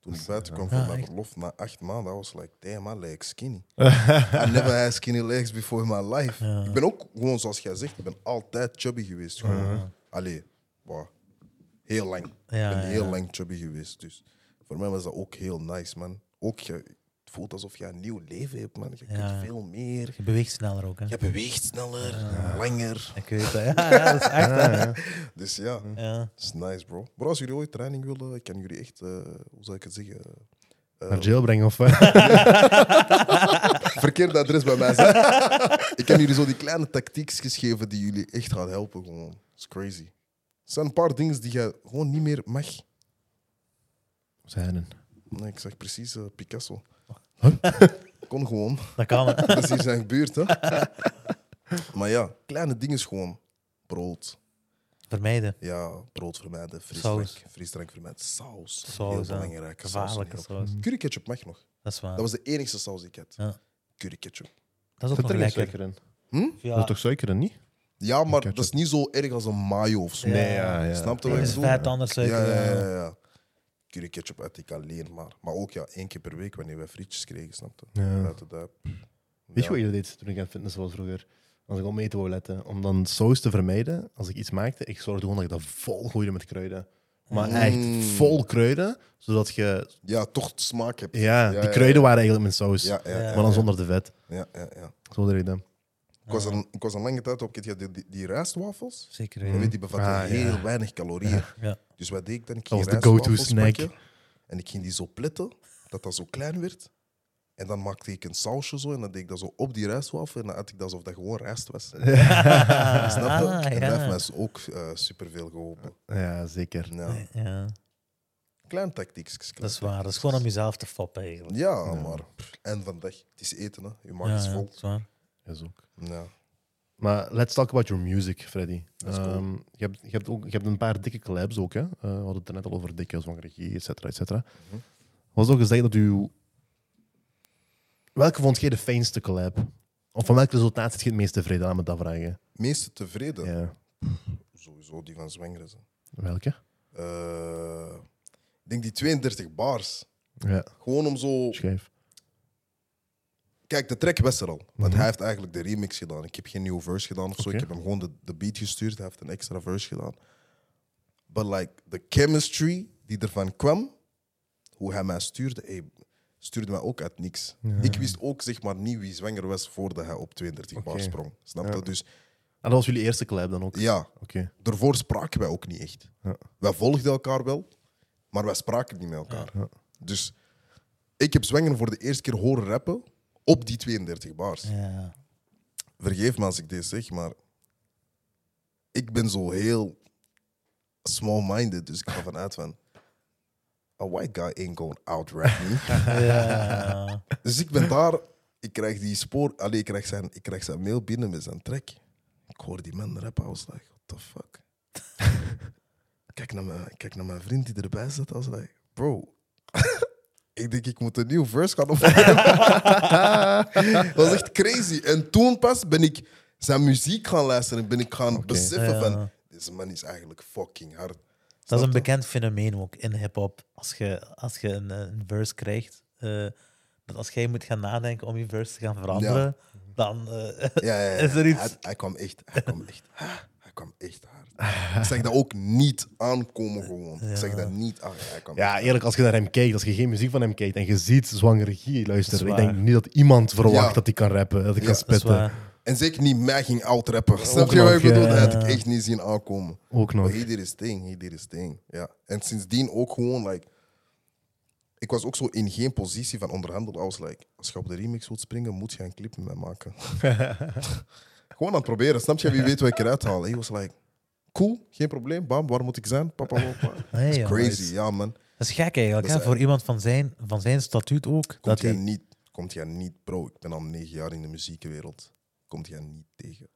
Speaker 1: Toen ik buiten kwam
Speaker 3: Ja,
Speaker 1: van mijn
Speaker 3: echt?
Speaker 1: verlof, na acht maanden, I was like, damn, I like skinny. I never had skinny legs before in my life.
Speaker 3: Ja.
Speaker 1: Ik ben ook gewoon, zoals jij zegt, ik ben altijd chubby geweest. gewoon. Allee, wow. heel lang.
Speaker 3: Ja,
Speaker 1: ik ben
Speaker 3: ja,
Speaker 1: heel
Speaker 3: ja.
Speaker 1: lang chubby geweest. Dus voor mij was dat ook heel nice, man. Ook, je, het voelt alsof je een nieuw leven hebt, man. Je
Speaker 3: Ja.
Speaker 1: kunt veel meer.
Speaker 3: Je beweegt sneller ook, hè.
Speaker 1: Je beweegt sneller, langer.
Speaker 3: Ik weet dat. Ja, ja, dat is echt, hè.
Speaker 1: Dus ja, dat
Speaker 3: Ja.
Speaker 1: is nice, bro. Maar als jullie ooit training willen, ik kan jullie echt, eh, hoe zou ik het zeggen?
Speaker 2: Naar jail brengen of... eh,
Speaker 1: Verkeerd adres bij mij zijn. ik kan jullie zo die kleine tactiekjes geven die jullie echt gaan helpen. Gewoon. Dat is crazy. Er zijn een paar dingen die je gewoon niet meer mag.
Speaker 2: Zijn. een-
Speaker 1: Nee, ik zeg precies eh, Picasso. Kon gewoon.
Speaker 3: Dat kan. hè.
Speaker 1: Dat is hier zijn gebeurd, hè? maar ja, kleine dingen gewoon. Brood.
Speaker 3: Vermijden.
Speaker 1: Ja, brood vermijden. Frisdrank,
Speaker 3: Saus.
Speaker 1: frisdrank vermijden. Saus.
Speaker 3: Saus,
Speaker 1: heel
Speaker 3: hè.
Speaker 1: belangrijk. Saus is
Speaker 3: Gevaarlijke
Speaker 1: heel-
Speaker 3: saus.
Speaker 1: Curry ketchup mag nog.
Speaker 3: Dat is waar.
Speaker 1: Dat was de enige saus die ik had.
Speaker 3: Ja.
Speaker 1: Curry ketchup.
Speaker 3: Dat is ook
Speaker 2: Zit er
Speaker 3: nog
Speaker 2: geen
Speaker 3: lekker.
Speaker 2: suiker in?
Speaker 3: Ja.
Speaker 2: Er is toch suiker in, niet?
Speaker 1: Ja, maar
Speaker 2: Ketchup.
Speaker 1: dat is niet zo erg als een mayo of zo.
Speaker 3: Nee, ja,
Speaker 1: Snap je
Speaker 3: Het
Speaker 1: wat ik
Speaker 3: is
Speaker 1: bedoel?
Speaker 3: vet, anders eh,
Speaker 1: Ja,
Speaker 3: suiker.
Speaker 1: ja,
Speaker 3: ja.
Speaker 1: ja, ja. Curry ketchup had ik alleen maar. Maar ook ja, één keer per week wanneer wij frietjes kregen, snap je?
Speaker 2: Ja.
Speaker 1: Buiten dat.
Speaker 2: Weet
Speaker 1: Ja.
Speaker 2: je wat je deed toen ik aan fitness was vroeger? Als ik op mijn eten wou letten, om dan saus te vermijden, als ik iets maakte, ik zorgde gewoon dat ik dat vol gooide met kruiden. Maar
Speaker 1: Mm.
Speaker 2: echt vol kruiden, zodat je...
Speaker 1: Ja, toch smaak hebt.
Speaker 2: Ja,
Speaker 1: Ja,
Speaker 2: die
Speaker 1: ja,
Speaker 2: kruiden waren eigenlijk mijn saus.
Speaker 1: Ja, ja,
Speaker 3: Ja.
Speaker 1: ja.
Speaker 2: maar dan zonder de vet.
Speaker 1: ja, ja, ja.
Speaker 2: Zo deed ik dat.
Speaker 1: Ik, was een, ik was een lange tijd op, ik had die, die, die rijstwafels.
Speaker 3: Zeker
Speaker 1: Maar weet,
Speaker 3: weten.
Speaker 1: Die bevatten
Speaker 2: Ah, ja.
Speaker 1: heel weinig calorieën.
Speaker 3: Ja.
Speaker 1: Dus wat deed ik dan? Ik
Speaker 2: Dat
Speaker 1: ging
Speaker 2: was de go-to
Speaker 1: rijstwafels
Speaker 2: snack.
Speaker 1: pakken En ik ging die zo plitten, dat dat zo klein werd. En dan maakte ik een sausje zo en dan deed ik dat zo op die rijstwafel. En dan had ik dat alsof dat gewoon rijst was. Snap je?
Speaker 3: Ah,
Speaker 1: en dat heeft
Speaker 3: ja.
Speaker 1: mij dus ook eh, superveel geholpen.
Speaker 2: Ja, zeker.
Speaker 1: Ja.
Speaker 3: ja.
Speaker 1: Klein tactiekjes.
Speaker 3: Dat
Speaker 1: klein
Speaker 3: is waar. Dat is
Speaker 1: tactiekjes.
Speaker 3: gewoon om jezelf te foppen, eigenlijk.
Speaker 1: Ja, maar pff, eind van de dag. Het is eten, hè. Je maag is
Speaker 3: ja,
Speaker 1: vol.
Speaker 3: dat is waar.
Speaker 2: Is ook.
Speaker 1: Ja.
Speaker 2: Maar let's talk about your music, Freddy.
Speaker 1: is cool.
Speaker 2: Ehm, je, hebt, je, hebt ook, je hebt een paar dikke collabs ook. Hè? Eh, we hadden het er net al over dikke van regie, et cetera, et cetera.
Speaker 1: Mhm.
Speaker 2: Was ook gezegd dat u... Welke vond jij de fijnste collab? Of van welk resultaat zit je het meest tevreden? Laat me dat vragen.
Speaker 1: Meeste tevreden?
Speaker 2: Ja.
Speaker 1: Sowieso die van Zwengeren. hè.
Speaker 2: Welke?
Speaker 1: Eh, ik denk die 32 bars.
Speaker 2: Ja,
Speaker 1: Gewoon om zo...
Speaker 2: schrijf.
Speaker 1: Kijk, de track was er al. Want hij heeft eigenlijk de remix gedaan. Ik heb geen nieuwe verse gedaan of zo.
Speaker 2: Mhm. Oké.
Speaker 1: Ik heb hem gewoon de, de beat gestuurd. Hij heeft een extra verse gedaan. But like, the chemistry die ervan kwam, hoe hij mij stuurde, hey, stuurde mij ook uit niks. Ik wist ook zeg maar niet wie zwanger was voordat hij op 32 bar
Speaker 2: Oké.
Speaker 1: sprong. Snap je? Dus
Speaker 2: En Ah, dat was jullie eerste collab dan ook?
Speaker 1: ja,
Speaker 2: Oké.
Speaker 1: daarvoor spraken wij ook niet echt.
Speaker 2: Ja.
Speaker 1: Wij volgden elkaar wel, maar wij spraken niet met elkaar. Dus ik heb Zwengen voor de eerste keer horen rappen op die 32 bars.
Speaker 3: Ja.
Speaker 1: Vergeef me als ik dit zeg, maar ik ben zo heel small-minded, dus ik ga vanuit van. A white guy ain't going out rap me.
Speaker 3: Ja.
Speaker 1: dus ik ben daar ik krijg die spoor... Allee, ik krijg, zijn, ik krijg zijn mail binnen met zijn track. Ik hoor die man rappen. I was like, what the fuck? kijk, naar mijn, kijk naar mijn vriend die erbij zat. I was like, bro... ik denk, ik moet een nieuw verse gaan opnemen. dat was echt crazy. En toen pas ben ik zijn muziek gaan luisteren. Ben ik gaan beseffen
Speaker 3: Ja,
Speaker 1: van...
Speaker 3: ja.
Speaker 1: Deze man is eigenlijk fucking hard.
Speaker 3: Dat is een
Speaker 1: Snap je?
Speaker 3: bekend fenomeen ook in hip-hop. Als je, als je een, eh, een verse krijgt, eh, dat als jij moet gaan nadenken om je verse te gaan veranderen, dan. eh,
Speaker 1: Ja, ja, ja.
Speaker 3: Is er iets-
Speaker 1: Hij, hij kwam echt, hij kwam echt, hij kwam echt hard. Ik zeg dat ook niet aankomen gewoon. Ik zeg dat niet aan. Hij kwam
Speaker 2: Ja, eerlijk, als je naar hem kijkt, als je geen muziek van hem kijkt en je ziet zwangere Guy luisteren, ik
Speaker 3: Dat is
Speaker 2: denk
Speaker 3: waar.
Speaker 2: niet dat iemand verwacht
Speaker 1: Ja.
Speaker 2: dat hij kan rappen, dat hij kan
Speaker 1: dat is
Speaker 3: dat is
Speaker 2: spitten.
Speaker 3: waar.
Speaker 1: En zeker niet mij ging outrappen. Snap je
Speaker 2: nog,
Speaker 1: wat ik bedoel? Dat
Speaker 2: ja.
Speaker 1: had ik echt niet zien aankomen.
Speaker 2: Ook nog.
Speaker 1: Maar he did his thing, he did his thing. Ja. En sindsdien ook gewoon, like... Ik was ook zo in geen positie van onderhandelen. I was like, als je op de remix wilt springen, moet je een clip met mij maken. gewoon aan het proberen. Snap je? Wie weet wat ik eruit haal. He was like, cool, geen probleem. Bam, waar moet ik zijn? Papa, papa.
Speaker 3: Nee,
Speaker 1: Dat is
Speaker 3: joh.
Speaker 1: crazy, ja man.
Speaker 3: Dat is gek eigenlijk,
Speaker 1: Dat is-
Speaker 3: hè? voor iemand van zijn, van zijn statuut ook. dat
Speaker 1: Komt jij
Speaker 3: hij,
Speaker 1: niet, komt jij niet, bro. Ik ben al negen jaar in de muziekwereld. Komt jij niet tegen.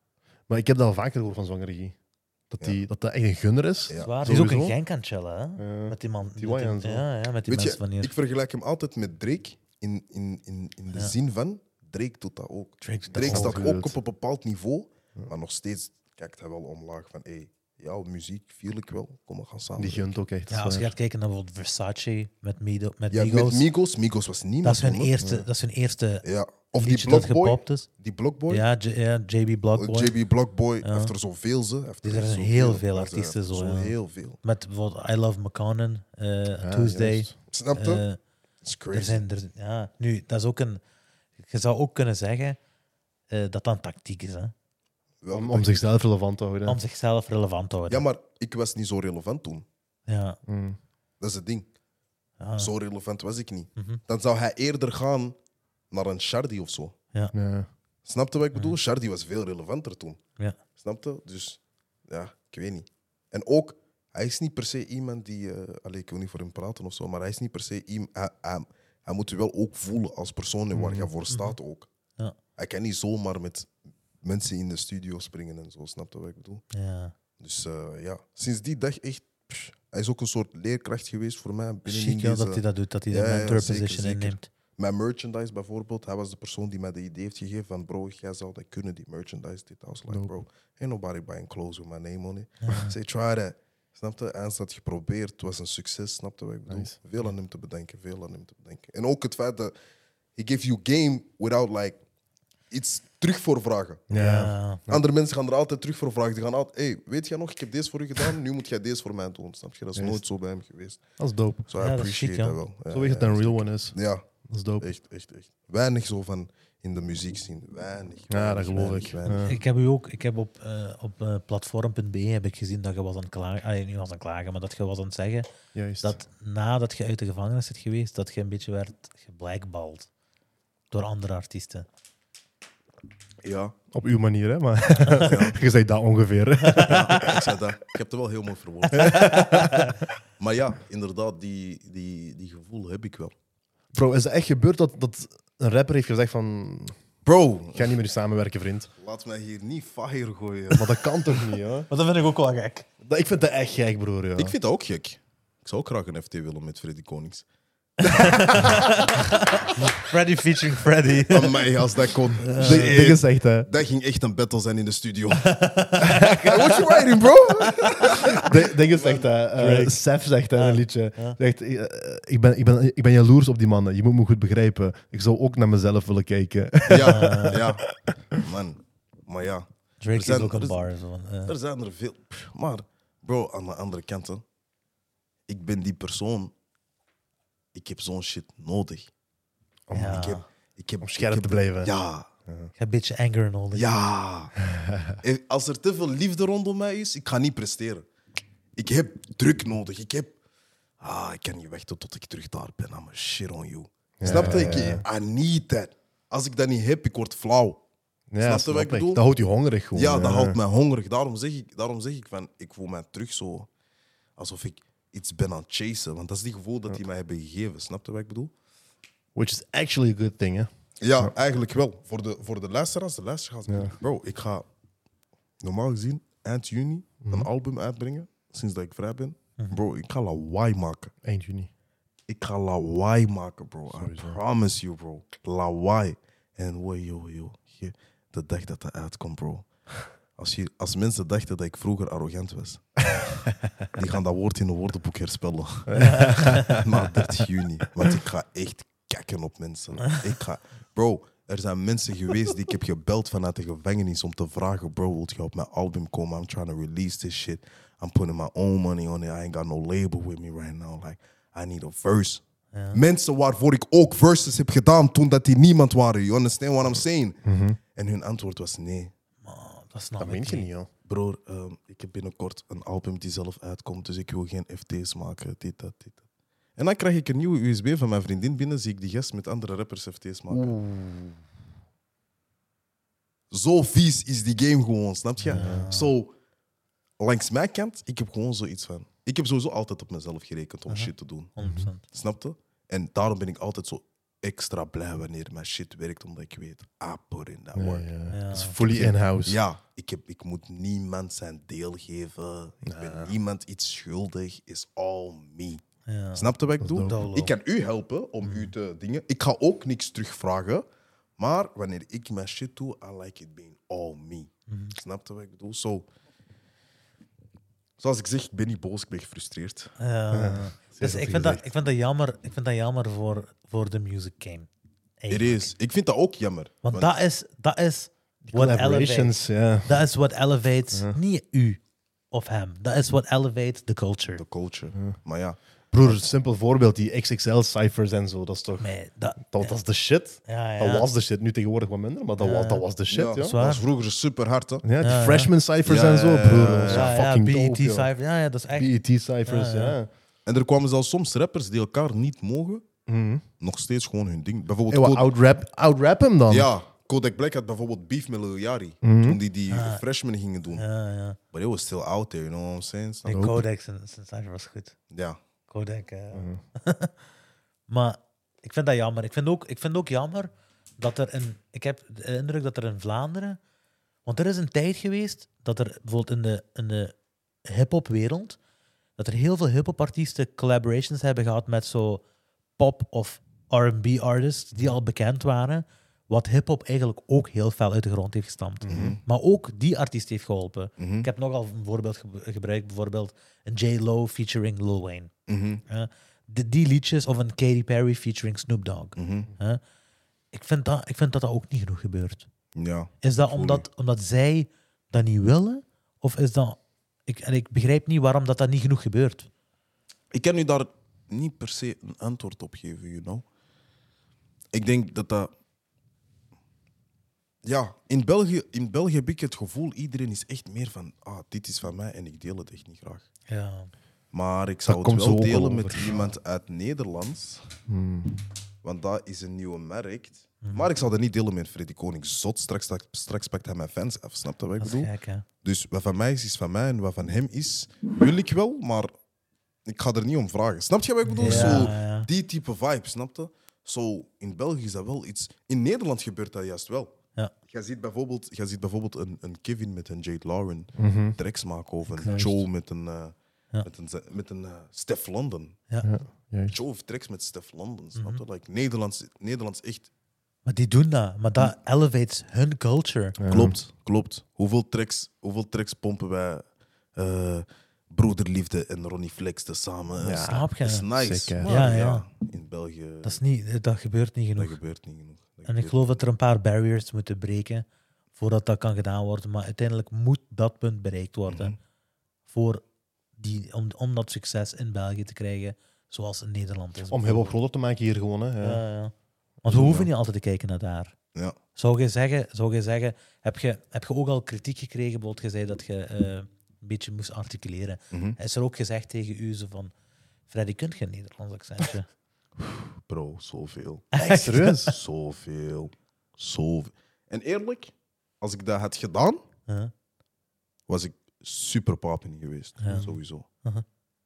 Speaker 2: Maar ik heb dat al vaker gehoord van zwangere Guy. Dat,
Speaker 1: Ja.
Speaker 2: die, dat dat echt een gunner is.
Speaker 1: Ja.
Speaker 3: Zwaar. Die is ook een
Speaker 2: Sowieso.
Speaker 3: Genk aan het chillen, hè?
Speaker 2: Ja.
Speaker 3: Met die man. met
Speaker 2: Tijuana en zo.
Speaker 3: ja, ja, met die
Speaker 1: Weet
Speaker 3: mensen van
Speaker 1: je,
Speaker 3: hier.
Speaker 1: ik vergelijk hem altijd met Drake in, in, in, in de
Speaker 3: Ja.
Speaker 1: zin van Drake doet dat ook.
Speaker 3: Drake doet dat
Speaker 1: Drake
Speaker 2: ook.
Speaker 1: staat ook
Speaker 2: Absoluut.
Speaker 1: op een bepaald niveau, maar nog steeds kijkt hij wel omlaag van hey, jouw muziek viel ik wel, kom we gaan samen.
Speaker 2: Die gunt ook echt.
Speaker 3: ja, als je
Speaker 2: zwaar.
Speaker 3: gaat kijken naar bijvoorbeeld Versace met, Mido, met
Speaker 1: ja,
Speaker 3: Migos.
Speaker 1: met Migos, Migos was niemand.
Speaker 3: dat, is hun
Speaker 1: man, hè?
Speaker 3: eerste, dat is hun eerste
Speaker 1: Ja. Of die
Speaker 3: liedje dat
Speaker 1: Blockboy,
Speaker 3: gepopt is.
Speaker 1: die Blockboy,
Speaker 3: Ja, J- ja, JB Blockboy.
Speaker 1: JB Blockboy, heeft er zoveel ze. heeft
Speaker 3: Dus er
Speaker 1: echt
Speaker 3: zijn
Speaker 1: zoveel.
Speaker 3: heel veel
Speaker 1: Hij heeft er
Speaker 3: artiesten zo, ja.
Speaker 1: Heel veel.
Speaker 3: Met bijvoorbeeld I Love McConan,
Speaker 1: Ah,
Speaker 3: eh,
Speaker 2: Ja,
Speaker 3: Tuesday.
Speaker 2: juist.
Speaker 1: Snap je?
Speaker 3: Eh,
Speaker 1: Dat is
Speaker 3: er
Speaker 1: crazy.
Speaker 3: zijn, er, ja, nu, dat is ook een... Je zou ook kunnen zeggen eh, dat dat een tactiek is, hè?
Speaker 1: Wel,
Speaker 2: Om, om zichzelf relevant te houden.
Speaker 3: Om zichzelf relevant te
Speaker 1: Ja,
Speaker 3: houden.
Speaker 1: maar ik was niet zo relevant toen.
Speaker 3: Ja,
Speaker 2: Mm.
Speaker 1: Dat is het ding.
Speaker 3: ja.
Speaker 1: Zo relevant was ik niet.
Speaker 3: Ah. Mhm.
Speaker 1: Dan zou hij eerder gaan naar een Shardy of zo.
Speaker 2: Ja.
Speaker 1: Snapte wat ik bedoel? Shardy was veel relevanter toen.
Speaker 3: Mhm. Ja.
Speaker 1: Snapte? Dus ja, ik weet niet. En ook, hij is niet per se iemand die. eh allee, ik wil niet voor hem praten of zo, maar hij is niet per se iemand. Hij, hij, hij moet je wel ook voelen als persoon en waar je voor staat ook.
Speaker 3: Mhm. Ja.
Speaker 1: Hij kan niet zomaar met mensen in de studio springen en zo. Snapte wat ik bedoel?
Speaker 3: ja.
Speaker 1: Dus eh, ja, sinds die dag echt. pff, hij is ook een soort leerkracht geweest voor mij. Binnen
Speaker 3: Chic wel
Speaker 1: deze-
Speaker 3: dat hij dat doet, dat hij
Speaker 1: Ja,
Speaker 3: dat
Speaker 1: ja,
Speaker 3: mentor
Speaker 1: zeker,
Speaker 3: position
Speaker 1: zeker.
Speaker 3: inneemt.
Speaker 1: Mijn merchandise bijvoorbeeld, hij was de persoon die mij de idee heeft gegeven van bro, jij zou dat kunnen, die merchandise, dit. I was like,
Speaker 2: Dope.
Speaker 1: bro, ain't nobody buying clothes with my name on it. Say, try that. Snapte? En ze had geprobeerd, het was een succes, snapte wat ik bedoel?
Speaker 2: Nice.
Speaker 1: Veel aan hem te bedenken, veel aan hem te bedenken. En ook het feit dat he gave you game without like iets terug voor vragen.
Speaker 3: Ja.
Speaker 1: Andere mensen gaan er altijd terug voor vragen. Die gaan altijd, hey, weet jij nog, ik heb deze voor u gedaan, nu moet jij deze voor mij doen. Snap je? Dat is
Speaker 2: Juist.
Speaker 1: nooit zo bij hem geweest.
Speaker 2: Dat is dope.
Speaker 1: So I
Speaker 3: Ja, dat is
Speaker 1: appreciate
Speaker 3: chic, ja.
Speaker 1: dat wel. Ja,
Speaker 2: Zo weet je dat
Speaker 1: eh, ja.
Speaker 2: een real one is.
Speaker 1: Ja,
Speaker 2: Dat is dope.
Speaker 1: echt, echt, echt. Weinig zo van in de muziek zien. Weinig.
Speaker 2: Ja,
Speaker 1: weinig,
Speaker 2: dat geloof
Speaker 1: weinig,
Speaker 2: ik.
Speaker 1: weinig.
Speaker 2: Ja.
Speaker 3: Eh, Ik heb u ook, ik heb op, eh, op eh, platform.be heb ik gezien dat je was aan het klagen, ah, niet was aan het klagen, maar dat je was aan het zeggen
Speaker 2: Juist.
Speaker 3: dat nadat je uit de gevangenis zit geweest, dat je een beetje werd geblackballed door andere artiesten.
Speaker 1: Ja,
Speaker 2: Op uw manier, hè? Maar je zei dat ongeveer.
Speaker 1: ik zei dat. Ik heb het wel heel mooi verwoord. maar ja, inderdaad, die, die, die gevoel heb ik wel.
Speaker 2: Bro, is het echt gebeurd dat, dat een rapper heeft gezegd van...
Speaker 1: Bro,
Speaker 2: Ik ga niet meer samenwerken, vriend.
Speaker 1: laat mij hier niet fire gooien.
Speaker 2: Maar dat kan toch niet, hoor?
Speaker 3: Maar dat vind ik ook wel gek.
Speaker 2: Dat- Ik vind dat echt gek, broer. Ja.
Speaker 1: Ik vind dat ook gek. Ik zou ook graag een FT willen met Freddy Konings.
Speaker 3: Freddy featuring Freddy.
Speaker 1: Van mij, als dat kon.
Speaker 2: Dat is echt, hè.
Speaker 1: Dat ging echt een battle zijn in de studio. What you writing, bro?
Speaker 2: Ding ding is echt, hè. eh
Speaker 3: Drake.
Speaker 2: Sef zegt hè, in een liedje. Zegt, eh, ik, ben, ik, ben, ik ben jaloers op die mannen. Je moet me goed begrijpen. Ik zou ook naar mezelf willen kijken.
Speaker 1: Ja, ja. Man, maar ja.
Speaker 3: Drake is
Speaker 1: zijn-
Speaker 3: ook
Speaker 1: er
Speaker 3: een
Speaker 1: is-
Speaker 3: bar. Zo van, eh.
Speaker 1: Er zijn er veel. Pff, Maar, bro, aan de andere kant, hè. ik ben die persoon. Ik heb zo'n shit nodig.
Speaker 3: ja.
Speaker 1: Ik heb, ik heb,
Speaker 2: Om scherp
Speaker 1: ik heb-
Speaker 2: te blijven.
Speaker 1: Ja,
Speaker 3: Ik heb een beetje anger nodig.
Speaker 1: ja. En Als er te veel liefde rondom mij is, ik ga niet presteren. Ik heb druk nodig. Ik heb. Ah, ik kan niet wachten tot ik terug daar ben. I'm a shit on you. Snap je? Ik- I need that. Als ik dat niet heb, ik word flauw.
Speaker 2: Ja,
Speaker 1: wat
Speaker 2: snap
Speaker 1: ik
Speaker 2: ik.
Speaker 1: bedoel?
Speaker 2: Dat houdt je hongerig gewoon. eh.
Speaker 1: Ja, dat
Speaker 2: hè.
Speaker 1: houdt mij hongerig. Daarom zeg ik, daarom zeg ik van, ik voel mij terug zo alsof ik iets ben aan het chasen. Want dat is die gevoel dat die mij hebben gegeven. Snap je wat ik bedoel?
Speaker 2: Which is actually a good thing, hè.
Speaker 1: Ja, eigenlijk wel. Voor de, voor de luisteraars, de luisteraars.
Speaker 2: Ja.
Speaker 1: Bro, ik ga normaal gezien eind juni een album uitbrengen, sinds dat ik vrij ben. Bro, ik ga lawaai maken.
Speaker 2: Eind juni.
Speaker 1: Ik ga lawaai maken, bro. I promise you, bro. Lawaai. En wow, yo, yo. Je- De dag dat dat uitkomt, bro. Als, je, als mensen dachten dat ik vroeger arrogant was, die gaan dat woord in een woordenboek herspellen. Na 30 juni. Want ik ga echt kakken op mensen. Ik ga... Bro, er zijn mensen geweest die ik heb gebeld vanuit de gevangenis om te vragen: Bro, wilt je op mijn album komen? I'm trying to release this shit. I'm putting my own money on it. I ain't got no label with me right now. Like, I need a verse. Mensen waarvoor ik ook verses heb gedaan toen dat die niemand waren. You understand what I'm saying? En hun antwoord was nee.
Speaker 3: Oh, dat snap
Speaker 2: Dat
Speaker 3: ik
Speaker 2: meen
Speaker 3: niet.
Speaker 2: je niet, joh.
Speaker 1: Broer, ehm, ik heb binnenkort een album die zelf uitkomt, dus ik wil geen FT's maken, dit, dat, dit, dat. En dan krijg ik een nieuwe USB van mijn vriendin binnen, zie ik die gast met andere rappers FT's maken. Zo vies is die game gewoon, snap je? Zo, langs mijn kant, ik heb gewoon zoiets van... Ik heb sowieso altijd op mezelf gerekend om shit te doen.
Speaker 3: 100%.
Speaker 1: Snapte? En daarom ben ik altijd zo extra blij wanneer mijn shit werkt, omdat ik weet, ah, I put in that work.
Speaker 2: Ja, ja.
Speaker 3: Ja.
Speaker 2: Dat is fully
Speaker 3: Dus-
Speaker 2: in-house.
Speaker 1: Ja, ik, heb, ik moet niemand zijn deel geven. Ik ben niemand iets schuldig. Is all me.
Speaker 3: Ja.
Speaker 1: Snap je wat ik
Speaker 3: dope.
Speaker 1: doe?
Speaker 3: Download.
Speaker 1: Ik kan u helpen om u te dingen. Ik ga ook niks terugvragen. Maar wanneer ik mijn shit doe, I like it being all me.
Speaker 3: Mhm.
Speaker 1: Snap je wat ik bedoel? Zo. Zoals ik zeg, ik ben niet boos, ik ben gefrustreerd.
Speaker 3: Ja. Dus ik vind, dat, ik vind dat jammer, ik vind dat jammer voor, voor de music game.
Speaker 1: It
Speaker 3: Eigenlijk.
Speaker 1: is. Ik vind dat ook jammer. Want
Speaker 3: Want dat is, dat is wat elevates.
Speaker 2: Collaborations, ja.
Speaker 3: Dat is wat elevates, niet u of hem. Dat is wat elevates the culture.
Speaker 1: de culture. Maar ja,
Speaker 2: Broer, een simpel voorbeeld, die XXL-ciphers en zo, dat is toch...
Speaker 3: Nee, dat,
Speaker 2: Dat was de shit.
Speaker 3: Ja, ja.
Speaker 2: Dat was de shit. Nu tegenwoordig wat minder, maar dat, was, dat was de shit,
Speaker 1: ja,
Speaker 2: ja.
Speaker 1: dat
Speaker 2: Ja,
Speaker 3: waar.
Speaker 1: was vroeger super hard. Hè.
Speaker 2: die
Speaker 3: Ja, ja.
Speaker 2: freshman ciphers
Speaker 1: Ja,
Speaker 2: en zo,
Speaker 1: ja, ja,
Speaker 2: broer.
Speaker 1: ja,
Speaker 2: dat is
Speaker 3: ja, ja,
Speaker 2: fucking E
Speaker 3: BET
Speaker 2: dope, joh.
Speaker 3: cijfer. Ja, ja, dat is echt.
Speaker 2: BET ciphers,
Speaker 3: Ja,
Speaker 2: ja.
Speaker 3: ja.
Speaker 1: En er kwamen zelfs soms rappers die elkaar niet mogen, nog steeds gewoon hun ding. Bijvoorbeeld
Speaker 2: Hey, wat,
Speaker 1: Code-
Speaker 2: outrap, outrap hem dan.
Speaker 1: Ja, Kodak Black had bijvoorbeeld beef met Lil Yachty. Toen die die freshman gingen doen.
Speaker 3: Ah. Ja, ja.
Speaker 1: But it was still out there, you know what I'm saying? Snap
Speaker 3: Nee,
Speaker 1: je?
Speaker 3: Codex en zijn cijfer was goed.
Speaker 1: Ja.
Speaker 3: Codex. eh. maar ik vind dat jammer. Ik vind ook, ik vind ook jammer dat er een. Ik heb de indruk dat er in Vlaanderen. Want er is een tijd geweest dat er bijvoorbeeld in de, in de hip-hop wereld. dat er heel veel hip-hop artiesten collaborations hebben gehad met zo pop of RB artists die al bekend waren. Wat hip-hop eigenlijk ook heel fel uit de grond heeft gestampt. Maar ook die artiest heeft geholpen. Ik heb nogal een voorbeeld ge- gebruikt, bijvoorbeeld een J-Lo featuring Lil Wayne. Eh, die, die liedjes of een Katy Perry featuring Snoop Dogg. Eh, ik, vind dat, ik vind dat dat ook niet genoeg gebeurt.
Speaker 1: ja.
Speaker 3: Is dat omdat, omdat zij dat niet willen? Of is dat. Ik, en ik begrijp niet waarom dat, dat niet genoeg gebeurt.
Speaker 1: Ik kan u daar niet per se een antwoord op geven, you know? Ik denk dat dat... Ja, in België, in België heb ik het gevoel, iedereen is echt meer van... Ah, dit is van mij en ik deel het echt niet graag.
Speaker 3: Ja.
Speaker 1: Maar ik zou
Speaker 2: Dat
Speaker 1: het
Speaker 2: komt
Speaker 1: wel
Speaker 2: zo ook
Speaker 1: delen
Speaker 2: wel
Speaker 1: met
Speaker 2: over. Hmm.
Speaker 1: iemand uit Nederland. Want dat is een nieuwe markt. Maar ik zou dat niet delen met Freddy Koning. Zot, straks, straks- straks pakt hij mijn fans af. Snap je wat ik
Speaker 3: Dat is
Speaker 1: bedoel?
Speaker 3: gek, hè?
Speaker 1: Dus wat van mij is, is van mij. En wat van hem is, wil ik wel. Maar ik ga er niet om vragen. Snap je wat ik bedoel?
Speaker 3: Ja,
Speaker 1: Zo,
Speaker 3: ja.
Speaker 1: die type vibe, snap je? Zo, in België is dat wel iets... In Nederland gebeurt dat juist wel.
Speaker 3: Ja.
Speaker 1: Jij ziet bijvoorbeeld, jij ziet bijvoorbeeld een, een Kevin met een Jade Lauren
Speaker 2: Mhm.
Speaker 1: tracks maken. Of een Joe met een, eh,
Speaker 3: Ja.
Speaker 1: met een, met een eh, Stef London.
Speaker 2: Ja, juist.
Speaker 1: Joe heeft tracks met Stef London, snap
Speaker 3: Mhm.
Speaker 1: je? Like, Nederlands, Nederlands echt...
Speaker 3: Maar die doen dat. Maar dat
Speaker 1: Hm.
Speaker 3: elevates hun culture.
Speaker 1: Klopt, klopt. Hoeveel tracks, hoeveel tracks pompen wij eh, Broederliefde en Ronnie Flex tezamen?
Speaker 2: Ja,
Speaker 3: Snap je?
Speaker 1: Dat is nice.
Speaker 2: zeker.
Speaker 1: Maar
Speaker 3: Ja,
Speaker 1: ja,
Speaker 3: ja.
Speaker 1: in België,
Speaker 3: Dat,
Speaker 1: dat,
Speaker 3: is niet, eh, dat gebeurt niet genoeg.
Speaker 1: gebeurt niet genoeg. Dat
Speaker 3: En ik
Speaker 1: gebeurt-
Speaker 3: geloof dat er een paar barriers moeten breken voordat dat kan gedaan worden. Maar uiteindelijk moet dat punt bereikt worden
Speaker 1: Mhm.
Speaker 3: voor die, om, om dat succes in België te krijgen, zoals in Nederland is.
Speaker 2: Om heel wat groter te maken hier gewoon, hè. Ja.
Speaker 3: Ja, ja. Eh, Want we hoeven niet altijd te kijken naar daar.
Speaker 1: Ja.
Speaker 3: Zou je zeggen, zou je zeggen heb, je, heb je ook al kritiek gekregen? Bijvoorbeeld, je zei dat je eh, een beetje moest articuleren. Is er ook gezegd tegen u zo van: Freddy, kunt je een Nederlands accentje?
Speaker 1: Bro, zoveel.
Speaker 2: Echt? Serieus?
Speaker 1: Zoveel. Zoveel. En eerlijk, als ik dat had gedaan,
Speaker 3: Huh?
Speaker 1: was ik super papen geweest.
Speaker 3: Ja.
Speaker 1: Sowieso.
Speaker 3: Uh-huh.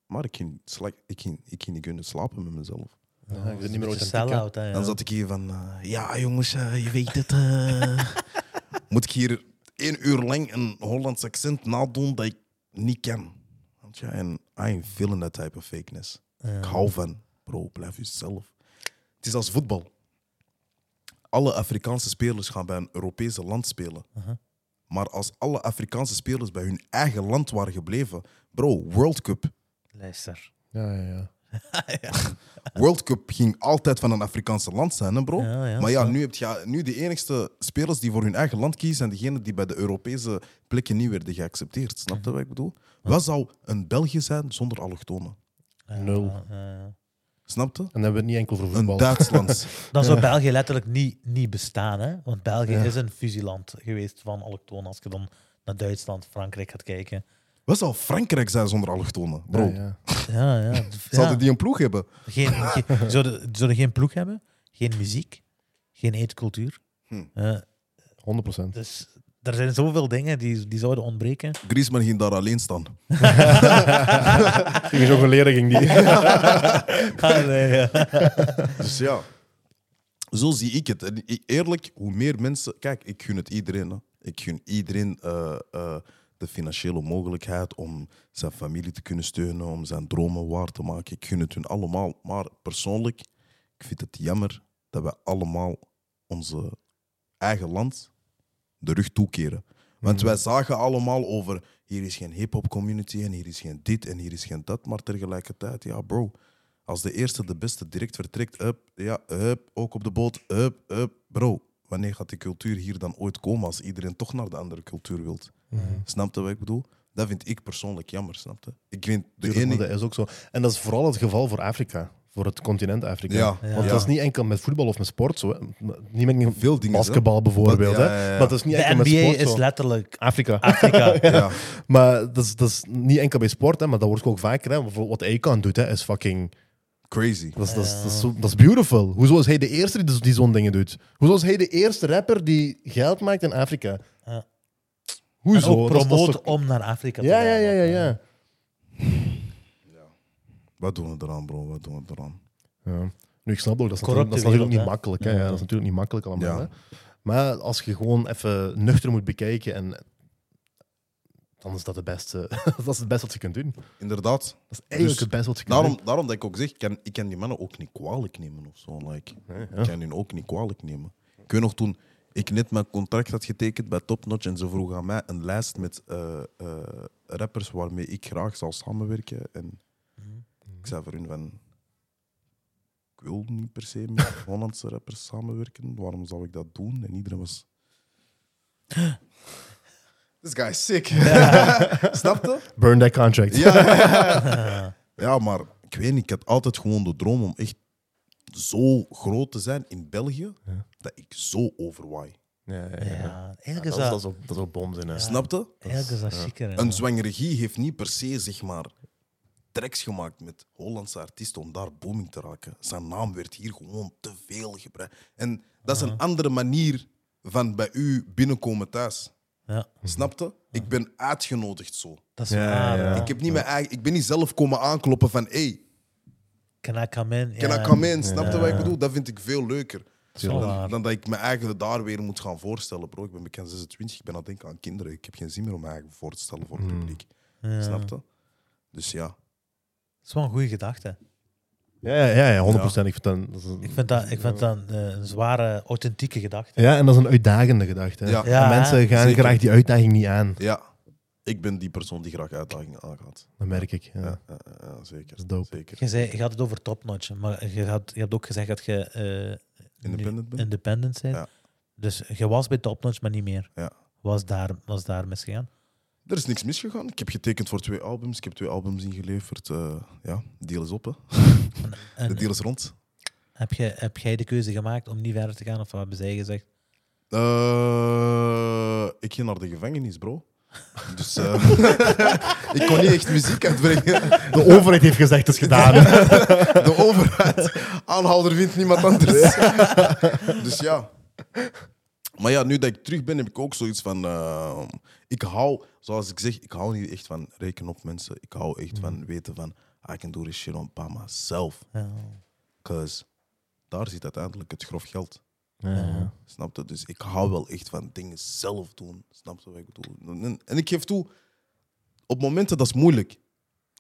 Speaker 1: Maar ik ging, sla- ik, ging, ik ging niet kunnen slapen met mezelf.
Speaker 2: Ja, ik zit niet meer
Speaker 3: Een
Speaker 2: authentiek. hè.
Speaker 3: sell-out, hè, ja.
Speaker 1: Dan zat ik hier van, eh, ja jongens, eh, je weet het. eh." Moet ik hier één uur lang een Hollands accent nadoen dat ik niet ken? Want ja, en I'm feeling that type of fakeness. Ik hou van, bro, blijf jezelf. Het is als voetbal. Alle Afrikaanse spelers gaan bij een Europese land spelen. Maar als alle Afrikaanse spelers bij hun eigen land waren gebleven, bro, World Cup.
Speaker 3: Luister.
Speaker 2: Ja, ja, ja.
Speaker 1: World Cup ging altijd van een Afrikaanse land zijn, hè, bro.
Speaker 3: Ja, ja,
Speaker 1: maar ja, nu heb je nu de enigste spelers die voor hun eigen land kiezen zijn degenen die bij de Europese plekken niet werden geaccepteerd. Snap je wat ik bedoel? Wat zou een België zijn zonder allochtonen?
Speaker 2: Nul.
Speaker 3: Ja, ja, ja.
Speaker 1: Snap je?
Speaker 2: En dan hebben we het niet enkel voor
Speaker 1: Een
Speaker 2: voetbal.
Speaker 1: Duitsland.
Speaker 3: Dan zou België letterlijk niet, niet bestaan, hè? Want België is een fusieland geweest van allochtonen. Als je dan naar Duitsland, Frankrijk gaat kijken.
Speaker 1: Wat zou Frankrijk zijn zonder allochtonen? Bro,
Speaker 2: Ja, ja.
Speaker 3: Ja, ja.
Speaker 1: zouden
Speaker 3: ja.
Speaker 1: die een ploeg hebben?
Speaker 3: Geen, geen, zouden, zouden geen ploeg hebben, geen muziek, geen eetcultuur.
Speaker 1: Hm.
Speaker 3: Eh,
Speaker 2: 100 procent.
Speaker 3: dus er zijn zoveel dingen die, die zouden ontbreken.
Speaker 1: Griezmann ging daar alleen staan.
Speaker 2: Ik zo leren ging die.
Speaker 3: Ah, nee, ja.
Speaker 1: Dus ja, zo zie ik het. En i- eerlijk, hoe meer mensen. Kijk, ik gun het iedereen. Hè. Ik gun iedereen eh, eh, de financiële mogelijkheid om zijn familie te kunnen steunen, om zijn dromen waar te maken. Ik gun het hun allemaal. Maar persoonlijk, ik vind het jammer dat we allemaal onze eigen land de rug toekeren.
Speaker 2: Mm.
Speaker 1: Want wij zagen allemaal over hier is geen hip-hop community en hier is geen dit en hier is geen dat. Maar tegelijkertijd, ja, bro. Als de eerste de beste direct vertrekt, up, ja, up, ook op de boot, up, up. Bro, wanneer gaat die cultuur hier dan ooit komen als iedereen toch naar de andere cultuur wilt?
Speaker 2: Mm-hmm.
Speaker 1: Snap je wat ik bedoel? Dat vind ik persoonlijk jammer, snap je? Ik vind de
Speaker 2: Tuurlijk, maar
Speaker 1: enige...
Speaker 2: dat is ook zo. En dat is vooral het geval voor Afrika, voor het continent Afrika.
Speaker 1: Ja,
Speaker 2: Want
Speaker 1: ja.
Speaker 2: dat is niet enkel met voetbal of met sport. Zo, hè. niet met niet-
Speaker 1: Veel dingen,
Speaker 2: basketbal bijvoorbeeld.
Speaker 1: Dat- ja,
Speaker 2: hè.
Speaker 1: ja, ja.
Speaker 2: Maar dat is niet
Speaker 3: De
Speaker 2: enkel met
Speaker 3: NBA
Speaker 2: sport.
Speaker 3: is
Speaker 2: zo.
Speaker 3: letterlijk
Speaker 2: Afrika.
Speaker 3: Afrika.
Speaker 1: Ja,
Speaker 2: Maar dat is, dat is niet enkel bij sport, hè, maar dat wordt ook vaker. Hè. Bijvoorbeeld Wat Akon doet, hè, is fucking...
Speaker 1: crazy.
Speaker 2: Dat is, dat, is, dat, is, zo- dat is beautiful. Hoezo is hij de eerste die, dus- die zo'n dingen doet? Hoezo is hij de eerste rapper die geld maakt in Afrika?
Speaker 3: Ja. En
Speaker 2: Hoezo?
Speaker 3: ook
Speaker 2: Dat is- dat is
Speaker 3: promoot
Speaker 2: toch-
Speaker 3: om naar Afrika te
Speaker 2: Ja,
Speaker 3: gaan.
Speaker 2: ja, ja, ja,
Speaker 3: want,
Speaker 2: ja.
Speaker 1: Wat doen we eraan, bro? Wat doen we eraan?
Speaker 2: Ja. Nu, ik snap ook, dat is,
Speaker 3: Corrupte
Speaker 2: natuurlijk, dat is natuurlijk
Speaker 3: wereld,
Speaker 2: niet
Speaker 3: hè?
Speaker 2: makkelijk. Hè?
Speaker 3: Ja.
Speaker 2: Ja, dat is natuurlijk niet makkelijk allemaal.
Speaker 1: Ja.
Speaker 2: Hè? Maar als je gewoon even nuchter moet bekijken, en, dan is dat, de beste, dat is het beste wat je kunt doen.
Speaker 1: Inderdaad.
Speaker 2: Dat is eigenlijk
Speaker 1: Dus
Speaker 2: het beste wat je kunt
Speaker 1: Daarom, daarom dat ik ook zeg, ik kan, ik kan die mannen ook niet kwalijk nemen of zo. Like, Ik kan hun ook niet kwalijk nemen. Ik weet nog toen ik net mijn contract had getekend bij Top Notch en ze vroegen aan mij een lijst met eh, eh, rappers waarmee ik graag zou samenwerken. En ik zei voor hun van, ik wil niet per se met Hollandse rappers samenwerken. Waarom zou ik dat doen? En iedereen was... This guy is sick. Snap je?
Speaker 2: doen. Burn that contract.
Speaker 1: Ja, maar ik weet niet, ik had altijd gewoon de droom om echt zo groot te zijn in België, dat ik zo overwaai.
Speaker 2: Ja, ja, ja.
Speaker 3: eh,
Speaker 2: Ja,
Speaker 3: Ja,
Speaker 2: dat,
Speaker 3: eigenlijk
Speaker 2: is,
Speaker 3: is
Speaker 2: dat, is
Speaker 3: dat,
Speaker 2: ook, dat is ook bonzin. hè.
Speaker 1: Snap je?
Speaker 3: eigenlijk is dat chiquer. hè.
Speaker 1: Een zwangeregie heeft niet per se, zeg maar, tracks gemaakt met Hollandse artiesten om daar booming te raken. Zijn naam werd hier gewoon te veel gebruikt. En dat is een andere manier van bij u binnenkomen thuis.
Speaker 3: Ja,
Speaker 1: Snap je? Ik ben uitgenodigd zo.
Speaker 3: dat is
Speaker 2: Ja,
Speaker 3: waar.
Speaker 2: ja,
Speaker 3: hè.
Speaker 2: ja.
Speaker 1: Ik, heb niet mijn eigen, ik ben niet zelf komen aankloppen van hey,
Speaker 3: Can I come in?
Speaker 1: can
Speaker 3: ja.
Speaker 1: I come in? Snap je wat ik bedoel? Dat vind ik veel leuker.
Speaker 3: Dat is wel
Speaker 1: Dan,
Speaker 3: waar.
Speaker 1: dan dat ik me eigenlijk daar weer moet gaan voorstellen, bro. Ik ben bekend 26, ik ben aan het denken aan kinderen. Ik heb geen zin meer om me eigenlijk voor te stellen voor het publiek.
Speaker 3: Hmm. Ja.
Speaker 1: Snap je? Dus ja.
Speaker 3: Dat is wel een goede gedachte.
Speaker 2: Ja, ja, ja, ja, 100%. Ik vind dat, dat is een-
Speaker 3: Ik vind dat, ik vind dat een, eh, een zware, authentieke gedachte.
Speaker 2: ja, en dat is een uitdagende gedachte. hè.
Speaker 1: Ja.
Speaker 2: En
Speaker 3: Ja,
Speaker 2: mensen gaan
Speaker 1: zeker.
Speaker 2: graag die uitdaging niet aan.
Speaker 1: ja. Ik ben die persoon die graag uitdagingen aangaat.
Speaker 2: Dat merk ik. Ja.
Speaker 1: Ja, ja, ja, ja, zeker.
Speaker 2: is dope.
Speaker 1: Zeker.
Speaker 3: Je, zei, je had het over topnotch, maar je, had, je hebt ook gezegd dat je eh,
Speaker 1: Independent
Speaker 3: nu
Speaker 1: bent?
Speaker 3: independent bent.
Speaker 1: Ja.
Speaker 3: Dus je was bij topnotch, maar niet meer.
Speaker 1: Ja.
Speaker 3: Was daar, was daar misgegaan?
Speaker 1: Er is niks misgegaan. Ik heb getekend voor twee albums. Ik heb twee albums ingeleverd. Eh, ja, deal is op, hè. De
Speaker 3: En
Speaker 1: deal is rond.
Speaker 3: heb, je, heb jij de keuze gemaakt om niet verder te gaan? Of wat hebben zij gezegd?
Speaker 1: Eh, ik ging naar de gevangenis, bro. Dus eh, ik kon niet echt muziek uitbrengen.
Speaker 2: De overheid heeft gezegd, het is gedaan.
Speaker 1: De overheid. Aanhouder vindt niemand anders. dus ja. Maar ja, nu dat ik terug ben, heb ik ook zoiets van. eh, ik hou, zoals ik zeg, ik hou niet echt van "Ah, rekenen op mensen. Ik hou echt van weten van. I can do this shit on by myself.
Speaker 3: Ja.
Speaker 1: Cause daar zit uiteindelijk het grof geld.
Speaker 2: Ja, ja.
Speaker 1: Snap je? Dus ik hou wel echt van dingen zelf doen. Snap je wat ik bedoel? En- En ik geef toe, op momenten dat is moeilijk.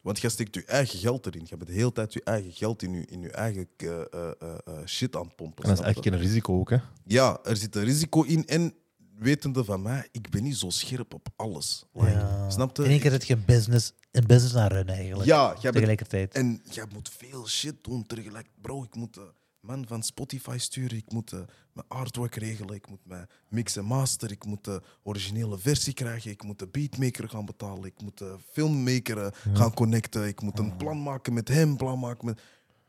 Speaker 1: Want jij steekt je eigen geld erin. Je bent de hele tijd je eigen geld in je, in je eigen eh, eh, eh, eh, shit aan het pompen.
Speaker 2: En dat is
Speaker 1: snap
Speaker 2: echt
Speaker 1: je?
Speaker 2: geen risico ook, hè?
Speaker 1: Ja, er zit een risico in. En wetende van mij, ik ben niet zo scherp op alles. Like,
Speaker 3: Ja.
Speaker 1: Snap je?
Speaker 3: In één keer dat je een business, een business aan runnen eigenlijk.
Speaker 1: Ja, jij bent
Speaker 3: Tegelijkertijd.
Speaker 1: en jij moet veel shit doen tegelijk. Bro, ik moet eh, man van Spotify sturen. Ik moet eh, mijn artwork regelen. Ik moet mijn mix en master. Ik moet de originele versie krijgen. Ik moet de beatmaker gaan betalen. Ik moet de filmmaker eh, gaan connecten. Ik moet
Speaker 3: Ah.
Speaker 1: een plan maken met hem. Plan maken met...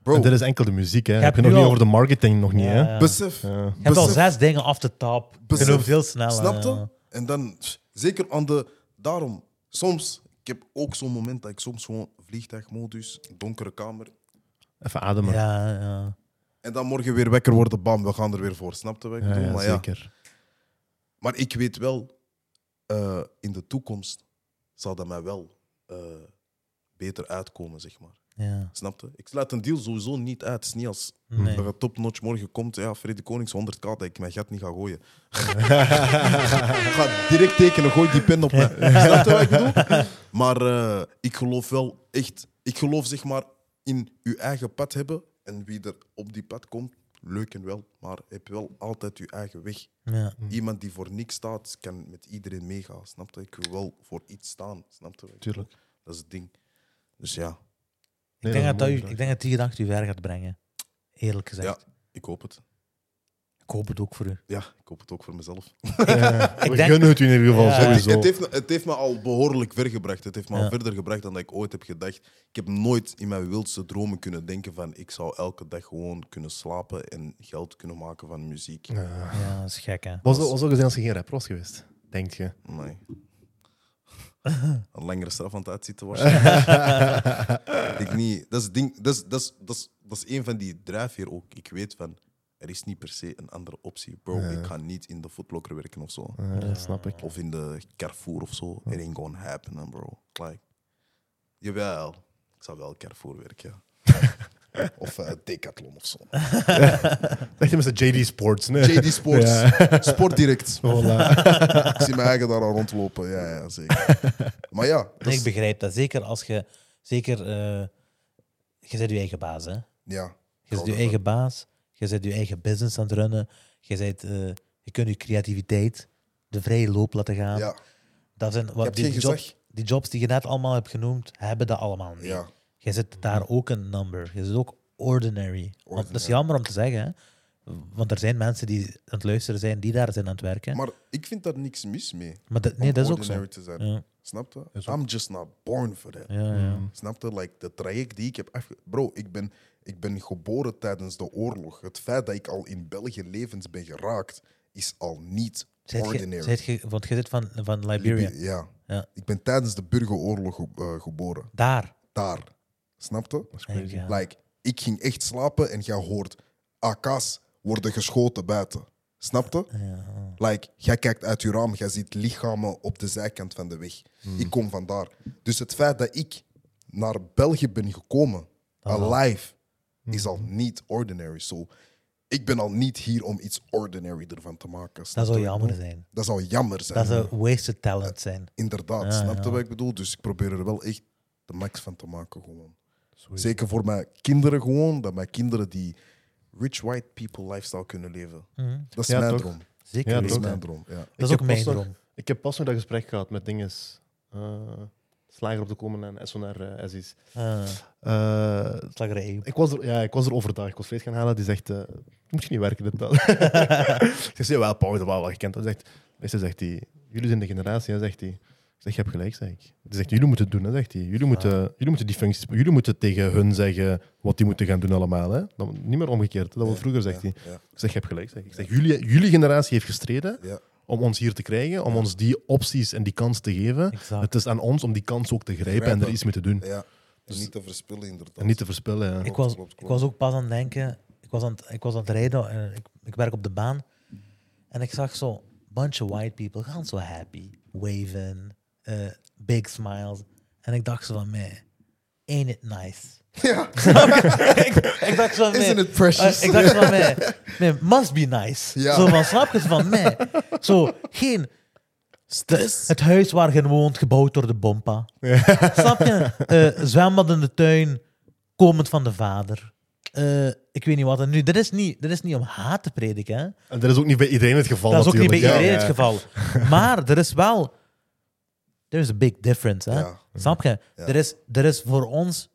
Speaker 1: Bro,
Speaker 2: En dit is enkel de muziek, hè?
Speaker 3: Je
Speaker 2: Heb
Speaker 3: hebt
Speaker 2: je nog
Speaker 3: nu
Speaker 2: niet
Speaker 3: al-
Speaker 2: over de marketing, nog niet, hè?
Speaker 3: Ja.
Speaker 1: besef.
Speaker 3: Je hebt al
Speaker 1: besef-
Speaker 3: zes dingen af de top. Je
Speaker 1: Besef.
Speaker 3: loopt eh. heel snel.
Speaker 1: Snap
Speaker 3: ja.
Speaker 1: je? En dan, pff, zeker aan de. Daarom, soms, ik heb ook zo'n moment dat ik soms gewoon vliegtuigmodus, donkere kamer.
Speaker 2: Even ademen. Ja,
Speaker 3: Ja, ja.
Speaker 1: En dan morgen weer wekker worden, bam, we gaan er weer voor. Snap je wat ik
Speaker 2: ja,
Speaker 1: bedoel? maar, ja.
Speaker 2: zeker.
Speaker 1: maar ik weet wel, eh, in de toekomst zal dat mij wel eh, beter uitkomen, zeg maar.
Speaker 3: ja.
Speaker 1: Snap je? Ik sluit een deal sowieso niet uit. Het is niet als
Speaker 3: Nee.
Speaker 1: er een topnotch morgen komt, ja, Freddy Konings 100k, dat ik mijn gat niet ga gooien. ik ga direct tekenen, gooi die pen op mij. Snap je wat ik bedoel? Maar eh, ik geloof wel echt, ik geloof zeg maar in je eigen pad hebben en wie er op die pad komt, leuk en wel, maar heb wel altijd je eigen weg.
Speaker 3: Ja.
Speaker 1: Iemand die voor niks staat, kan met iedereen meegaan. Snap je? Ik wil wel voor iets staan. Snap je? wat ik bedoel?
Speaker 2: Tuurlijk.
Speaker 1: Dat is het ding. Dus ja,
Speaker 2: Nee,
Speaker 3: Ik, denk dat dat
Speaker 2: is
Speaker 3: u,
Speaker 2: mooi.
Speaker 3: ik denk dat die gedachte u ver gaat brengen. Eerlijk gezegd.
Speaker 1: ja ik hoop het.
Speaker 3: Ik hoop het ook voor u.
Speaker 1: Ja, ik hoop het ook voor mezelf.
Speaker 2: Ja,
Speaker 3: Ik
Speaker 2: we
Speaker 3: denk-
Speaker 2: gunnen het u in ieder geval
Speaker 3: Ja.
Speaker 2: sowieso.
Speaker 1: Het heeft, me- het heeft me al behoorlijk ver gebracht. Het heeft me
Speaker 3: Ja.
Speaker 1: al verder gebracht dan dat ik ooit heb gedacht. Ik heb nooit in mijn wildste dromen kunnen denken van ik zou elke dag gewoon kunnen slapen en geld kunnen maken van muziek.
Speaker 2: Ja.
Speaker 3: Ja, dat is gek, hè?
Speaker 2: Was, was ook gezien als je geen rapper was geweest, denk je?
Speaker 1: Nee. Een langere straf aan het uitzitten waarschijnlijk. Ik denk niet. Dat is, het ding, dat, is, dat, is, dat, is, dat is een van die drijfveer ook. Ik weet van, er is niet per se een andere optie. Bro, ik ga niet in de footlocker werken of zo.
Speaker 2: Ja, dat snap ik.
Speaker 1: Of in de Carrefour of zo. It ain't gonna happen, eh, bro. Like, jawel. Ik zou wel Carrefour werken, ja. of eh, Decathlon of zo.
Speaker 2: Echt mensen JD Sports, nee.
Speaker 1: JD Sports. Sport direct.
Speaker 2: Voilà.
Speaker 1: Ik zie mijn eigen daar al rondlopen. Ja, ja zeker. Maar ja, dat
Speaker 3: Nee,
Speaker 1: is-
Speaker 3: ik begrijp dat. Zeker als je... Zeker... eh, je bent je eigen baas, hè?
Speaker 1: ja.
Speaker 3: Je bent
Speaker 1: Hou
Speaker 3: je
Speaker 1: ervan.
Speaker 3: eigen baas. Je bent je eigen business aan het runnen. Je, bent, eh, je kunt je creativiteit de vrije loop laten gaan.
Speaker 1: ja.
Speaker 3: Dat zijn,
Speaker 1: Je
Speaker 3: wat,
Speaker 1: hebt
Speaker 3: die,
Speaker 1: geen
Speaker 3: die jobs,
Speaker 1: gezag.
Speaker 3: die jobs die je net allemaal hebt genoemd, hebben dat allemaal niet.
Speaker 1: Ja. Hm.
Speaker 3: Je zit daar ook een number. Je zit ook ordinary. Want dat is
Speaker 1: Ordinary.
Speaker 3: jammer om te zeggen, hè? Want er zijn mensen die aan het luisteren zijn, die daar zijn aan het werken. Maar,
Speaker 1: Maar ik vind daar niks mis mee.
Speaker 3: dat,
Speaker 1: om
Speaker 3: nee, dat is ook zo.
Speaker 1: ordinary te zijn.
Speaker 3: Ja,
Speaker 1: Snap je? I'm just not born for that.
Speaker 3: ja, ja.
Speaker 1: Snap je? Like, de traject die ik heb afge... Bro, ik ben, ik ben geboren tijdens de oorlog. Het feit dat ik al in België levens ben geraakt, is al niet
Speaker 3: Zijt je,
Speaker 1: ordinary.
Speaker 3: zijt je, want je zit van, van Liberia.
Speaker 1: Libi- ja.
Speaker 3: Ja.
Speaker 1: Ik ben tijdens de burgeroorlog ge- eh, geboren.
Speaker 3: Daar.
Speaker 1: Daar. Snap je?
Speaker 3: denk ik, ja.
Speaker 1: Like, ik ging echt slapen en jij hoort AK's worden geschoten buiten. Snap je?
Speaker 3: Ja.
Speaker 1: Like, jij kijkt uit je raam, jij ziet lichamen op de zijkant van de weg.
Speaker 3: Hmm.
Speaker 1: Ik kom vandaar. Dus het feit dat ik naar België ben gekomen,
Speaker 3: Ah.
Speaker 1: alive, is
Speaker 3: Hmm.
Speaker 1: al niet ordinary. So, ik ben al niet hier om iets ordinary ervan te maken. snap
Speaker 3: Dat zou
Speaker 1: je wat ik
Speaker 3: jammer
Speaker 1: bedoel?
Speaker 3: zijn.
Speaker 1: Dat zou jammer zijn.
Speaker 3: Dat
Speaker 5: Eh,
Speaker 3: zou wasted talent zijn.
Speaker 1: Inderdaad,
Speaker 3: Ja,
Speaker 1: snap je
Speaker 3: ja.
Speaker 1: wat ik bedoel? Dus ik probeer er wel echt de max van te maken. Gewoon. Zeker voor mijn kinderen gewoon. Dat mijn kinderen die rich white people lifestyle kunnen leven. Dat is
Speaker 2: Mhm. Ja,
Speaker 1: mijn
Speaker 2: toch?
Speaker 1: droom.
Speaker 3: Zeker.
Speaker 2: Ja,
Speaker 1: Dat is
Speaker 2: toch?
Speaker 1: mijn droom, ja.
Speaker 3: Dat is
Speaker 2: Ik
Speaker 3: ook
Speaker 2: heb
Speaker 3: mijn
Speaker 2: pas nog-
Speaker 3: droom.
Speaker 2: Ik heb pas nog dat gesprek gehad met dinges. eh, slager op de komen en SO naar eh, SI's.
Speaker 3: Eh,
Speaker 2: Eh,
Speaker 3: slagerij.
Speaker 2: ik, was er, ja, ik was er overdag. Ik was vlees gaan halen. Die zegt, eh, moet je niet werken dit dat. ik zeg, wel, Paul, dat wel gekend. Hij zegt, meester zegt hij, jullie zijn de generatie, hè, zegt hij. Ik zeg, je hebt gelijk, zeg ik. Hij zegt, jullie moeten het doen, hè, zegt hij.
Speaker 1: Ah.
Speaker 2: Jullie moeten, jullie moeten die functies... Jullie moeten tegen hun zeggen wat die moeten gaan doen allemaal, hè. Dan, niet meer omgekeerd, hè, dat was vroeger, zegt hij.
Speaker 1: ja.
Speaker 2: Ik zeg, je hebt gelijk, zeg ik. Ik zeg, jullie, jullie generatie heeft gestreden
Speaker 1: Ja.
Speaker 2: om ons hier te krijgen, om ons die opties en die kans te geven.
Speaker 3: Exact.
Speaker 2: Het is aan ons om die kans ook te grijpen, en er
Speaker 1: Grijpen.
Speaker 2: iets mee te doen.
Speaker 1: Ja. En niet te verspillen, inderdaad.
Speaker 2: En niet te verspillen, ja.
Speaker 3: ik,
Speaker 1: klopt,
Speaker 3: was,
Speaker 1: klopt.
Speaker 3: ik was ook pas aan het denken. Ik was aan het, ik was aan het rijden. eh, Ik, ik werk op de baan. En ik zag zo bunch of white people gaan zo happy. Waven. eh, big smiles. En ik dacht zo van mij. ain't it nice?
Speaker 5: Ja.
Speaker 3: ik, ik dacht zo
Speaker 5: Isn't
Speaker 3: mee,
Speaker 5: it precious?
Speaker 3: eh, ik dacht van mij, nee, must be nice.
Speaker 5: Ja.
Speaker 3: Zo van, snap je van mij? Zo, geen...
Speaker 5: Stress.
Speaker 3: Het huis waar je woont, gebouwd door de bompa. Snap je? Eh, zwembad in de tuin, komend van de vader. Eh, ik weet niet wat. En nu, dit is niet, dit is niet om haat te prediken, hè.
Speaker 2: En dat is ook niet bij iedereen het geval.
Speaker 3: Dat is ook niet bij
Speaker 2: natuurlijk.
Speaker 3: iedereen
Speaker 2: Ja,
Speaker 3: het
Speaker 2: ja.
Speaker 3: geval. Maar er is wel... There is a big difference, hè?
Speaker 5: Ja.
Speaker 3: Snap je? Er, is, er is voor ons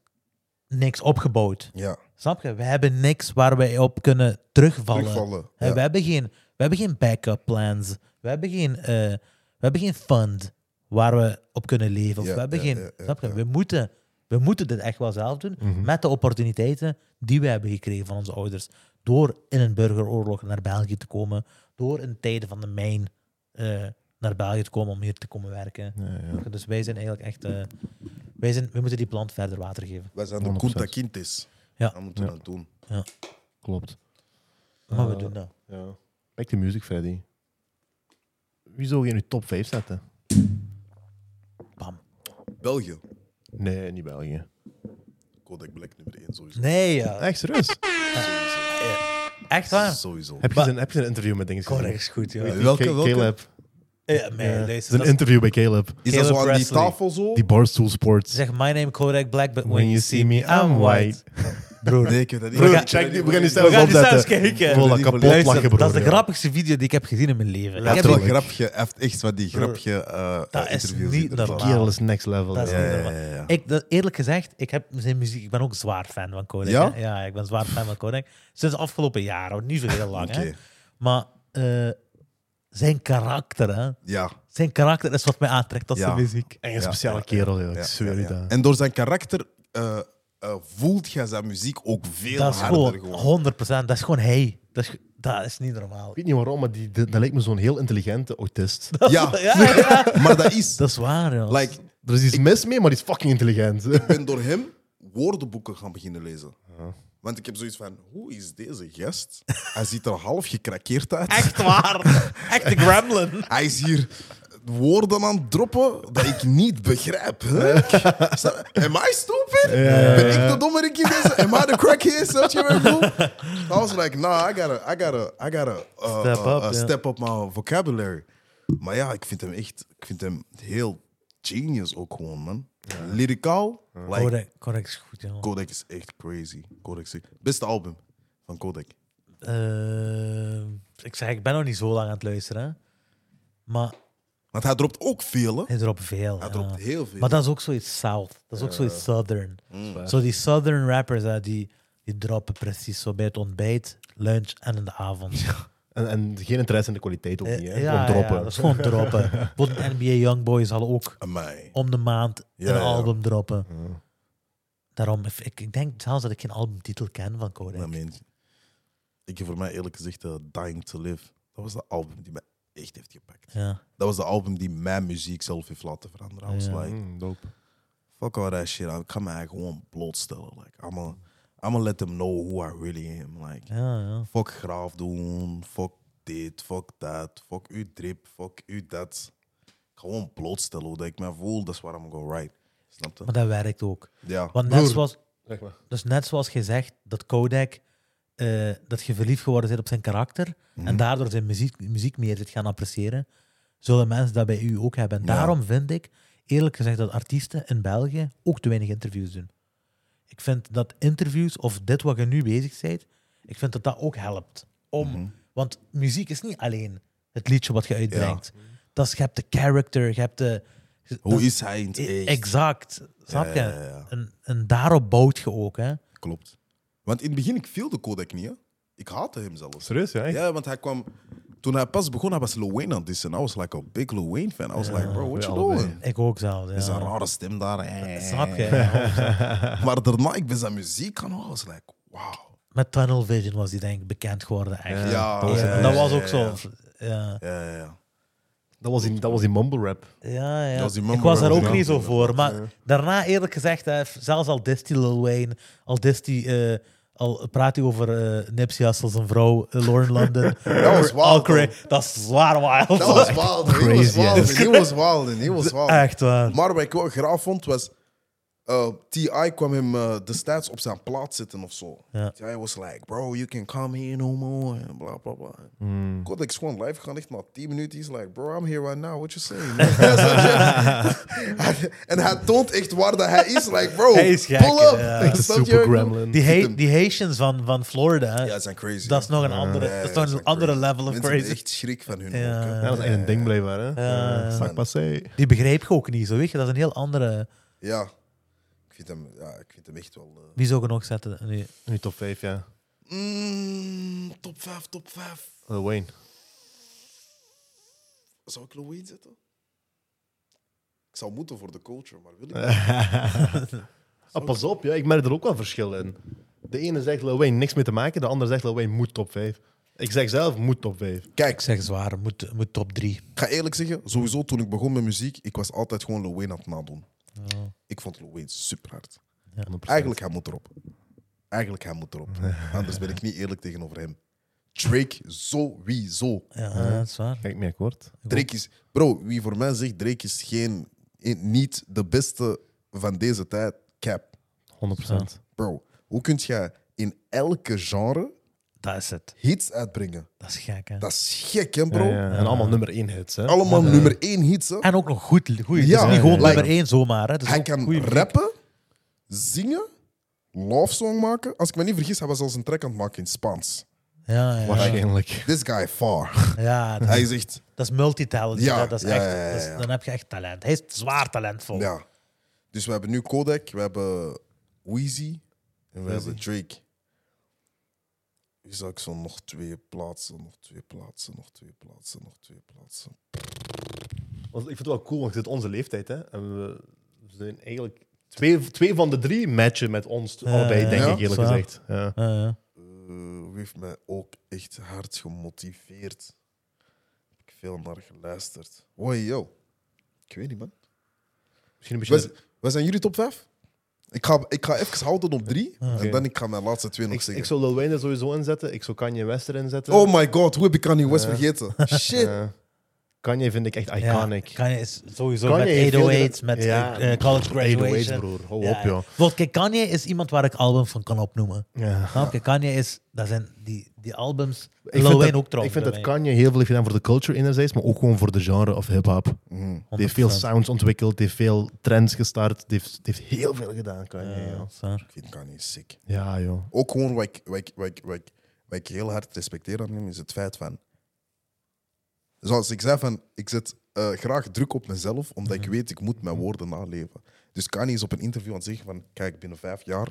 Speaker 3: niks opgebouwd.
Speaker 5: Ja.
Speaker 3: Snap je? We hebben niks waar wij op kunnen terugvallen.
Speaker 5: Terugvallen,
Speaker 3: Hè,
Speaker 5: ja.
Speaker 3: We, hebben geen, we hebben geen backup plans. We hebben geen, eh, we hebben geen fund waar we op kunnen leven. Of
Speaker 5: Ja,
Speaker 3: we hebben
Speaker 5: ja,
Speaker 3: geen,
Speaker 5: ja, Mhm. ja,
Speaker 3: snap je? We, moeten, we moeten dit echt wel zelf doen met de opportuniteiten die we hebben gekregen van onze ouders. Door in een burgeroorlog naar België te komen. Door in tijden van de mijn eh, naar België te komen om hier te komen werken. Snap je? Dus wij zijn eigenlijk echt... eh, wij, zijn, wij moeten die plant verder water geven.
Speaker 5: Wij zijn de
Speaker 2: 100%.
Speaker 5: Kunta Kintes.
Speaker 3: Ja.
Speaker 5: Dat moeten we dat doen.
Speaker 2: Klopt.
Speaker 3: Maar we
Speaker 5: Ah,
Speaker 2: Eh,
Speaker 3: doen dat.
Speaker 2: Ja. Back to music, Freddy. Wie zou je in je top 5 zetten?
Speaker 3: Bam.
Speaker 5: België.
Speaker 2: Nee, niet België.
Speaker 5: Kodak Black nummer 1 sowieso.
Speaker 3: Nee, ja.
Speaker 2: Echt serieus?
Speaker 3: Echt waar?
Speaker 5: Sowieso.
Speaker 2: Ah. heb, je een, heb je een interview met dingen
Speaker 3: Correct is goed, joh.
Speaker 2: gezien?
Speaker 1: Welke,
Speaker 2: Ca-
Speaker 1: welke?
Speaker 2: Caleb.
Speaker 3: Ja, nee,
Speaker 2: Ja.
Speaker 3: deze.
Speaker 2: Zijn
Speaker 3: dat is-
Speaker 2: interview bij Caleb.
Speaker 5: Is dat
Speaker 3: Caleb
Speaker 5: zo aan die
Speaker 3: Presley.
Speaker 5: tafel zo?
Speaker 2: Die Barstool Sports.
Speaker 3: Zeg, my name Kodak Black, but when,
Speaker 2: When
Speaker 3: you see me, I'm white. Broer,
Speaker 1: Nee, ik heb dat niet.
Speaker 2: Broer,
Speaker 1: Ik heb
Speaker 2: check
Speaker 1: dat
Speaker 2: die-
Speaker 1: niet
Speaker 2: we gaan die
Speaker 1: gezien.
Speaker 2: zelfs
Speaker 3: gaan die
Speaker 2: opzetten.
Speaker 3: zelfs kijken.
Speaker 2: Voilà, kapot
Speaker 3: luister,
Speaker 2: lachen, broer.
Speaker 3: dat is de
Speaker 2: ja.
Speaker 3: grappigste video die ik heb gezien in mijn leven.
Speaker 1: Hij
Speaker 3: Ik
Speaker 1: heeft
Speaker 3: heb,
Speaker 1: wel
Speaker 2: Tuurlijk.
Speaker 1: grapje, hij heeft echt wat die grapje eh
Speaker 3: Dat
Speaker 1: eh,
Speaker 3: is
Speaker 1: interviews
Speaker 3: niet
Speaker 1: inderdaad.
Speaker 3: normaal.
Speaker 2: Kerel is next level.
Speaker 3: dat is
Speaker 2: ja.
Speaker 3: niet
Speaker 1: ja,
Speaker 3: normaal.
Speaker 1: ja, ja.
Speaker 3: Ik, dat, eerlijk gezegd, ik heb zijn muziek. Ik ben ook zwaar fan van Kodak.
Speaker 1: Ja?
Speaker 3: hè. ja ik ben zwaar fan van Kodak. Sinds de afgelopen jaren, hoor. niet zo heel lang. hè.
Speaker 1: Oké.
Speaker 3: Maar eh, zijn karakter, hè.
Speaker 1: Ja.
Speaker 3: Zijn karakter is wat mij aantrekt als
Speaker 1: Ja.
Speaker 3: zijn muziek.
Speaker 2: En een
Speaker 1: Ja,
Speaker 2: speciale
Speaker 1: ja,
Speaker 2: kerel, ja.
Speaker 1: Ja,
Speaker 2: ik zweer
Speaker 1: ja,
Speaker 2: je
Speaker 1: ja.
Speaker 2: dat.
Speaker 1: En door zijn karakter eh, eh, voelt je zijn muziek ook veel
Speaker 3: Dat is
Speaker 1: harder.
Speaker 3: gewoon
Speaker 1: Gewoon,
Speaker 3: 100%. Dat is gewoon hij. Dat is, dat is niet normaal.
Speaker 2: Ik weet niet waarom, maar die, dat dat lijkt me zo'n heel intelligente autist.
Speaker 1: Ja,
Speaker 3: Ja, ja.
Speaker 1: maar dat is.
Speaker 3: Dat is waar, joh.
Speaker 1: Like,
Speaker 2: Er is iets mis mee, maar die is fucking intelligent.
Speaker 1: ik ben door hem woordenboeken gaan beginnen lezen. Want ik heb zoiets van, hoe is deze gast? Hij ziet er half gekrakeerd uit.
Speaker 3: Echt waar. Echt de gremlin.
Speaker 1: Hij is hier woorden aan het droppen dat ik niet begrijp. Hè? Snap je? Am I stupid? Ben ik de dommerik in deze? Am I the crackhead? Snap je wat ik bedoel? I was like, nah, I gotta, I gotta, I gotta uh,
Speaker 3: Step
Speaker 1: uh,
Speaker 3: up,
Speaker 1: uh,
Speaker 3: ja.
Speaker 1: step up my vocabulary. Maar ja, ik vind hem echt, ik vind hem heel genius ook gewoon, man. Lyricaal, like,
Speaker 3: Correct, correct is goed, joh.
Speaker 1: Kodak is echt crazy. Kodak is echt- beste album van Kodak.
Speaker 3: Eh, ik zeg, ik ben nog niet zo lang aan het luisteren. hè. Maar
Speaker 1: Want hij dropt ook veel, hè?
Speaker 3: hij dropt veel.
Speaker 1: Hij
Speaker 3: ja.
Speaker 1: dropt heel veel.
Speaker 3: Maar dat is ook zoiets South. Dat is ook zoiets Southern.
Speaker 1: Mm.
Speaker 3: Zo die Southern rappers, hè, die, die droppen precies zo bij het ontbijt, lunch en in de avond.
Speaker 2: En, en geen interesse in de kwaliteit ook
Speaker 3: Eh,
Speaker 2: niet. Hè? Gewoon
Speaker 3: ja,
Speaker 2: droppen.
Speaker 3: ja, dat is gewoon droppen. Bijvoorbeeld NBA Youngboy zal ook
Speaker 1: Amai.
Speaker 3: om de maand
Speaker 1: Ja,
Speaker 3: een
Speaker 1: ja.
Speaker 3: album droppen. Daarom, ik- ik, ik denk zelfs dat ik geen albumtitel ken van Kodak.
Speaker 1: I mean, ik heb voor mij eerlijk gezegd eh, Dying to Live. Dat was de album die mij echt heeft gepakt.
Speaker 3: Ja.
Speaker 1: Dat was de album die mijn muziek zelf heeft laten veranderen. I was
Speaker 3: Ja.
Speaker 1: like,
Speaker 2: Mm, dope.
Speaker 1: fuck all that shit. Ik ga mij eigenlijk gewoon blootstellen. Like, I'ma, I'ma let them know who I really am. Like,
Speaker 3: Ja, ja.
Speaker 1: fuck graaf doen, fuck dit, fuck dat, fuck uw drip, fuck u dat. Gewoon blootstellen hoe dat ik me voel, dat is waar I'm gonna write. Snap je?
Speaker 3: Maar dat werkt ook.
Speaker 1: Ja.
Speaker 3: Want net
Speaker 2: Broer.
Speaker 3: zoals,
Speaker 2: Zeg maar.
Speaker 3: dus net zoals je zegt, dat Kodak, eh, dat je verliefd geworden bent op zijn karakter en daardoor zijn muziek, muziek meer zit gaan appreciëren, zullen mensen dat bij u ook hebben. En daarom vind ik, eerlijk gezegd, dat artiesten in België ook te weinig interviews doen. Ik vind dat interviews, of dit wat je nu bezig bent, ik vind dat dat ook helpt. Om, Want muziek is niet alleen het liedje wat je uitbrengt. Dat is, je hebt de character, je hebt de...
Speaker 1: Hoe is hij in het
Speaker 3: I-
Speaker 1: echt?
Speaker 3: Exact. Snap je?
Speaker 1: ja, ja, ja.
Speaker 3: En, en daarop bouwt je ook, hè?
Speaker 1: Klopt. Want in het begin, ik viel de Kodak niet. Hè. Ik haatte hem zelfs.
Speaker 2: Serieus, ja? echt?
Speaker 1: Ja, want hij kwam... Toen hij pas begon, hij was Lil Wayne aan het dissen. I was like a big Lil Wayne fan. I was like, bro, what
Speaker 2: we
Speaker 1: you
Speaker 2: allebei.
Speaker 1: doing?
Speaker 3: Ik ook zelf.
Speaker 1: Is een
Speaker 3: Ja.
Speaker 1: rare stem daar. eh.
Speaker 3: Snap je?
Speaker 1: Maar daarna, ik ben zijn muziek aan. I was like, wow.
Speaker 3: Met Tunnel Vision was die denk ik bekend geworden. Echt.
Speaker 1: Ja,
Speaker 3: Dat was-
Speaker 1: ja,
Speaker 3: dat
Speaker 1: ja,
Speaker 3: was ook
Speaker 1: ja,
Speaker 3: zo.
Speaker 1: ja.
Speaker 3: Ja,
Speaker 1: Ja, ja, ja.
Speaker 2: Dat, was die, dat was die mumble rap.
Speaker 3: ja. ja.
Speaker 1: Dat was die
Speaker 3: ik
Speaker 1: mumble
Speaker 3: was daar
Speaker 1: rap,
Speaker 3: ook
Speaker 1: ja.
Speaker 3: niet zo voor. Maar daarna, eerlijk gezegd, hè, zelfs al dist die Lil Wayne, al dist die, eh, al praat hij over eh, Nipsey Hussle, zijn vrouw, eh, Lauren London.
Speaker 5: Dat was
Speaker 3: Al
Speaker 5: wild.
Speaker 3: Cray-
Speaker 5: though.
Speaker 3: Dat is zwaar wild.
Speaker 5: Dat was wild. He was
Speaker 2: crazy, hè.
Speaker 5: wild. He was wild. He was wild.
Speaker 3: Echt waar.
Speaker 1: Maar wat ik wel graaf vond, was... eh, T.I. kwam hem eh, destijds op zijn plaats zitten of zo.
Speaker 3: Ja.
Speaker 1: T.I. was like, bro, you can come here no more. En bla, bla, bla.
Speaker 3: Hmm.
Speaker 1: Codex is gewoon live gegaan, echt na 10 minuten. He's like, bro, I'm here right now. What you saying? man?" Hij- en hij toont echt waar dat hij is. Like, bro,
Speaker 3: Hij is gek,
Speaker 1: pull up.
Speaker 3: ja.
Speaker 2: Echt een
Speaker 1: Snap je?
Speaker 2: super gremlin.
Speaker 3: Die,
Speaker 1: Ziet
Speaker 3: Ha-
Speaker 1: hem.
Speaker 3: die Haitians van, van Florida,
Speaker 1: Ja, ze zijn crazy.
Speaker 3: dat is nog een andere,
Speaker 1: Ja, Ah, ja,
Speaker 3: dat is
Speaker 1: ze
Speaker 3: nog een
Speaker 1: zijn
Speaker 3: andere
Speaker 1: crazy.
Speaker 3: level of
Speaker 1: Mensen hebben
Speaker 3: crazy.
Speaker 1: echt schrik van hun.
Speaker 3: Ja,
Speaker 1: ook, hè.
Speaker 3: ja,
Speaker 2: Ja, dat is echt een ding blijkbaar, hè? Eh,
Speaker 3: Ja.
Speaker 2: Zak passé.
Speaker 3: Die begrijp ik ook niet, zo weet je. Dat is een heel andere...
Speaker 1: Ja. Ik vind hem, ja, ik vind hem echt wel... eh,
Speaker 3: Wie zou ik er nog zetten? Nee.
Speaker 2: Nu top 5, ja.
Speaker 1: Mm, top 5, top 5.
Speaker 2: Lil Wayne.
Speaker 1: Zou ik Lil Wayne zetten? Ik zou moeten voor de culture, maar wil ik niet.
Speaker 2: Ah, pas op, ja, ik merk er ook wel verschil in. De ene zegt Lil Wayne niks mee te maken, de ander zegt Lil Wayne moet top 5. Ik zeg zelf moet top 5.
Speaker 1: Kijk,
Speaker 3: Ik zeg zwaar, moet, moet top 3.
Speaker 1: ik ga eerlijk zeggen, sowieso toen ik begon met muziek, ik was altijd gewoon Lil Wayne aan het nadoen. Ik vond Lil Wayne super hard.
Speaker 2: 100%.
Speaker 1: Eigenlijk, hij moet erop. Eigenlijk, hij moet erop. Anders ben ik niet eerlijk tegenover hem. Drake sowieso.
Speaker 3: Ja, dat is waar.
Speaker 2: Kijk, meer kort.
Speaker 1: Drake is... Bro, wie voor mij zegt Drake is geen, eh, niet de beste van deze tijd, cap.
Speaker 2: 100%.
Speaker 1: Bro, hoe kun jij in elke genre
Speaker 3: Dat is het.
Speaker 1: hits uitbrengen?
Speaker 3: Dat is gek, hè.
Speaker 1: Dat is gek, hè, bro?
Speaker 2: Ja, ja. En allemaal nummer 1 hits, hè?
Speaker 1: Allemaal nummer 1 hits, hè?
Speaker 3: En ook nog goed. goed. het
Speaker 1: Ja,
Speaker 3: is niet gewoon
Speaker 1: ja, ja.
Speaker 3: nummer 1 zomaar. Hè. Het is
Speaker 1: Hij
Speaker 3: ook
Speaker 1: kan
Speaker 3: goeie muziek.
Speaker 1: rappen, zingen, love song maken. Als ik me niet vergis, hij was zelfs een track aan het maken in Spaans.
Speaker 3: Ja, ja, ja.
Speaker 2: Waarschijnlijk.
Speaker 1: This guy far.
Speaker 3: Ja, dat,
Speaker 1: Hij is echt...
Speaker 3: dat is multitalent.
Speaker 1: Ja,
Speaker 3: hè. dat is
Speaker 1: ja,
Speaker 3: echt,
Speaker 1: ja, ja,
Speaker 3: dat is-
Speaker 1: ja.
Speaker 3: dan heb je echt talent. Hij is zwaar talentvol.
Speaker 1: Ja. Dus we hebben nu Kodak, we hebben Weezy en we
Speaker 3: Weezy.
Speaker 1: hebben Drake. Wie zou ik zo nog twee plaatsen, nog twee plaatsen, nog twee plaatsen, nog twee plaatsen?
Speaker 2: Want ik vind het wel cool, want dit is onze leeftijd, hè? En we zijn eigenlijk. Twee, twee van de drie matchen met ons allebei, denk
Speaker 1: ja,
Speaker 2: ik eerlijk
Speaker 3: zwaar.
Speaker 2: gezegd. Ja.
Speaker 3: Ja, ja.
Speaker 1: Eh, wie heeft mij ook echt hard gemotiveerd? Heb ik veel naar geluisterd. Hoi, yo. Ik weet niet, man.
Speaker 2: Misschien een beetje.
Speaker 1: Wij, wij zijn jullie top 5? Ik ga, ik ga even houden op 3
Speaker 2: Ah, Oké.
Speaker 1: en dan ik ga mijn laatste twee nog
Speaker 2: Ik,
Speaker 1: zeggen.
Speaker 2: ik zou Lil Wayne er sowieso inzetten, ik zou Eh. Kanye West erin zetten.
Speaker 1: Oh my god, hoe heb ik Kanye West vergeten? Shit.
Speaker 2: Ja. Kanye vind ik echt
Speaker 3: Ja,
Speaker 2: iconic.
Speaker 3: Kanye is sowieso
Speaker 2: Kanye heeft
Speaker 3: met
Speaker 2: veel
Speaker 3: 808's,
Speaker 2: gedaan.
Speaker 3: met
Speaker 2: Ja.
Speaker 3: eh, eh, college
Speaker 2: 808's,
Speaker 3: graduation.
Speaker 2: broer. Hou
Speaker 3: Ja,
Speaker 2: op,
Speaker 3: ja.
Speaker 2: joh.
Speaker 3: Want kijk, Kanye is iemand waar ik albums van kan opnoemen.
Speaker 2: Ja.
Speaker 3: Snap je? Kanye is, dat zijn die, die albums.
Speaker 2: Ik
Speaker 3: Lil
Speaker 2: vind,
Speaker 3: Wayne
Speaker 2: dat,
Speaker 3: ook trouwens.
Speaker 2: ik vind dat
Speaker 3: bij mij.
Speaker 2: Kanye heel veel heeft gedaan voor de culture enerzijds, maar ook gewoon voor de genre of hip-hop. Mm. Die heeft veel
Speaker 3: 100%.
Speaker 2: sounds ontwikkeld, die heeft veel trends gestart, die heeft, die heeft heel veel gedaan, Kanye.
Speaker 3: Ja,
Speaker 2: joh.
Speaker 3: dat is waar.
Speaker 1: Ik vind Kanye sick.
Speaker 2: Ja, joh.
Speaker 1: Ook gewoon wat ik, wat, ik, wat, ik, wat, ik, wat ik heel hard respecteer aan hem is het feit van. Zoals ik zei, van, ik zet eh, graag druk op mezelf, omdat
Speaker 3: Mhm.
Speaker 1: ik weet ik moet mijn woorden naleven. Dus Kanye is op een interview aan het zeggen van, kijk, binnen vijf jaar,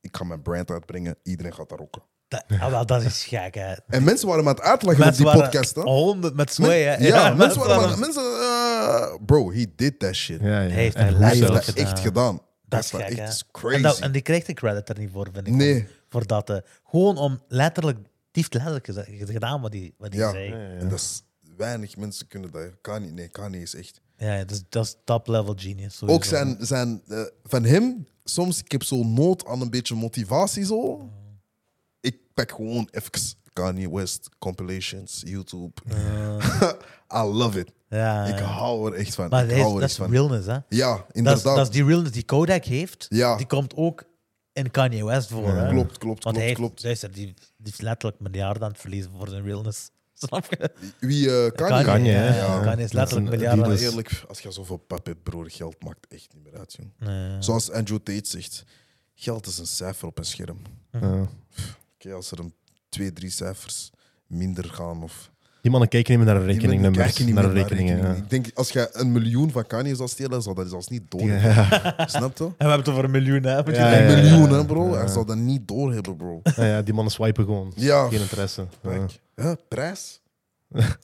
Speaker 1: ik ga mijn brand uitbrengen, iedereen gaat daar rocken.
Speaker 3: Dat, ah, wel, dat is gek, hè.
Speaker 1: En mensen waren me aan het uitlachen
Speaker 3: Mensen
Speaker 1: op die
Speaker 3: waren
Speaker 1: podcast. Hè?
Speaker 3: 100 met
Speaker 1: Men-
Speaker 3: Sway, hè.
Speaker 1: ja, mensen waren me aan-
Speaker 3: waren-
Speaker 1: mensen, eh, bro, he did that shit.
Speaker 2: Ja, ja.
Speaker 3: Hij heeft
Speaker 2: En
Speaker 3: een
Speaker 2: hoe
Speaker 1: Hij heeft
Speaker 2: zelfs.
Speaker 1: dat
Speaker 3: zelfs.
Speaker 1: echt gedaan.
Speaker 3: Dat is
Speaker 1: Hij heeft
Speaker 3: gek,
Speaker 1: echt
Speaker 3: hè.
Speaker 1: is
Speaker 3: En, dat-
Speaker 1: crazy.
Speaker 3: en die krijgt de credit er niet voor, vind ik.
Speaker 1: Nee.
Speaker 3: Voor, voor dat. eh, gewoon om letterlijk, die heeft letterlijk geze- gedaan wat hij wat die
Speaker 1: Ja.
Speaker 3: zei. Ja,
Speaker 1: En dat is, weinig mensen kunnen dat. Kanye, nee, Kanye is echt...
Speaker 3: ja, dus dat is top-level genius.
Speaker 1: Ook
Speaker 3: sowieso.
Speaker 1: zijn, zijn eh, van hem, soms ik heb zo nood aan een beetje motivatie zo. Ik pak gewoon even Kanye West compilations, YouTube. I love it.
Speaker 3: Ah. Ja,
Speaker 1: Ik
Speaker 3: ja.
Speaker 1: hou er echt van.
Speaker 3: Maar
Speaker 1: ik
Speaker 3: dat is,
Speaker 1: hou
Speaker 3: dat
Speaker 1: er
Speaker 3: is
Speaker 1: echt van.
Speaker 3: realness, hè.
Speaker 1: Ja,
Speaker 3: Dat is,
Speaker 1: inderdaad.
Speaker 3: dat is die realness die Kodak heeft,
Speaker 1: Ja.
Speaker 3: die komt ook in Kanye West voor. hè.
Speaker 1: Klopt, klopt,
Speaker 3: Want
Speaker 1: klopt,
Speaker 3: hij heeft,
Speaker 1: klopt.
Speaker 3: luister, die, die is letterlijk miljarden aan het verliezen voor zijn realness. Snap je?
Speaker 1: Wie eh Kanye?
Speaker 3: Kanye,
Speaker 2: Kanye,
Speaker 3: ja, dus-
Speaker 2: hè?
Speaker 3: ja. Kanye is
Speaker 2: Dat is een
Speaker 3: letterlijk miljarden aan
Speaker 1: Maar
Speaker 3: het
Speaker 2: Adidas.
Speaker 1: eerlijk, als je zoveel pap hebt, broer, geld maakt echt niet meer uit, jong.
Speaker 3: Nee.
Speaker 1: Zoals Andrew Tate zegt, geld is een cijfer op een scherm.
Speaker 2: Ja.
Speaker 1: Oké, als er een twee, drie cijfers minder gaan of
Speaker 2: Die mannen kijken niet meer naar de
Speaker 1: Die mensen
Speaker 2: rekeningnummers,
Speaker 1: kijken niet
Speaker 2: naar de
Speaker 1: meer
Speaker 2: rekeningen.
Speaker 1: rekeningen. Ik denk, als jij een miljoen van Kanye zou stelen, zou dat zelfs niet
Speaker 2: ja.
Speaker 1: doorhebben. Snap je?
Speaker 3: En we hebben het over een miljoen, hè? Moet je
Speaker 2: Ja,
Speaker 1: Een
Speaker 3: denken.
Speaker 2: ja,
Speaker 1: miljoen, hè, bro. Hij zou dat niet doorhebben, bro.
Speaker 2: Ja, ja, die mannen swipen gewoon.
Speaker 1: Ja.
Speaker 2: Geen interesse. Ja.
Speaker 1: Kijk. Huh, prijs?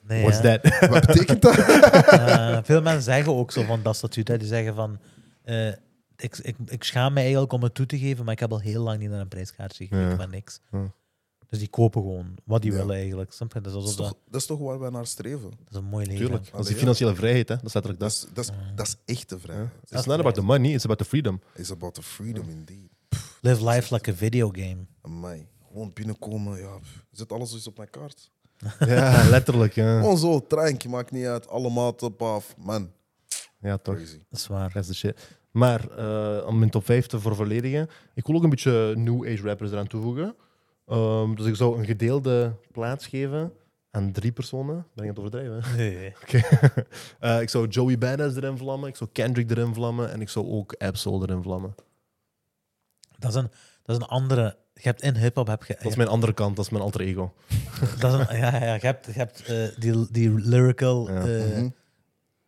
Speaker 3: Nee,
Speaker 2: What's
Speaker 3: hè.
Speaker 2: that?
Speaker 1: Wat betekent dat?
Speaker 3: Eh, veel mensen zeggen ook zo van dat statuut. Hè. Die zeggen van, eh, ik, ik, ik schaam me eigenlijk om het toe te geven, maar ik heb al heel lang niet naar een prijskaartje gekeken
Speaker 2: Ja.
Speaker 3: van niks.
Speaker 2: Ja.
Speaker 3: Dus die kopen gewoon wat die
Speaker 1: Ja.
Speaker 3: willen eigenlijk. Snap je? Dat is,
Speaker 1: Dat is,
Speaker 3: alsof
Speaker 1: toch,
Speaker 3: dat,
Speaker 1: dat is toch waar wij naar streven?
Speaker 3: dat is een mooi leven.
Speaker 2: Tuurlijk. Dat is die
Speaker 1: ja.
Speaker 2: financiële vrijheid, hè? Dat staat er
Speaker 1: Dat
Speaker 2: dat.
Speaker 1: is, dat is, dat is echte vrijheid.
Speaker 2: It's not about the money, it's about the freedom.
Speaker 1: It's about the freedom, indeed.
Speaker 3: Live life like a video game.
Speaker 1: Amai. Gewoon binnenkomen, ja. pff. Zet alles eens op mijn kaart.
Speaker 2: Ja, letterlijk. Ja.
Speaker 1: Oh. Gewoon zo, treintje, maakt niet uit. Alle maten, paf. Man,
Speaker 2: Ja, toch.
Speaker 1: Crazy.
Speaker 3: Dat is waar.
Speaker 2: Dat is de shit. Maar eh, om mijn top 5 te vervolledigen, ik wil ook een beetje New Age rappers eraan toevoegen. Ehm, dus ik zou een gedeelde plaats geven aan drie personen. Ben ik aan het overdrijven?
Speaker 3: Nee, nee.
Speaker 2: Oké. Eh, ik zou Joey Badass erin vlammen, ik zou Kendrick erin vlammen en ik zou ook Absol erin vlammen.
Speaker 3: Dat, is een, dat is een andere... Je hebt in hip-hop... Heb je,
Speaker 2: Dat is mijn andere kant, dat is mijn alter ego.
Speaker 3: dat is een- ja, ja, je hebt, je hebt eh, die, die lyrical...
Speaker 2: Ja.
Speaker 3: eh,
Speaker 1: Mhm.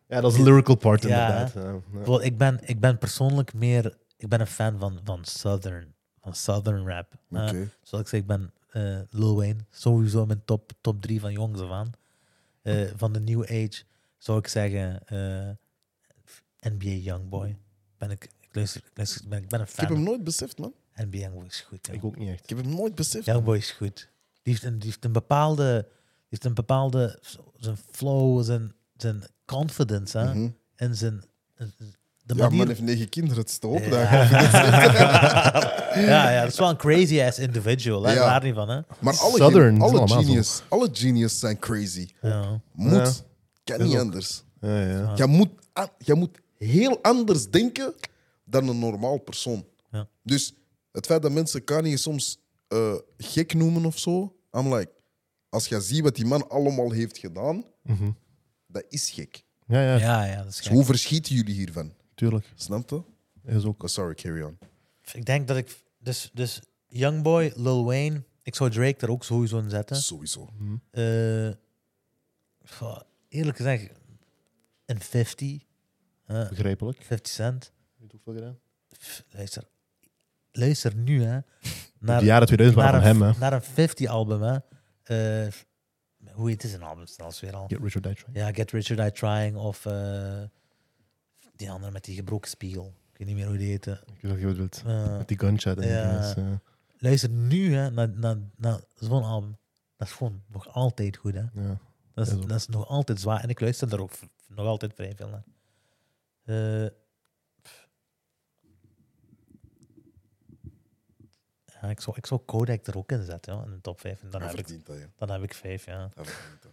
Speaker 2: Ja, dat is de lyrical part
Speaker 3: Ja,
Speaker 2: inderdaad. Ja, ja.
Speaker 3: bijvoorbeeld, ik, ben, ik ben persoonlijk meer... Ik ben een fan van, van Southern. Van Southern rap. Eh,
Speaker 1: Oké.
Speaker 3: Zoals ik zei, ik ben eh, Lil Wayne. Sowieso in mijn top, top drie van jongs af aan. Eh, van de New Age zou ik zeggen eh, NBA Youngboy. Ben ik, ik, luister, ik, luister, ik ben, ik ben een
Speaker 1: Ik heb hem
Speaker 3: fan.
Speaker 1: nooit beseft, man.
Speaker 3: NBA Youngboy is goed. jongen.
Speaker 2: Ik ook niet echt.
Speaker 1: Ik heb hem nooit beseft.
Speaker 3: Youngboy is goed. Die heeft een, die heeft een bepaalde... Die heeft een bepaalde... Zijn flow, zijn, zijn confidence, hè.
Speaker 1: Mhm.
Speaker 3: En zijn... en
Speaker 1: Ja,
Speaker 3: De manier...
Speaker 1: man heeft negen kinderen, het stopt.
Speaker 3: Ja.
Speaker 1: daar.
Speaker 3: ja, ja, dat is wel een crazy-ass individual. Hè?
Speaker 1: Ja.
Speaker 3: Daar niet van, hè.
Speaker 1: Maar alle,
Speaker 2: Southern,
Speaker 1: gen-
Speaker 2: dat is
Speaker 1: alle,
Speaker 2: allemaal zo.
Speaker 1: genius, alle genius zijn crazy.
Speaker 3: Ja.
Speaker 1: Moet.
Speaker 2: is
Speaker 1: Kan niet
Speaker 2: ook-
Speaker 1: anders.
Speaker 2: Ja, ja.
Speaker 1: Jij moet, a- jij moet heel anders denken dan een normaal persoon.
Speaker 3: Ja.
Speaker 1: Dus het feit dat mensen Kanye soms eh, gek noemen of zo, I'm like, als jij ziet wat die man allemaal heeft gedaan,
Speaker 2: Mhm.
Speaker 1: dat is gek.
Speaker 2: Ja, ja,
Speaker 3: Ja, ja, dat is
Speaker 1: Dus
Speaker 3: gek.
Speaker 1: hoe verschieten jullie hiervan?
Speaker 2: tuurlijk.
Speaker 1: Snap je?
Speaker 2: Is ook.
Speaker 1: Oh, sorry, carry on.
Speaker 3: Ik denk dat ik... Dus, dus Youngboy, Lil Wayne... Ik zou Drake er ook sowieso in zetten.
Speaker 1: Sowieso.
Speaker 2: Mhm.
Speaker 3: Eh, goh, eerlijk gezegd... Een 50. hè,
Speaker 2: Begrijpelijk.
Speaker 3: 50 cent.
Speaker 2: Heeft ook veel gedaan.
Speaker 3: Pff, Luister, luister nu, hè. Naar,
Speaker 2: De jaren 2000
Speaker 3: naar,
Speaker 2: waren
Speaker 3: een,
Speaker 2: van hem, hè.
Speaker 3: naar een 50-album, hè. Eh, hoe heet zijn album zelfs weer al?
Speaker 2: Get Rich or Die Trying.
Speaker 3: Ja, Get Richard Die Trying of eh, die andere met die gebroken spiegel. Ik weet niet meer hoe die heette.
Speaker 2: Ik weet niet wat je wilt.
Speaker 3: Eh,
Speaker 2: Met die gunshot en
Speaker 3: Ja.
Speaker 2: die dinges, eh.
Speaker 3: luister nu hè, naar, naar, naar zo'n album. Dat is gewoon nog altijd goed. Hè.
Speaker 2: Ja.
Speaker 3: Dat, is,
Speaker 2: Ja, zo.
Speaker 3: dat is nog altijd zwaar. En ik luister daar ook v- nog altijd vrij veel naar. Eh, pff. ja, ik, zou, ik zou Kodak er ook in zetten joh, in de top 5. En dan,
Speaker 1: Hij
Speaker 3: heb ik,
Speaker 1: verdient dat, ja.
Speaker 3: dan heb ik 5. Ja.
Speaker 1: Hij verdient dat.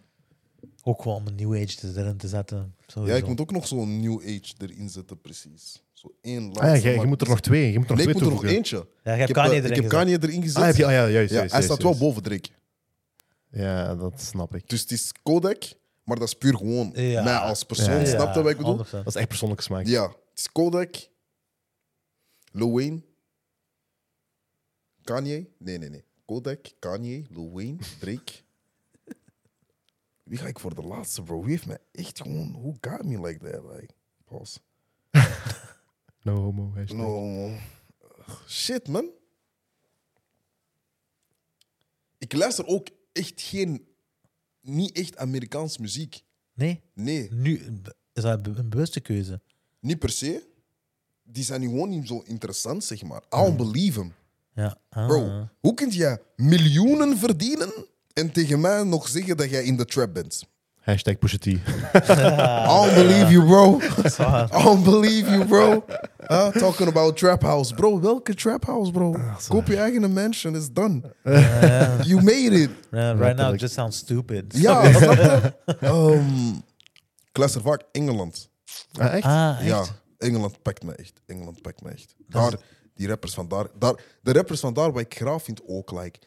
Speaker 3: Ook gewoon om een New Age te- erin te zetten.
Speaker 1: Ja,
Speaker 3: sowieso.
Speaker 1: ik moet ook nog zo'n new age erin zetten, precies. Zo één laatste.
Speaker 2: Ah, ja, je, je
Speaker 1: maar-
Speaker 2: moet er nog twee. Je moet er nog
Speaker 1: Nee, ik
Speaker 2: twee
Speaker 1: moet er nog
Speaker 2: toevoegen.
Speaker 1: eentje.
Speaker 3: ja, je
Speaker 1: Ik
Speaker 3: hebt
Speaker 1: heb,
Speaker 3: Kanye
Speaker 1: eh,
Speaker 3: erin
Speaker 1: ik heb
Speaker 3: gezet.
Speaker 1: Kanye erin gezet.
Speaker 2: Ah, heb je, ah, ja, juist,
Speaker 1: ja,
Speaker 2: juist,
Speaker 1: hij
Speaker 2: juist,
Speaker 1: staat wel
Speaker 2: juist.
Speaker 1: boven Drake.
Speaker 2: Ja, dat snap ik.
Speaker 1: Dus het is Kodak, maar dat is puur gewoon
Speaker 3: Ja.
Speaker 1: mij als persoon.
Speaker 2: Ja.
Speaker 1: Snap je wat ik bedoel?
Speaker 3: 100%.
Speaker 2: Dat is echt persoonlijke smaak.
Speaker 1: Ja, het is Kodak, Lil Wayne, Kanye. Nee, nee, nee. Kodak, Kanye, Lil Wayne, Drake. Wie ga ik voor de laatste, bro? Wie heeft mij echt gewoon... Who got me like that? Like, pause.
Speaker 2: No homo. hashtag.
Speaker 1: No. Ugh, Nou, Shit, man. Ik luister ook echt geen... Niet echt Amerikaans muziek.
Speaker 3: Nee,
Speaker 1: Nee.
Speaker 3: nu b- is dat be- een bewuste keuze.
Speaker 1: Niet per se. Die zijn gewoon niet zo interessant, zeg maar. I'll believe him.
Speaker 3: Ja. Ah.
Speaker 1: Bro, hoe kun jij miljoenen verdienen en tegen mij nog zeggen dat jij in de trap bent?
Speaker 2: Hashtag Pusha T.
Speaker 1: I'll believe you, bro.
Speaker 3: is waar.
Speaker 1: I'll believe you, bro. Huh? talking about trap house. Bro, welke trap house, bro? Koop je eigen mansion, it's done. You made it.
Speaker 3: Ja, right now
Speaker 2: Letterlijk.
Speaker 3: it just sounds stupid.
Speaker 1: Ja, snap je? Ehm, ik luister vaak Engeland.
Speaker 2: Ah, echt?
Speaker 3: Ah, echt?
Speaker 1: Ja, Engeland pakt me echt. Engeland pakt me echt. Daar, die rappers van daar, daar, de rappers van daar, wat ik graag vind ook, like,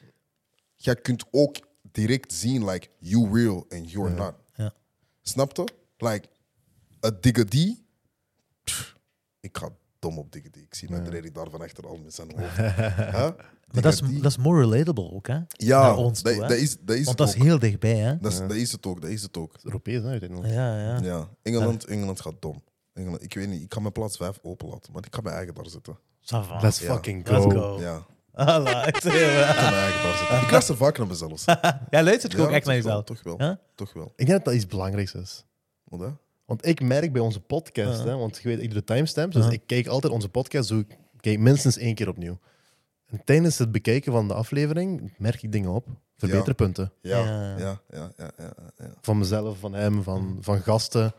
Speaker 1: jij kunt ook direct zien, like, you real and you're not.
Speaker 3: Ja.
Speaker 1: Snap je? Like, a diggity. Pff, ik ga dom op diggity. Ik zie mijn Reddy daar van achter al met zijn hoofd. Huh?
Speaker 3: Maar dat is,
Speaker 1: Diggity.
Speaker 3: dat is more relatable ook, hè?
Speaker 1: ja,
Speaker 3: Naar ons
Speaker 1: dat,
Speaker 3: toe, hè?
Speaker 1: dat is, dat is
Speaker 3: Want
Speaker 1: het
Speaker 3: dat is
Speaker 1: ook.
Speaker 3: heel dichtbij, hè?
Speaker 1: Dat is, dat is het ook, dat is het ook.
Speaker 2: Europees, hè, uiteindelijk.
Speaker 3: Ja, ja.
Speaker 1: Ja, Engeland, Engeland gaat dom. Engeland, ik weet niet, ik kan mijn plaats 5 openlaten, maar ik kan mijn eigen daar zitten.
Speaker 3: Ça va.
Speaker 2: Let's
Speaker 1: Ah, Ja.
Speaker 2: fucking
Speaker 3: Let's
Speaker 2: go.
Speaker 3: go. Ah,
Speaker 1: Ja.
Speaker 3: Voilà, ik zie je.
Speaker 1: Ik kan mijn eigen daar zitten. Ah, Ik luister vaak naar mezelf.
Speaker 3: Ja, luistert
Speaker 1: Ja,
Speaker 3: gewoon echt naar
Speaker 1: toch wel,
Speaker 3: jezelf.
Speaker 1: Toch wel.
Speaker 3: Huh?
Speaker 1: Toch wel.
Speaker 2: Ik denk dat dat iets belangrijks is.
Speaker 1: Wat, hè?
Speaker 2: Want ik merk bij onze podcast,
Speaker 3: Ja.
Speaker 2: hè, want je weet, ik doe de timestamps, dus
Speaker 3: Ja.
Speaker 2: ik kijk altijd onze podcast, doe ik kijk minstens één keer opnieuw. En tijdens het bekijken van de aflevering merk ik dingen op, verbeterpunten.
Speaker 1: Ja,
Speaker 3: Ja.
Speaker 1: ja, ja, ja, ja, ja, ja.
Speaker 2: Van mezelf, van hem, van, van gasten.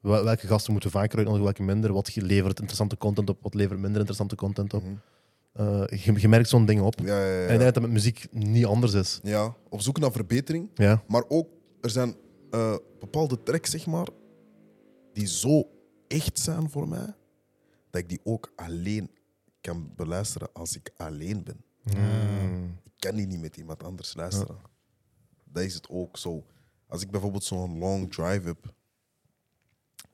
Speaker 2: Wel- Welke gasten moeten vaker uitnodigen, welke minder. Wat ge- levert interessante content op, wat levert minder interessante content op.
Speaker 1: Mhm.
Speaker 2: Eh, je, je merkt zo'n dingen op.
Speaker 1: Ja, ja,
Speaker 2: En
Speaker 1: ja,
Speaker 2: ik denk
Speaker 1: ja.
Speaker 2: dat dat met muziek niet anders is.
Speaker 1: Ja, op zoek naar verbetering.
Speaker 2: Ja,
Speaker 1: Maar ook, er zijn eh, bepaalde tracks, zeg maar, die zo echt zijn voor mij, dat ik die ook alleen kan beluisteren als ik alleen ben. Ik kan die niet met iemand anders luisteren. Dat is het ook zo. Als ik bijvoorbeeld zo'n long drive heb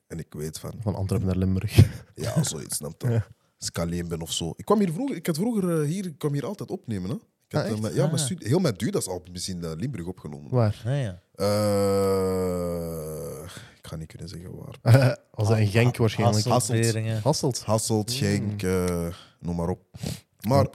Speaker 1: en ik weet van,
Speaker 2: Van Antwerpen naar Limburg.
Speaker 1: ja, zoiets, snap je? Als ik alleen ben of zo. Ik kwam hier vroeger, ik had vroeger eh, hier, ik kwam hier altijd opnemen. Hè? Ik had,
Speaker 2: Ah,
Speaker 1: eh,
Speaker 2: echt?
Speaker 1: mijn- ja,
Speaker 3: Ah.
Speaker 1: mijn studie- heel mijn duur, dat is al misschien in Limburg opgenomen.
Speaker 2: Waar?
Speaker 3: Ah, ja.
Speaker 1: Eh, ik ga niet kunnen zeggen waar.
Speaker 2: Als dat in Genk waarschijnlijk.
Speaker 3: Hasselt, Beringen.
Speaker 2: Hasselt. Mm.
Speaker 1: Hasselt, Genk, eh, noem maar op. Maar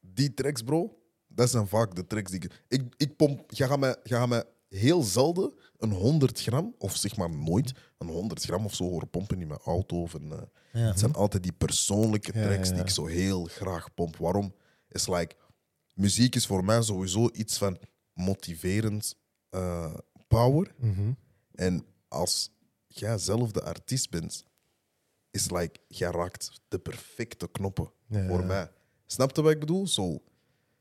Speaker 1: die tracks, bro, dat zijn vaak de tracks die ik... Ik, ik pomp... Jij gaat mij, jij gaat mij heel zelden een 100 gram, of zeg maar nooit, een 100 gram of zo horen pompen in mijn auto. Of een, eh,
Speaker 3: Ja.
Speaker 1: Het zijn altijd die persoonlijke
Speaker 2: Ja,
Speaker 1: tracks
Speaker 2: ja,
Speaker 1: die
Speaker 2: ja.
Speaker 1: ik zo heel graag pomp. Waarom? Is like... Muziek is voor mij sowieso iets van motiverend eh, power.
Speaker 2: Mhm.
Speaker 1: En als jij zelf de artiest bent, is like, jij raakt de perfecte knoppen
Speaker 2: Ja,
Speaker 1: voor
Speaker 2: ja.
Speaker 1: mij. Snap je wat ik bedoel? Zo,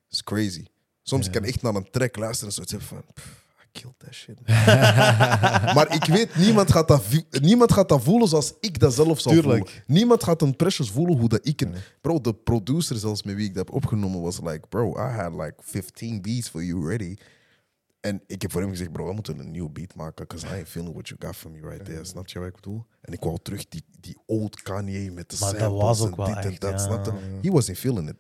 Speaker 1: is crazy. Soms kan ik echt naar een track luisteren en zoiets hebben van, "Pff, I killed that shit. maar ik weet, niemand gaat, dat, vi- niemand gaat dat voelen zoals ik dat zelf zou
Speaker 2: Tuurlijk.
Speaker 1: voelen. Niemand gaat een Precious voelen hoe dat ik... Een, bro, de producer zelfs met wie ik dat heb opgenomen was like, bro, I had like 15 beats for you ready. En ik heb voor hem gezegd, bro, we moeten een nieuwe beat maken. Because I ain't feeling what you got from me right there. Snap je wat ik bedoel? En ik wou terug die, die old Kanye met de
Speaker 3: Maar dat
Speaker 1: samples
Speaker 3: was ook
Speaker 1: en
Speaker 3: wel
Speaker 1: dit en
Speaker 3: echt,
Speaker 1: dat.
Speaker 3: ja.
Speaker 1: Snap je? He wasn't feeling it.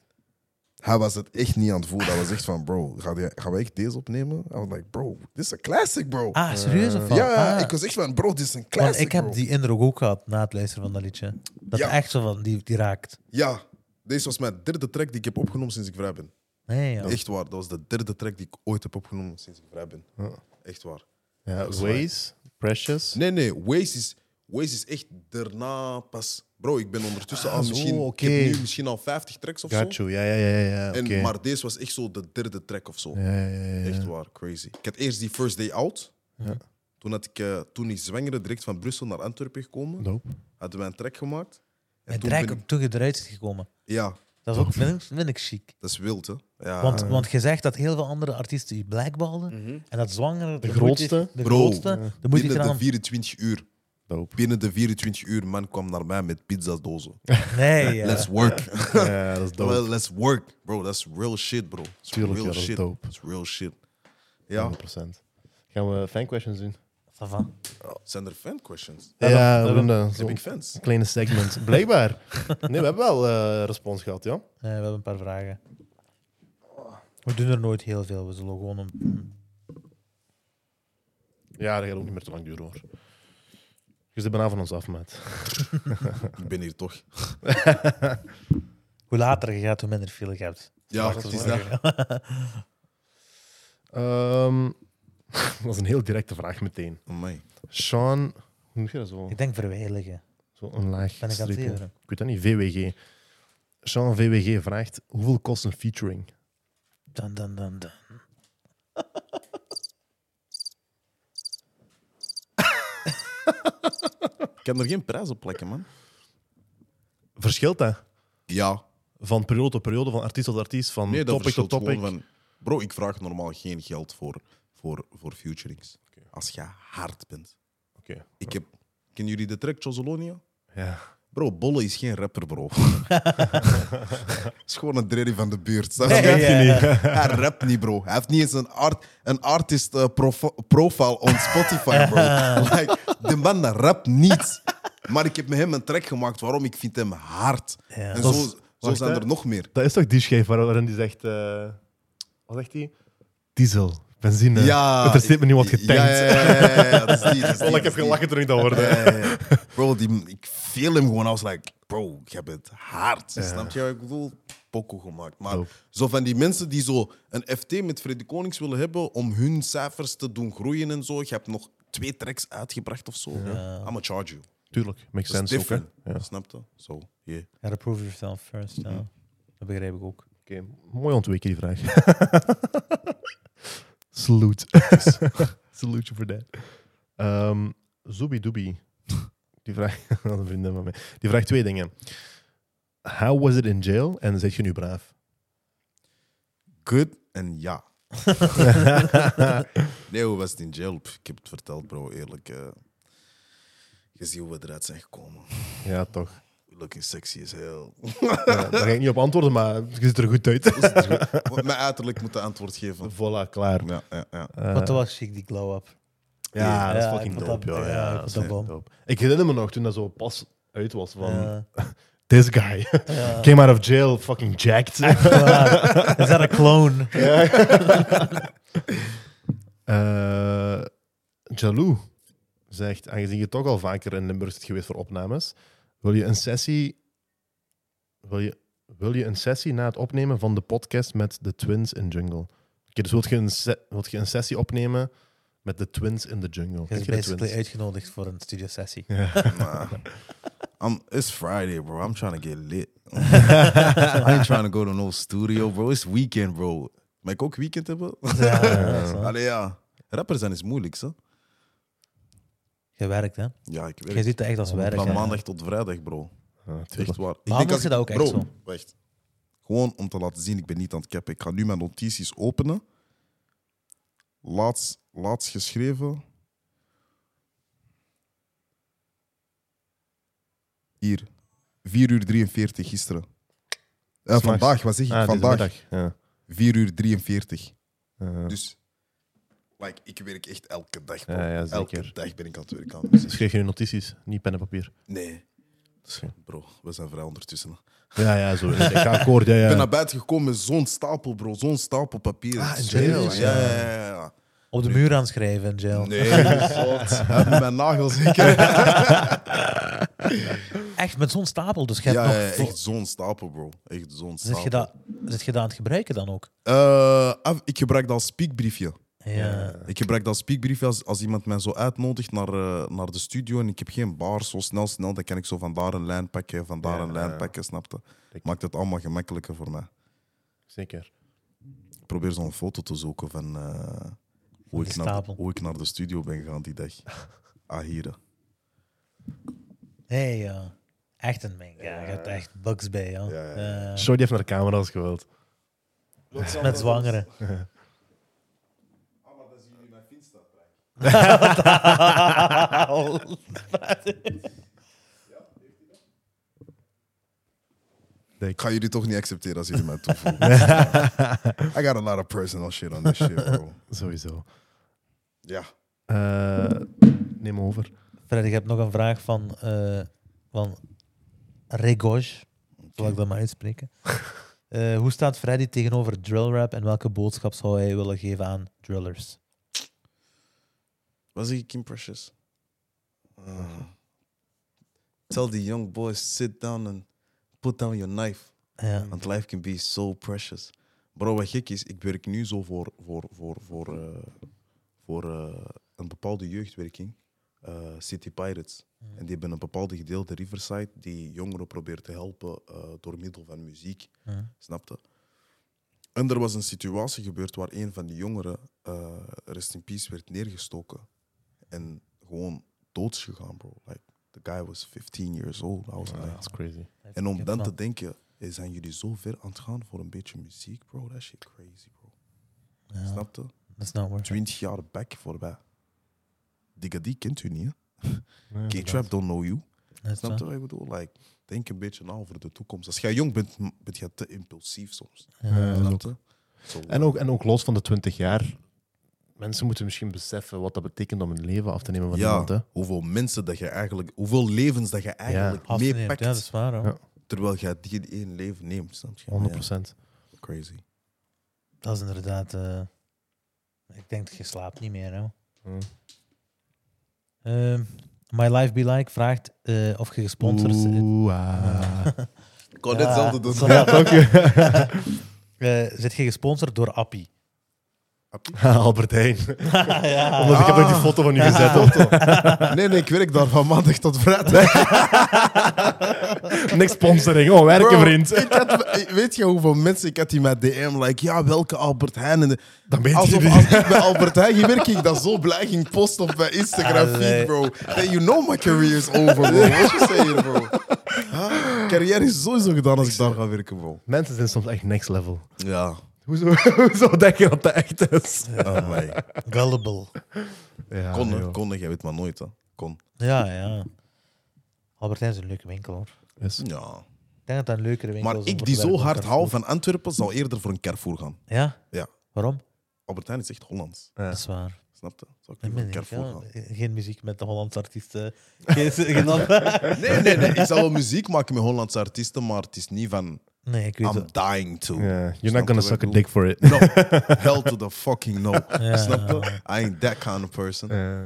Speaker 1: Hij was het echt niet aan het voelen. Hij was echt van, bro, gaan, die, gaan we echt deze opnemen? I was like, bro, dit is een classic, bro.
Speaker 3: Ah, serieus of wat?
Speaker 1: Eh, ja,
Speaker 3: Ah.
Speaker 1: ik was echt van, bro, dit is een
Speaker 3: Want
Speaker 1: classic,
Speaker 3: ik heb
Speaker 1: bro.
Speaker 3: die indruk ook gehad na het luisteren van dat liedje. Dat
Speaker 1: Ja.
Speaker 3: echt zo van, die, die raakt.
Speaker 1: Ja, deze was mijn derde track die ik heb opgenomen sinds ik vrij ben.
Speaker 3: Nee, ja.
Speaker 1: Echt waar, dat was de derde track die ik ooit heb opgenomen sinds ik vrij ben. Echt waar.
Speaker 2: Ja, Waze, Precious.
Speaker 1: Nee, nee, Waze is, Waze is echt daarna pas... Bro, ik ben ondertussen
Speaker 2: Ah,
Speaker 1: al
Speaker 2: zo,
Speaker 1: misschien...
Speaker 2: oké.
Speaker 1: Ik heb nu misschien al 50 tracks of zo.
Speaker 2: Got you. Ja, ja, ja. ja.
Speaker 1: En,
Speaker 2: oké.
Speaker 1: Maar deze was echt zo de derde track of zo.
Speaker 2: Ja, ja, ja, ja.
Speaker 1: Echt waar, crazy. Ik had eerst die First Day Out. Toen, had ik, eh, toen ik zwangere direct van Brussel naar Antwerpen gekomen,
Speaker 2: Dope.
Speaker 1: hadden wij een track gemaakt.
Speaker 3: En
Speaker 1: toen
Speaker 3: Drake
Speaker 1: ben
Speaker 3: ook terug eruit is gekomen.
Speaker 1: ik- ja,
Speaker 3: Dat is ook, vind ik, vind ik chic.
Speaker 1: dat is wild, hè? Ja.
Speaker 3: Want, want je zegt dat heel veel andere artiesten je blackbalden. En dat zwanger... De
Speaker 2: grootste.
Speaker 3: De
Speaker 1: Mhm. Bro,
Speaker 3: grootste. Dan moet je
Speaker 1: binnen de
Speaker 3: eraan...
Speaker 1: 24 uur.
Speaker 2: Dope.
Speaker 1: Binnen de 24 uur, man kwam naar mij met pizzadozen.
Speaker 3: Nee, ja.
Speaker 1: Let's work.
Speaker 2: Ja, dat is dope.
Speaker 1: Well, let's work, bro. That's real shit, bro. It's
Speaker 2: Tuurlijk,
Speaker 1: real
Speaker 2: ja, dat is
Speaker 1: shit.
Speaker 2: dope.
Speaker 1: That's real shit. Ja,
Speaker 2: 100%. Gaan we fan questions doen?
Speaker 3: Ça va.
Speaker 1: zijn er fan questions?
Speaker 2: Ja,
Speaker 3: daarom-
Speaker 2: we
Speaker 3: daarom.
Speaker 2: doen dat.
Speaker 1: Heb
Speaker 2: Zo'n
Speaker 1: ik fans?
Speaker 2: kleine segment. Blijkbaar. Nee, we hebben wel eh, respons gehad, ja.
Speaker 3: Eh, we hebben een paar vragen. We doen er nooit heel veel. We zullen gewoon een...
Speaker 2: Ja, dat gaat ook niet meer te lang duren, hoor. Je zit bijna Dus van ons af, maat.
Speaker 1: Ik ben hier toch.
Speaker 3: Hoe later je gaat, hoe minder file je hebt.
Speaker 1: Ja, het is dat.
Speaker 2: Ehm, dat is een heel directe vraag meteen.
Speaker 1: Amai.
Speaker 2: Sean, hoe noem je dat zo?
Speaker 3: Ik denk verwijligen.
Speaker 2: Zo een laag
Speaker 3: Ben ik aan het
Speaker 2: streepje.
Speaker 3: leren?
Speaker 2: Ik weet dat niet, VWG. Sean VWG vraagt, hoeveel kost een featuring?
Speaker 3: Dan, dan, dan, dan.
Speaker 1: Ik kan er geen prijs op plekken, man.
Speaker 2: Verschilt dat?
Speaker 1: Ja.
Speaker 2: Van periode tot periode, van artiest tot artiest, van
Speaker 1: Nee, dat
Speaker 2: topic tot
Speaker 1: verschilt
Speaker 2: topic?
Speaker 1: gewoon van... Bro, ik vraag normaal geen geld voor, voor, voor futurings. Als je hard bent.
Speaker 2: Oké.
Speaker 1: Ik heb... Kennen jullie de track Chosolonia?
Speaker 2: Ja.
Speaker 1: Bro, Bolle is geen rapper, bro. is gewoon een dreddy van de buurt. snap je?
Speaker 3: Nee, ja.
Speaker 1: Hij rapt niet, bro. Hij heeft niet eens een, art, een artist eh, profo- profile on Spotify, bro. like, de man dat rapt niet. Maar ik heb met hem een track gemaakt waarom ik vind hem hard. En
Speaker 2: Dat
Speaker 1: zo,
Speaker 2: is-
Speaker 1: zo
Speaker 2: wacht,
Speaker 1: zijn
Speaker 2: hè.
Speaker 1: er nog meer.
Speaker 2: Dat is toch die schijf waar- waarin die zegt... eh, wat zegt hij? Diesel, benzine.
Speaker 1: Ja.
Speaker 2: Het resteert me nu wat getankt.
Speaker 1: Ja, ja, ja, ja, ja, dat is die, dat is die,
Speaker 2: Oh, ik
Speaker 1: dat
Speaker 2: heb
Speaker 1: is die.
Speaker 2: gelachen toen ik dat hoorde.
Speaker 1: Ja, ja, ja. Eh, Bro, die, ik feel hem gewoon. I was like, bro, ik heb het hard. Snap je wat ik bedoel? Poco gemaakt. Maar
Speaker 2: Dope.
Speaker 1: zo van die mensen die zo een FT met Freddy Konings willen hebben om hun cijfers te doen groeien en zo. Je hebt nog twee tracks uitgebracht of zo. I'm gonna charge you.
Speaker 2: Tuurlijk, makes
Speaker 1: Dat is
Speaker 2: sense ook. hè.
Speaker 1: different.
Speaker 2: Ja.
Speaker 1: Snap je? Zo, yeah.
Speaker 3: Gotta prove yourself first. ja.
Speaker 1: Mhm.
Speaker 3: Dat begrijp ik ook.
Speaker 2: Oké, mooi ontweken die vraag. Salute. Salute you for that. Ehm Doobie. Die vraagt, dat is een vriendin van mij. Die vraagt twee dingen. How was it in jail? En zit je nu braaf?
Speaker 1: Good en ja. nee, hoe was het in jail? Pff, ik heb het verteld, bro. Eerlijk. eh, je Je ziet hoe we eruit zijn gekomen.
Speaker 2: Ja, toch.
Speaker 1: Looking sexy is heel.
Speaker 2: Ja, daar ga ik niet op antwoorden, maar het ziet er goed uit.
Speaker 1: Mijn uiterlijk moet de antwoord geven.
Speaker 2: voilà, klaar.
Speaker 1: Ja, ja, ja.
Speaker 3: Wat was chic, die glow-up.
Speaker 2: Ja, dat is
Speaker 3: Ja, ik
Speaker 2: fucking
Speaker 3: vond
Speaker 2: dope,
Speaker 3: dat-
Speaker 2: joh.
Speaker 3: ja,
Speaker 2: Ja,
Speaker 3: ik
Speaker 2: dat
Speaker 3: vond
Speaker 2: is
Speaker 3: dat
Speaker 2: echt
Speaker 3: bom.
Speaker 2: dope. Ik herinner me nog toen dat zo pas uit was van...
Speaker 3: Ja.
Speaker 2: This guy. Came out of jail, fucking jacked.
Speaker 3: Waar? Is dat een clone?
Speaker 2: Eh Jalou zegt, aangezien je toch al vaker in Limburg zit geweest voor opnames, wil je een sessie... Wil je, wil je een sessie na het opnemen van de podcast met de Twins in Jungle? Oké, dus wilt je, een se- wilt je een sessie opnemen met de Twins in de Jungle?
Speaker 3: Je
Speaker 2: Ken
Speaker 3: is
Speaker 2: je de
Speaker 3: basically
Speaker 2: Twins?
Speaker 3: uitgenodigd voor een studiosessie.
Speaker 1: Nah. I'm, it's Friday, bro. I'm trying to get lit. I ain't trying to go to no studio, bro. It's weekend, bro. Maar ik ook weekend hebben?
Speaker 3: Ja, dat is waar.
Speaker 1: Allee, ja. Rapper zijn is moeilijk, zo.
Speaker 3: Je werkt, hè?
Speaker 1: Ja, ik
Speaker 3: Je
Speaker 1: weet
Speaker 3: ziet het echt als werk.
Speaker 1: Van
Speaker 3: hè.
Speaker 1: maandag tot vrijdag, bro.
Speaker 2: Ah, tuurlijk.
Speaker 1: Echt waar. Ik
Speaker 3: Maar anders is dat ook echt
Speaker 1: bro,
Speaker 3: zo.
Speaker 1: wacht. Gewoon om te laten zien, ik ben niet aan het cappen. Ik ga nu mijn notities openen. Laatst, laatst geschreven. Hier. 4 uur 43 gisteren. Eh,
Speaker 2: S'nachts.
Speaker 1: vandaag, wat zeg ik?
Speaker 2: Ah, deze
Speaker 1: vandaag.
Speaker 2: middag, Ja.
Speaker 1: 4 uur 43.
Speaker 2: Eh,
Speaker 1: Dus like, ik werk echt elke dag. bro.
Speaker 2: Ja, ja,
Speaker 1: elke
Speaker 2: zeker.
Speaker 1: dag ben ik aan het werk aan de muziek.
Speaker 2: Schrijf Dus je nu notities, niet pen en papier.
Speaker 1: Nee.
Speaker 2: Oké.
Speaker 1: Bro, we zijn vrij ondertussen. hè.
Speaker 2: Ja, ja, zo. Ik ga akkoord, ja,
Speaker 1: Ik ben
Speaker 2: ja.
Speaker 1: naar buiten gekomen met zo'n stapel, bro. Zo'n stapel papier.
Speaker 2: Ah, in
Speaker 1: Serieus?
Speaker 2: jail,
Speaker 1: Ja, ja, ja. ja.
Speaker 3: Op de muur aanschrijven in jail.
Speaker 1: Nee, zot. Heb je mijn nagels zeker?
Speaker 3: Echt, met zo'n stapel. Dus je hebt
Speaker 1: Ja, ja,
Speaker 3: nog...
Speaker 1: echt zo'n stapel, bro. Echt zo'n stapel.
Speaker 3: Zit je, dat, zit je dat aan het gebruiken dan ook?
Speaker 1: Eh, af- ik gebruik dat als speakbriefje.
Speaker 3: Ja.
Speaker 1: Ik gebruik dat speakbriefje als, als iemand mij zo uitnodigt naar, eh, naar de studio en ik heb geen bar, zo snel, snel, dan kan ik zo van daar een lijn pakken, van daar
Speaker 2: Ja,
Speaker 1: een lijn
Speaker 2: ja.
Speaker 1: pakken, snapte? Maakt het allemaal gemakkelijker voor mij.
Speaker 2: Zeker.
Speaker 1: Ik probeer zo'n foto te zoeken van eh, hoe,
Speaker 3: die
Speaker 1: ik naar,
Speaker 3: stapel.
Speaker 1: hoe ik naar de studio ben gegaan die dag. Ah, hier.
Speaker 3: Hey, ja. Echt een mink. Ja, je hebt echt bugs bij, ja.
Speaker 1: ja,
Speaker 3: Eh,
Speaker 2: Sorry, die heeft naar de camera's gewild.
Speaker 3: met zwangeren.
Speaker 1: Ah, maar dat zien jullie mijn Finsta. Ik ga jullie toch niet accepteren als jullie mij toevoegen. I got a lot of personal shit on this shit, bro.
Speaker 2: Sowieso.
Speaker 1: Ja.
Speaker 2: Eh, neem over.
Speaker 3: Freddy, ik heb nog een vraag van, eh van Regoj. Zal ik dat maar uitspreken? Eh, hoe staat Freddy tegenover drill rap en welke boodschap zou hij willen geven aan drillers?
Speaker 1: Was he Kim Precious? Ah. Tell the young boys sit down and put down your knife.
Speaker 3: Ja.
Speaker 1: Want life can be so precious. Bro, wat gek is, ik werk nu zo voor, voor, voor, voor, eh, voor eh, een bepaalde jeugdwerking, eh, City Pirates. En die hebben een bepaalde gedeelte Riverside die jongeren probeert te helpen eh, door middel van muziek. Snapte? En er was een situatie gebeurd waar een van die jongeren, eh rest in peace, werd neergestoken. En gewoon dood is gegaan, bro. Like, the guy was 15 years old. I was like,
Speaker 2: Ah, Dat is crazy.
Speaker 1: en om dan
Speaker 3: plan.
Speaker 1: te denken, hey, zijn jullie zo ver aan het gaan voor een beetje muziek, bro? Dat shit crazy, bro.
Speaker 3: Ja,
Speaker 1: Snap je?
Speaker 3: Dat is nou waar.
Speaker 1: 20 jaar back voorbij. Digga, die kent u niet, hè?
Speaker 2: inderdaad.
Speaker 1: K-Trap don't know you.
Speaker 3: Dat is
Speaker 1: Snap je
Speaker 3: waar.
Speaker 1: wat ik bedoel? Like, denk een beetje na over de toekomst. Als jij jong bent, m- ben je te impulsief soms.
Speaker 2: Ja, dat
Speaker 1: Snap
Speaker 2: ook.
Speaker 1: je? Zo,
Speaker 2: eh, En ook, en ook los van de 20 jaar. Mensen moeten misschien beseffen wat dat betekent om hun leven af te nemen van
Speaker 1: ja,
Speaker 2: iemand. Hè?
Speaker 1: hoeveel mensen dat je eigenlijk, hoeveel levens dat je eigenlijk
Speaker 3: Afgeneemd,
Speaker 1: meepakt,
Speaker 3: Ja, dat is waar. hoor.
Speaker 2: Ja.
Speaker 1: terwijl jij die in één leven neemt. Snap je?
Speaker 2: 100
Speaker 1: Ja, crazy.
Speaker 3: Dat is inderdaad. eh, ik denk dat je slaapt niet meer. Hè.
Speaker 2: Hmm.
Speaker 3: Ehm, My Life Be Like vraagt eh, of je gesponsord zit.
Speaker 2: Oeh, ah.
Speaker 1: Ik kan net hetzelfde doen.
Speaker 3: zo- Eh, zit je gesponsord door Appie?
Speaker 2: Albert Heijn.
Speaker 3: ja.
Speaker 2: Omdat ik heb nog die foto van u gezet. hoor.
Speaker 1: Nee, nee, ik werk daar van maandag tot vrijdag.
Speaker 2: Niks sponsoring. Oh, werken,
Speaker 1: Bro,
Speaker 2: vriend.
Speaker 1: ik had- weet je hoeveel mensen ik had die met DM, like, ja, welke Albert Heijn? En de-
Speaker 2: Dan ben je
Speaker 1: Alsof
Speaker 2: niet.
Speaker 1: als ik bij Albert Heijn werk, ik dat zo blij ging posten op mijn Instagram feed,
Speaker 3: Allee.
Speaker 1: bro. That you know my career is over, bro. What you saying, bro? Ah, carrière is sowieso gedaan als ik daar ga werken, bro.
Speaker 2: Mensen zijn soms echt next level.
Speaker 1: Ja.
Speaker 2: Hoezo, hoezo denk je dat dat echt is?
Speaker 1: Oh, my.
Speaker 3: Gullible.
Speaker 2: Ja,
Speaker 1: Kon, hè.
Speaker 2: joh.
Speaker 1: kon, hè. jij weet maar nooit, hè. Kon.
Speaker 3: Ja, ja. Albertijn is een leuke winkel hoor.
Speaker 2: Yes.
Speaker 1: Ja.
Speaker 3: Ik denk dat dat een leukere winkel
Speaker 1: Maar
Speaker 3: is. om
Speaker 1: ik
Speaker 3: voor
Speaker 1: die
Speaker 3: te
Speaker 1: zo
Speaker 3: werken
Speaker 1: hard
Speaker 3: dan
Speaker 1: hou
Speaker 3: Carrefour.
Speaker 1: van Antwerpen, zal eerder voor een Carrefour gaan.
Speaker 3: Ja?
Speaker 1: Ja.
Speaker 3: Waarom?
Speaker 1: Albert Heijn is echt Hollands.
Speaker 3: Dat is waar.
Speaker 1: Snap je? Zou ik
Speaker 3: Dat
Speaker 1: liever
Speaker 3: ben
Speaker 1: een
Speaker 3: ik,
Speaker 1: Carrefour
Speaker 3: ja.
Speaker 1: gaan.
Speaker 3: Geen muziek met de Hollandse artiesten. Geen, geen andere-
Speaker 1: Nee, nee, nee. Ik zal wel muziek maken met Hollandse artiesten, maar het is niet van
Speaker 3: nee, ik weet
Speaker 1: I'm
Speaker 3: het.
Speaker 1: dying to.
Speaker 2: Yeah. You're
Speaker 1: Snap
Speaker 2: not gonna
Speaker 1: je wat ik
Speaker 2: suck a
Speaker 1: bedoel?
Speaker 2: dick for it.
Speaker 1: No. Hell to the fucking no.
Speaker 3: Ja.
Speaker 1: Snap je? I ain't that kind of person.
Speaker 2: Eh,
Speaker 3: Ja,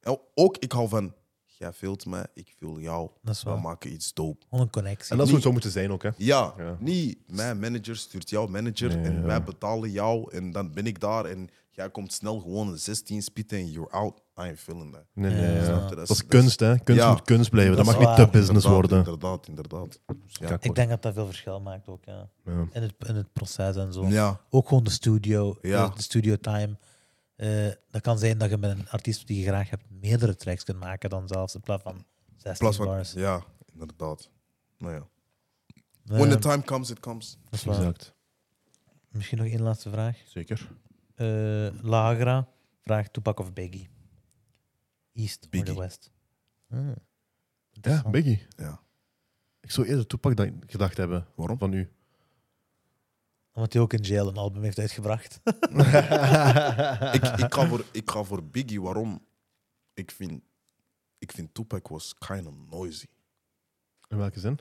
Speaker 1: En Ook, ik hou van, jij vult mij, ik vul jou.
Speaker 3: dat is
Speaker 1: We
Speaker 3: waar.
Speaker 1: maken iets dope.
Speaker 3: Gewoon een connectie.
Speaker 2: en dat zou het zo moeten zijn ook, hè?
Speaker 1: Ja,
Speaker 2: Ja.
Speaker 1: niet mijn manager stuurt jouw manager
Speaker 2: Nee,
Speaker 1: en
Speaker 2: ja.
Speaker 1: wij betalen jou en dan ben ik daar en jij komt snel gewoon een 16 spitten en you're out. I ain't feeling that.
Speaker 2: Nee, nee,
Speaker 3: Ja.
Speaker 2: ja.
Speaker 1: Snap je?
Speaker 2: Dat
Speaker 1: is-
Speaker 2: is kunst, hè? Kunst
Speaker 1: Ja.
Speaker 2: moet kunst blijven. Dat,
Speaker 3: Dat
Speaker 2: mag
Speaker 3: is
Speaker 2: niet te
Speaker 3: waar.
Speaker 2: business
Speaker 1: Inderdaad,
Speaker 2: worden.
Speaker 1: Inderdaad, inderdaad. Ja.
Speaker 2: Kijk,
Speaker 3: Ik denk dat dat veel verschil maakt ook. Ja.
Speaker 2: Ja.
Speaker 3: In, het, in het proces en zo.
Speaker 1: ja,
Speaker 3: Ook gewoon de studio,
Speaker 1: Ja.
Speaker 3: de, de studio time. Eh, dat kan zijn dat je met een artiest die je graag hebt meerdere tracks kunt maken dan zelfs in plaats van 16
Speaker 1: in plaats van,
Speaker 3: bars.
Speaker 1: ja, inderdaad. Nou ja.
Speaker 3: Nee,
Speaker 1: When the time comes, it comes.
Speaker 3: dat is waar.
Speaker 2: Exact.
Speaker 3: Misschien nog één laatste vraag.
Speaker 1: Zeker.
Speaker 3: Eh, Lagra vraagt Tupac of Biggie? East
Speaker 1: Biggie.
Speaker 3: or the West? Hmm.
Speaker 2: Ja,
Speaker 3: Interessant.
Speaker 2: Biggie.
Speaker 1: Ja.
Speaker 2: Ik zou eerder Toepak dan gedacht hebben
Speaker 1: Waarom?
Speaker 2: van u.
Speaker 3: Omdat hij ook in jail een album heeft uitgebracht.
Speaker 1: ik, ik, ga voor, ik ga voor Biggie, waarom? Ik vind, ik vind Tupac was kind of noisy.
Speaker 2: In welke zin?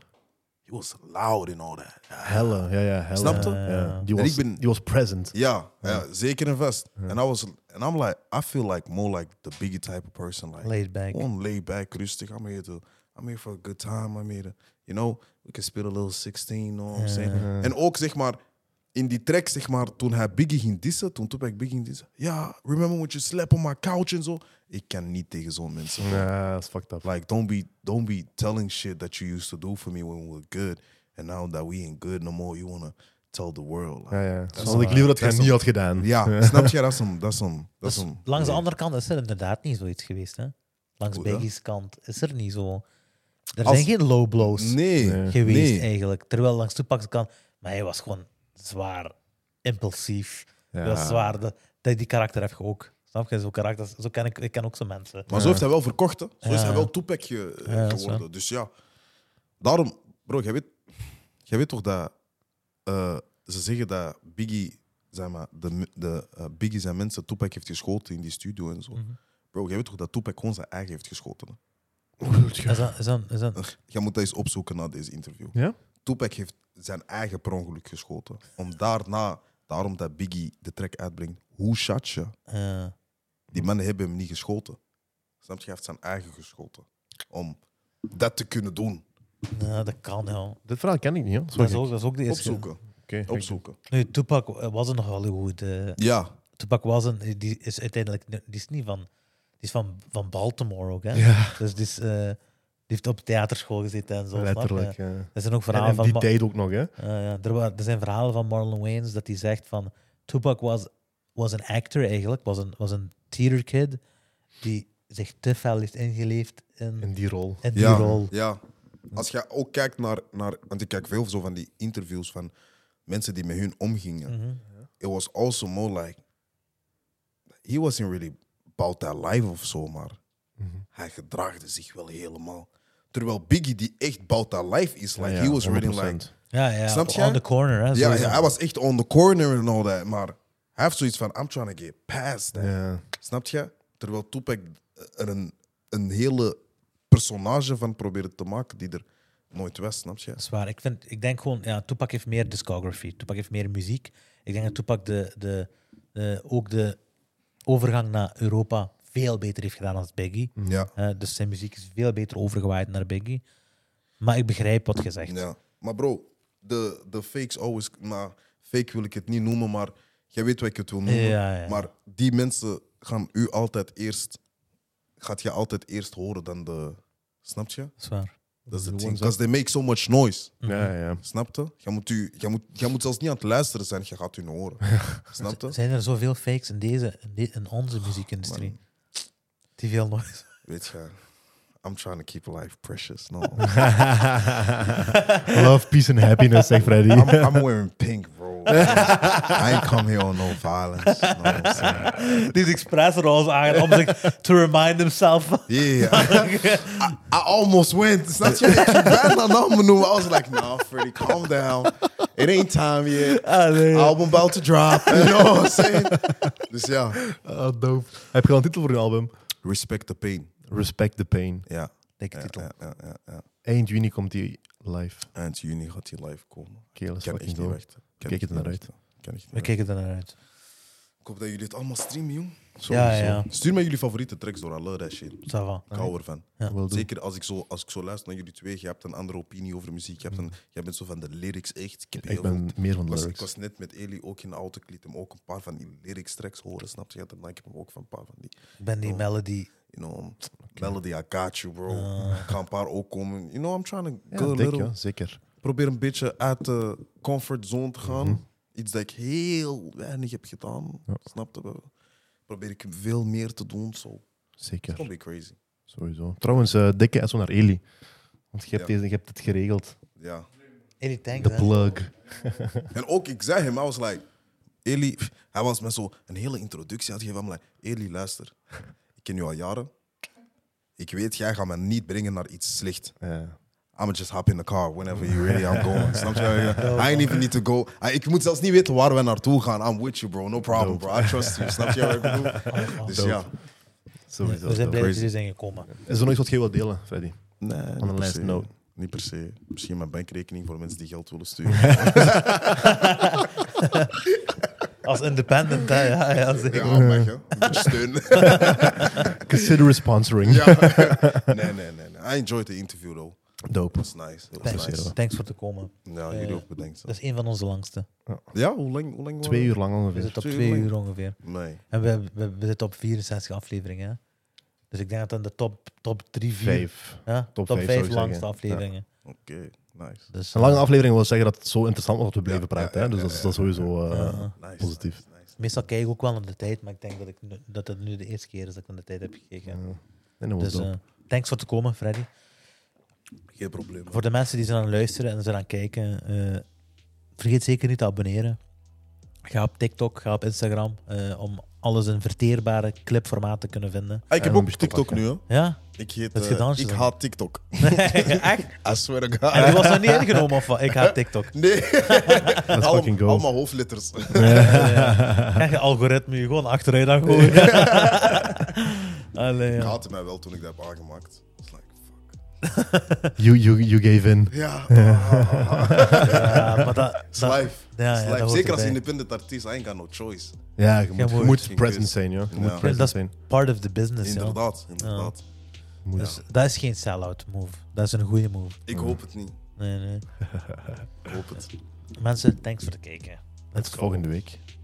Speaker 1: He was loud and all that.
Speaker 2: Helle, ja, ja, helle.
Speaker 1: Snap je?
Speaker 2: Ja, die,
Speaker 1: En
Speaker 2: was,
Speaker 1: ik ben-
Speaker 2: die was present.
Speaker 1: Ja, ja, zeker en vast. En I was, and I'm like, I feel like more like the Biggie type of person, like
Speaker 3: Laid back.
Speaker 1: gewoon laid back, rustig. I'm here to, I'm here for a good time. I'm here to, you know, we can spit a little 16, know what I'm saying? En ook zeg maar in die track zeg maar toen hij Biggie ging dissen, toen Tupac Biggie ging dissen, ja, remember when you slept on my couch en zo. Ik kan niet tegen zo'n mensen.
Speaker 2: Ja, dat is fucked up.
Speaker 1: Like, don't be don't be telling shit that you used to do for me when we were good. And now that we ain't good no more, you wanna tell the world. Like,
Speaker 2: Ja, ja.
Speaker 1: is
Speaker 2: Dat had ik liever dat hij
Speaker 1: dat is
Speaker 2: niet had gedaan.
Speaker 1: Ja, snap je? Dat is hem. Dat is hem. Dat is
Speaker 3: Dus
Speaker 1: hem.
Speaker 3: langs de andere kant is er inderdaad niet zoiets geweest. Hè? Langs
Speaker 1: Hoe dan?
Speaker 3: Biggie's kant is er niet zo. Er
Speaker 1: Als-
Speaker 3: zijn geen low blows
Speaker 1: Nee.
Speaker 2: Nee.
Speaker 3: geweest
Speaker 1: nee.
Speaker 3: eigenlijk. Terwijl langs Tupac's kant. Maar hij was gewoon zwaar impulsief.
Speaker 2: Ja.
Speaker 3: Dat is zwaar. Dat, dat- die karakter heb je ook. Snap je? Zo'n karakter. Zo ken ik, ik ken ook zo'n mensen.
Speaker 1: Maar zo heeft hij wel verkocht. hè. Zo is
Speaker 3: Ja.
Speaker 1: hij wel Tupac ge-
Speaker 3: Ja, dat is
Speaker 1: geworden. Dus ja, daarom, bro, jij weet, jij weet toch dat eh, ze zeggen dat Biggie, zeg maar, de, de, eh, Biggie zijn mensen Tupac heeft geschoten in die studio en zo.
Speaker 3: Mhm.
Speaker 1: Bro, jij weet toch dat Tupac gewoon zijn eigen heeft geschoten? hè?
Speaker 3: Is dat, is dat, is dat,
Speaker 1: Jij moet dat eens opzoeken na deze interview.
Speaker 2: Ja?
Speaker 1: Tupac heeft zijn eigen per ongeluk geschoten. Om daarna, daarom dat Biggie de track uitbrengt, hoe shot je?
Speaker 3: eh,
Speaker 1: Die mannen hebben hem niet geschoten. Snap je? Hij heeft zijn eigen geschoten. Om dat te kunnen doen.
Speaker 3: nou, dat kan wel.
Speaker 2: Dit verhaal ken ik niet, hoor.
Speaker 3: Dat
Speaker 2: Sorry.
Speaker 3: is ook, dat is ook de eerste.
Speaker 1: Opzoeken.
Speaker 2: Oké, ik-
Speaker 1: Opzoeken.
Speaker 3: Nu, Tupac eh, was er nog Hollywood. eh,
Speaker 1: Ja.
Speaker 3: Tupac was een, die is uiteindelijk, die is niet van, die is van, van Baltimore ook, hè?
Speaker 2: Ja.
Speaker 3: Dus die, is, eh, die heeft op theaterschool gezeten en zo. snap je?
Speaker 2: Letterlijk. ja.
Speaker 3: Er zijn ook
Speaker 2: En,
Speaker 3: verhalen
Speaker 2: en
Speaker 3: van.
Speaker 2: die
Speaker 3: Ma-
Speaker 2: tijd ook nog, hè?
Speaker 3: Ja, ja, er, wa- er zijn verhalen van Marlon Wayans dat hij zegt van Tupac was, was een actor eigenlijk, was een, was een theater kid die zich te fel heeft ingeleefd in,
Speaker 2: In die rol.
Speaker 3: in die
Speaker 1: ja.
Speaker 3: rol.
Speaker 1: Ja. Als je ook kijkt naar, naar... Want ik kijk veel zo van die interviews van mensen die met hun omgingen.
Speaker 3: Mhm.
Speaker 1: It was also more like... He wasn't really about that life of zo, maar...
Speaker 3: Mhm.
Speaker 1: Hij gedraagde zich wel helemaal. Terwijl Biggie, die echt about that life is, like,
Speaker 2: Ja,
Speaker 1: he was really
Speaker 2: 100%.
Speaker 1: like...
Speaker 3: Ja, ja,
Speaker 1: Snap
Speaker 3: op-
Speaker 1: je?
Speaker 3: on the corner. Hè,
Speaker 1: Ja,
Speaker 3: sowieso.
Speaker 1: ja, hij was echt on the corner en all that. Maar hij heeft zoiets van, I'm trying to get past that.
Speaker 2: Ja.
Speaker 1: Snap je? Terwijl Tupac er een, een hele personage van probeerde te maken die er nooit was, snap je?
Speaker 3: Dat is waar. Ik, vind, ik denk gewoon, ja, Tupac heeft meer discography. Tupac heeft meer muziek. Ik denk dat Tupac de, de, de- ook de overgang naar Europa veel beter heeft gedaan dan Biggie.
Speaker 1: Ja.
Speaker 3: Eh, dus zijn muziek is veel beter overgewaaid naar Biggie. Maar ik begrijp wat je zegt.
Speaker 1: ja. Maar bro, de, de fakes always... Maar fake wil ik het niet noemen, maar jij weet wat ik het wil noemen.
Speaker 3: Ja, ja.
Speaker 1: Maar die mensen gaan u altijd eerst... Gaat je altijd eerst horen dan de... Snap je?
Speaker 3: Dat is waar.
Speaker 1: Dat is het
Speaker 2: Gewoon
Speaker 1: ding.
Speaker 2: zo.
Speaker 1: Because they make so much noise.
Speaker 2: Ja, ja.
Speaker 1: Snap je? Je moet, u, je, moet, je moet zelfs niet aan het luisteren zijn, je gaat hun horen. Snap je?
Speaker 3: Zijn er zoveel fakes in, deze, in, de- in onze muziekindustrie?
Speaker 1: man.
Speaker 3: Die veel noise.
Speaker 1: Weet je, I'm trying to keep life precious. No.
Speaker 3: Mhm.
Speaker 2: Love, peace and happiness, zegt Freddy.
Speaker 1: I'm, I'm wearing pink, bro. I ain't come here on no violence. You know what I'm saying?
Speaker 3: Die is expres roze aan om zich to remind himself.
Speaker 1: Yeah. I, I almost went. It's not your bad number new. I was like, no, Freddie, calm down. It ain't time yet.
Speaker 3: Ah, nee.
Speaker 1: Album about to drop. You know what I'm saying? Dus ja.
Speaker 2: Ah, dope. Heb je al een titel voor je album?
Speaker 1: Respect the pain.
Speaker 2: Respect the Pain.
Speaker 1: Ja.
Speaker 3: Dikke
Speaker 1: Ja,
Speaker 3: titel.
Speaker 1: ja, ja, ja, ja.
Speaker 2: Eind juni komt die live.
Speaker 1: Eind juni gaat hij live komen.
Speaker 2: Kerel is
Speaker 1: Kan echt
Speaker 2: fucking
Speaker 1: niet
Speaker 2: dope.
Speaker 1: wachten. Kan echt
Speaker 2: Kijk het
Speaker 1: niet
Speaker 2: naar uit.
Speaker 1: wachten. Kan echt niet
Speaker 3: We
Speaker 1: wachten.
Speaker 3: kijken er naar uit.
Speaker 1: Ik hoop dat jullie het allemaal streamen, jong.
Speaker 3: Ja, ja, ja.
Speaker 1: Stuur mij jullie favoriete tracks door. I love that shit.
Speaker 3: Ça va.
Speaker 1: Ik hou ervan.
Speaker 2: Will do.
Speaker 1: Zeker als ik, zo, als ik zo luister naar jullie twee, je hebt een andere opinie over muziek. Je hebt een, jij bent zo van de lyrics echt. Ik, heb heel
Speaker 2: Ik ben
Speaker 1: veel-
Speaker 2: meer van
Speaker 1: ik
Speaker 2: de
Speaker 1: was, ik
Speaker 2: lyrics.
Speaker 1: was net met Eli ook in de auto. Ik liet hem ook een paar van die lyrics tracks horen, snap je? Daarna ik heb hem ook van een paar van die,
Speaker 3: Ik ben die melody.
Speaker 1: you know, melody, I got you, bro. Ik ga een paar ook komen. You know, I'm trying to
Speaker 2: Ah. Ja,
Speaker 1: go a
Speaker 2: dik,
Speaker 1: little...
Speaker 2: ja, zeker.
Speaker 1: Probeer een beetje uit de comfortzone te gaan. Iets dat ik heel weinig heb gedaan, snap je? Probeer ik veel meer te doen, zo. It's
Speaker 2: Zeker.
Speaker 1: gonna be crazy.
Speaker 2: Sowieso. Trouwens, eh, dikke SO naar Eli. Want je hebt,
Speaker 1: Ja.
Speaker 2: deze, je hebt het geregeld.
Speaker 1: Ja.
Speaker 3: Any thanks,
Speaker 2: De
Speaker 3: hè?
Speaker 2: plug.
Speaker 1: En ook, ik zei hem, I was like, Eli, pff, hij was met zo een hele introductie aan het geven. I'm like, Eli, luister, ik ken jou al jaren. Ik weet, jij gaat me niet brengen naar iets slecht.
Speaker 2: Ja.
Speaker 1: I'm just hop in the car whenever you ready, I'm going. Snap je? I ain't even need to go. I- ik moet zelfs niet weten waar we naartoe gaan. I'm with you, bro. No problem, bro. I trust you. Snap je wat ik bedoel? Dus
Speaker 2: Dope.
Speaker 1: ja.
Speaker 2: Sowieso.
Speaker 3: We zijn blij
Speaker 2: dope.
Speaker 3: dat jullie zijn gekomen.
Speaker 2: Is er nog iets wat jij wilt delen, Freddy?
Speaker 1: Nee,
Speaker 2: On a last note.
Speaker 1: Niet per se. Misschien mijn bankrekening voor mensen die geld willen sturen.
Speaker 3: Als independent, hè? Ja, ja, zeker.
Speaker 1: ja, mag je. Steun.
Speaker 2: Consider sponsoring.
Speaker 1: Ja. nee, nee, nee, nee. I enjoyed the interview though.
Speaker 2: Dope.
Speaker 1: It's nice. It was
Speaker 3: Thanks,
Speaker 1: nice.
Speaker 3: thanks voor te komen.
Speaker 1: Ja, jullie ook bedankt.
Speaker 3: Dat is een van onze langste.
Speaker 1: Ja, hoe lang? Hoe lang waren
Speaker 2: Twee uur lang
Speaker 3: We
Speaker 2: ongeveer.
Speaker 3: zitten op
Speaker 1: Twee
Speaker 3: twee
Speaker 1: uur.
Speaker 3: uur ongeveer.
Speaker 1: we? Nee.
Speaker 3: En we, we, we zitten op 64 afleveringen. hè. Dus ik denk dat dan de top, top 3, 4,
Speaker 2: Vijf.
Speaker 3: ja, top,
Speaker 2: Top
Speaker 3: vijf
Speaker 2: vijf, zou ik
Speaker 3: langste
Speaker 2: zeggen.
Speaker 3: afleveringen.
Speaker 1: Oké, nice.
Speaker 3: Dus,
Speaker 2: Een
Speaker 3: eh,
Speaker 2: lange aflevering wil zeggen dat het zo interessant was dat we
Speaker 1: Ja,
Speaker 2: bleven
Speaker 1: ja,
Speaker 2: praten. hè?
Speaker 1: ja,
Speaker 2: Dus dat
Speaker 1: ja,
Speaker 2: is, dat is sowieso eh,
Speaker 3: Ja.
Speaker 1: nice
Speaker 2: positief.
Speaker 1: nice, nice.
Speaker 3: Meestal kijk ik ook wel naar de tijd, maar ik denk dat, ik nu- dat het nu de eerste keer is dat ik naar de tijd heb gekeken.
Speaker 2: En dat was
Speaker 3: Dus
Speaker 2: dope.
Speaker 3: eh, thanks voor te komen, Freddy.
Speaker 1: Geen probleem. man.
Speaker 3: Voor de mensen die zijn aan het luisteren en zijn aan het kijken, eh, vergeet zeker niet te abonneren. Ga op TikTok, ga op Instagram, eh, om alles in verteerbare clipformaat te kunnen vinden.
Speaker 1: Ah, ik heb
Speaker 2: Ja,
Speaker 1: ook
Speaker 2: moet je
Speaker 1: TikTok nu, hè.
Speaker 3: Ja?
Speaker 1: Ik heet...
Speaker 3: Dat
Speaker 1: eh,
Speaker 3: gedansje
Speaker 1: ik
Speaker 3: dan.
Speaker 1: haat TikTok.
Speaker 3: Echt?
Speaker 1: I swear to God.
Speaker 3: En die was nog niet ingenomen of wat? Ik haat TikTok.
Speaker 1: Nee.
Speaker 2: Let's
Speaker 1: Allem-
Speaker 2: fucking go.
Speaker 1: Allemaal hoofdletters.
Speaker 3: Eh, Krijg je algoritme je gewoon achteruit aan gooien. Allee,
Speaker 1: Ik
Speaker 3: ja.
Speaker 1: haatte mij wel toen ik dat heb aangemaakt. I was like, fuck.
Speaker 2: You, you, you gave in.
Speaker 1: Ja. ah, ah, ah.
Speaker 3: Ja, maar dat,
Speaker 1: It's
Speaker 3: dat-
Speaker 1: life.
Speaker 3: ja,
Speaker 1: It's
Speaker 3: ja,
Speaker 1: life.
Speaker 3: dat hoort
Speaker 1: Zeker als
Speaker 3: erbij.
Speaker 1: independent artiest, I ain't got no choice.
Speaker 2: Ja, je moet,
Speaker 3: moet-
Speaker 2: je moet
Speaker 1: Geen
Speaker 2: present
Speaker 1: kus.
Speaker 2: zijn, ja. Je
Speaker 1: Ja.
Speaker 2: moet
Speaker 1: Ja,
Speaker 2: present
Speaker 3: dat is-
Speaker 2: zijn.
Speaker 3: Part of the business, ja.
Speaker 1: Inderdaad, inderdaad.
Speaker 2: Je moet-
Speaker 3: Dus dat is geen sell-out move. Dat is een goede move.
Speaker 1: Ik hoop het niet.
Speaker 3: Nee, nee.
Speaker 1: Ik hoop het.
Speaker 3: Mensen, thanks voor het kijken. Let's
Speaker 2: Volgende week.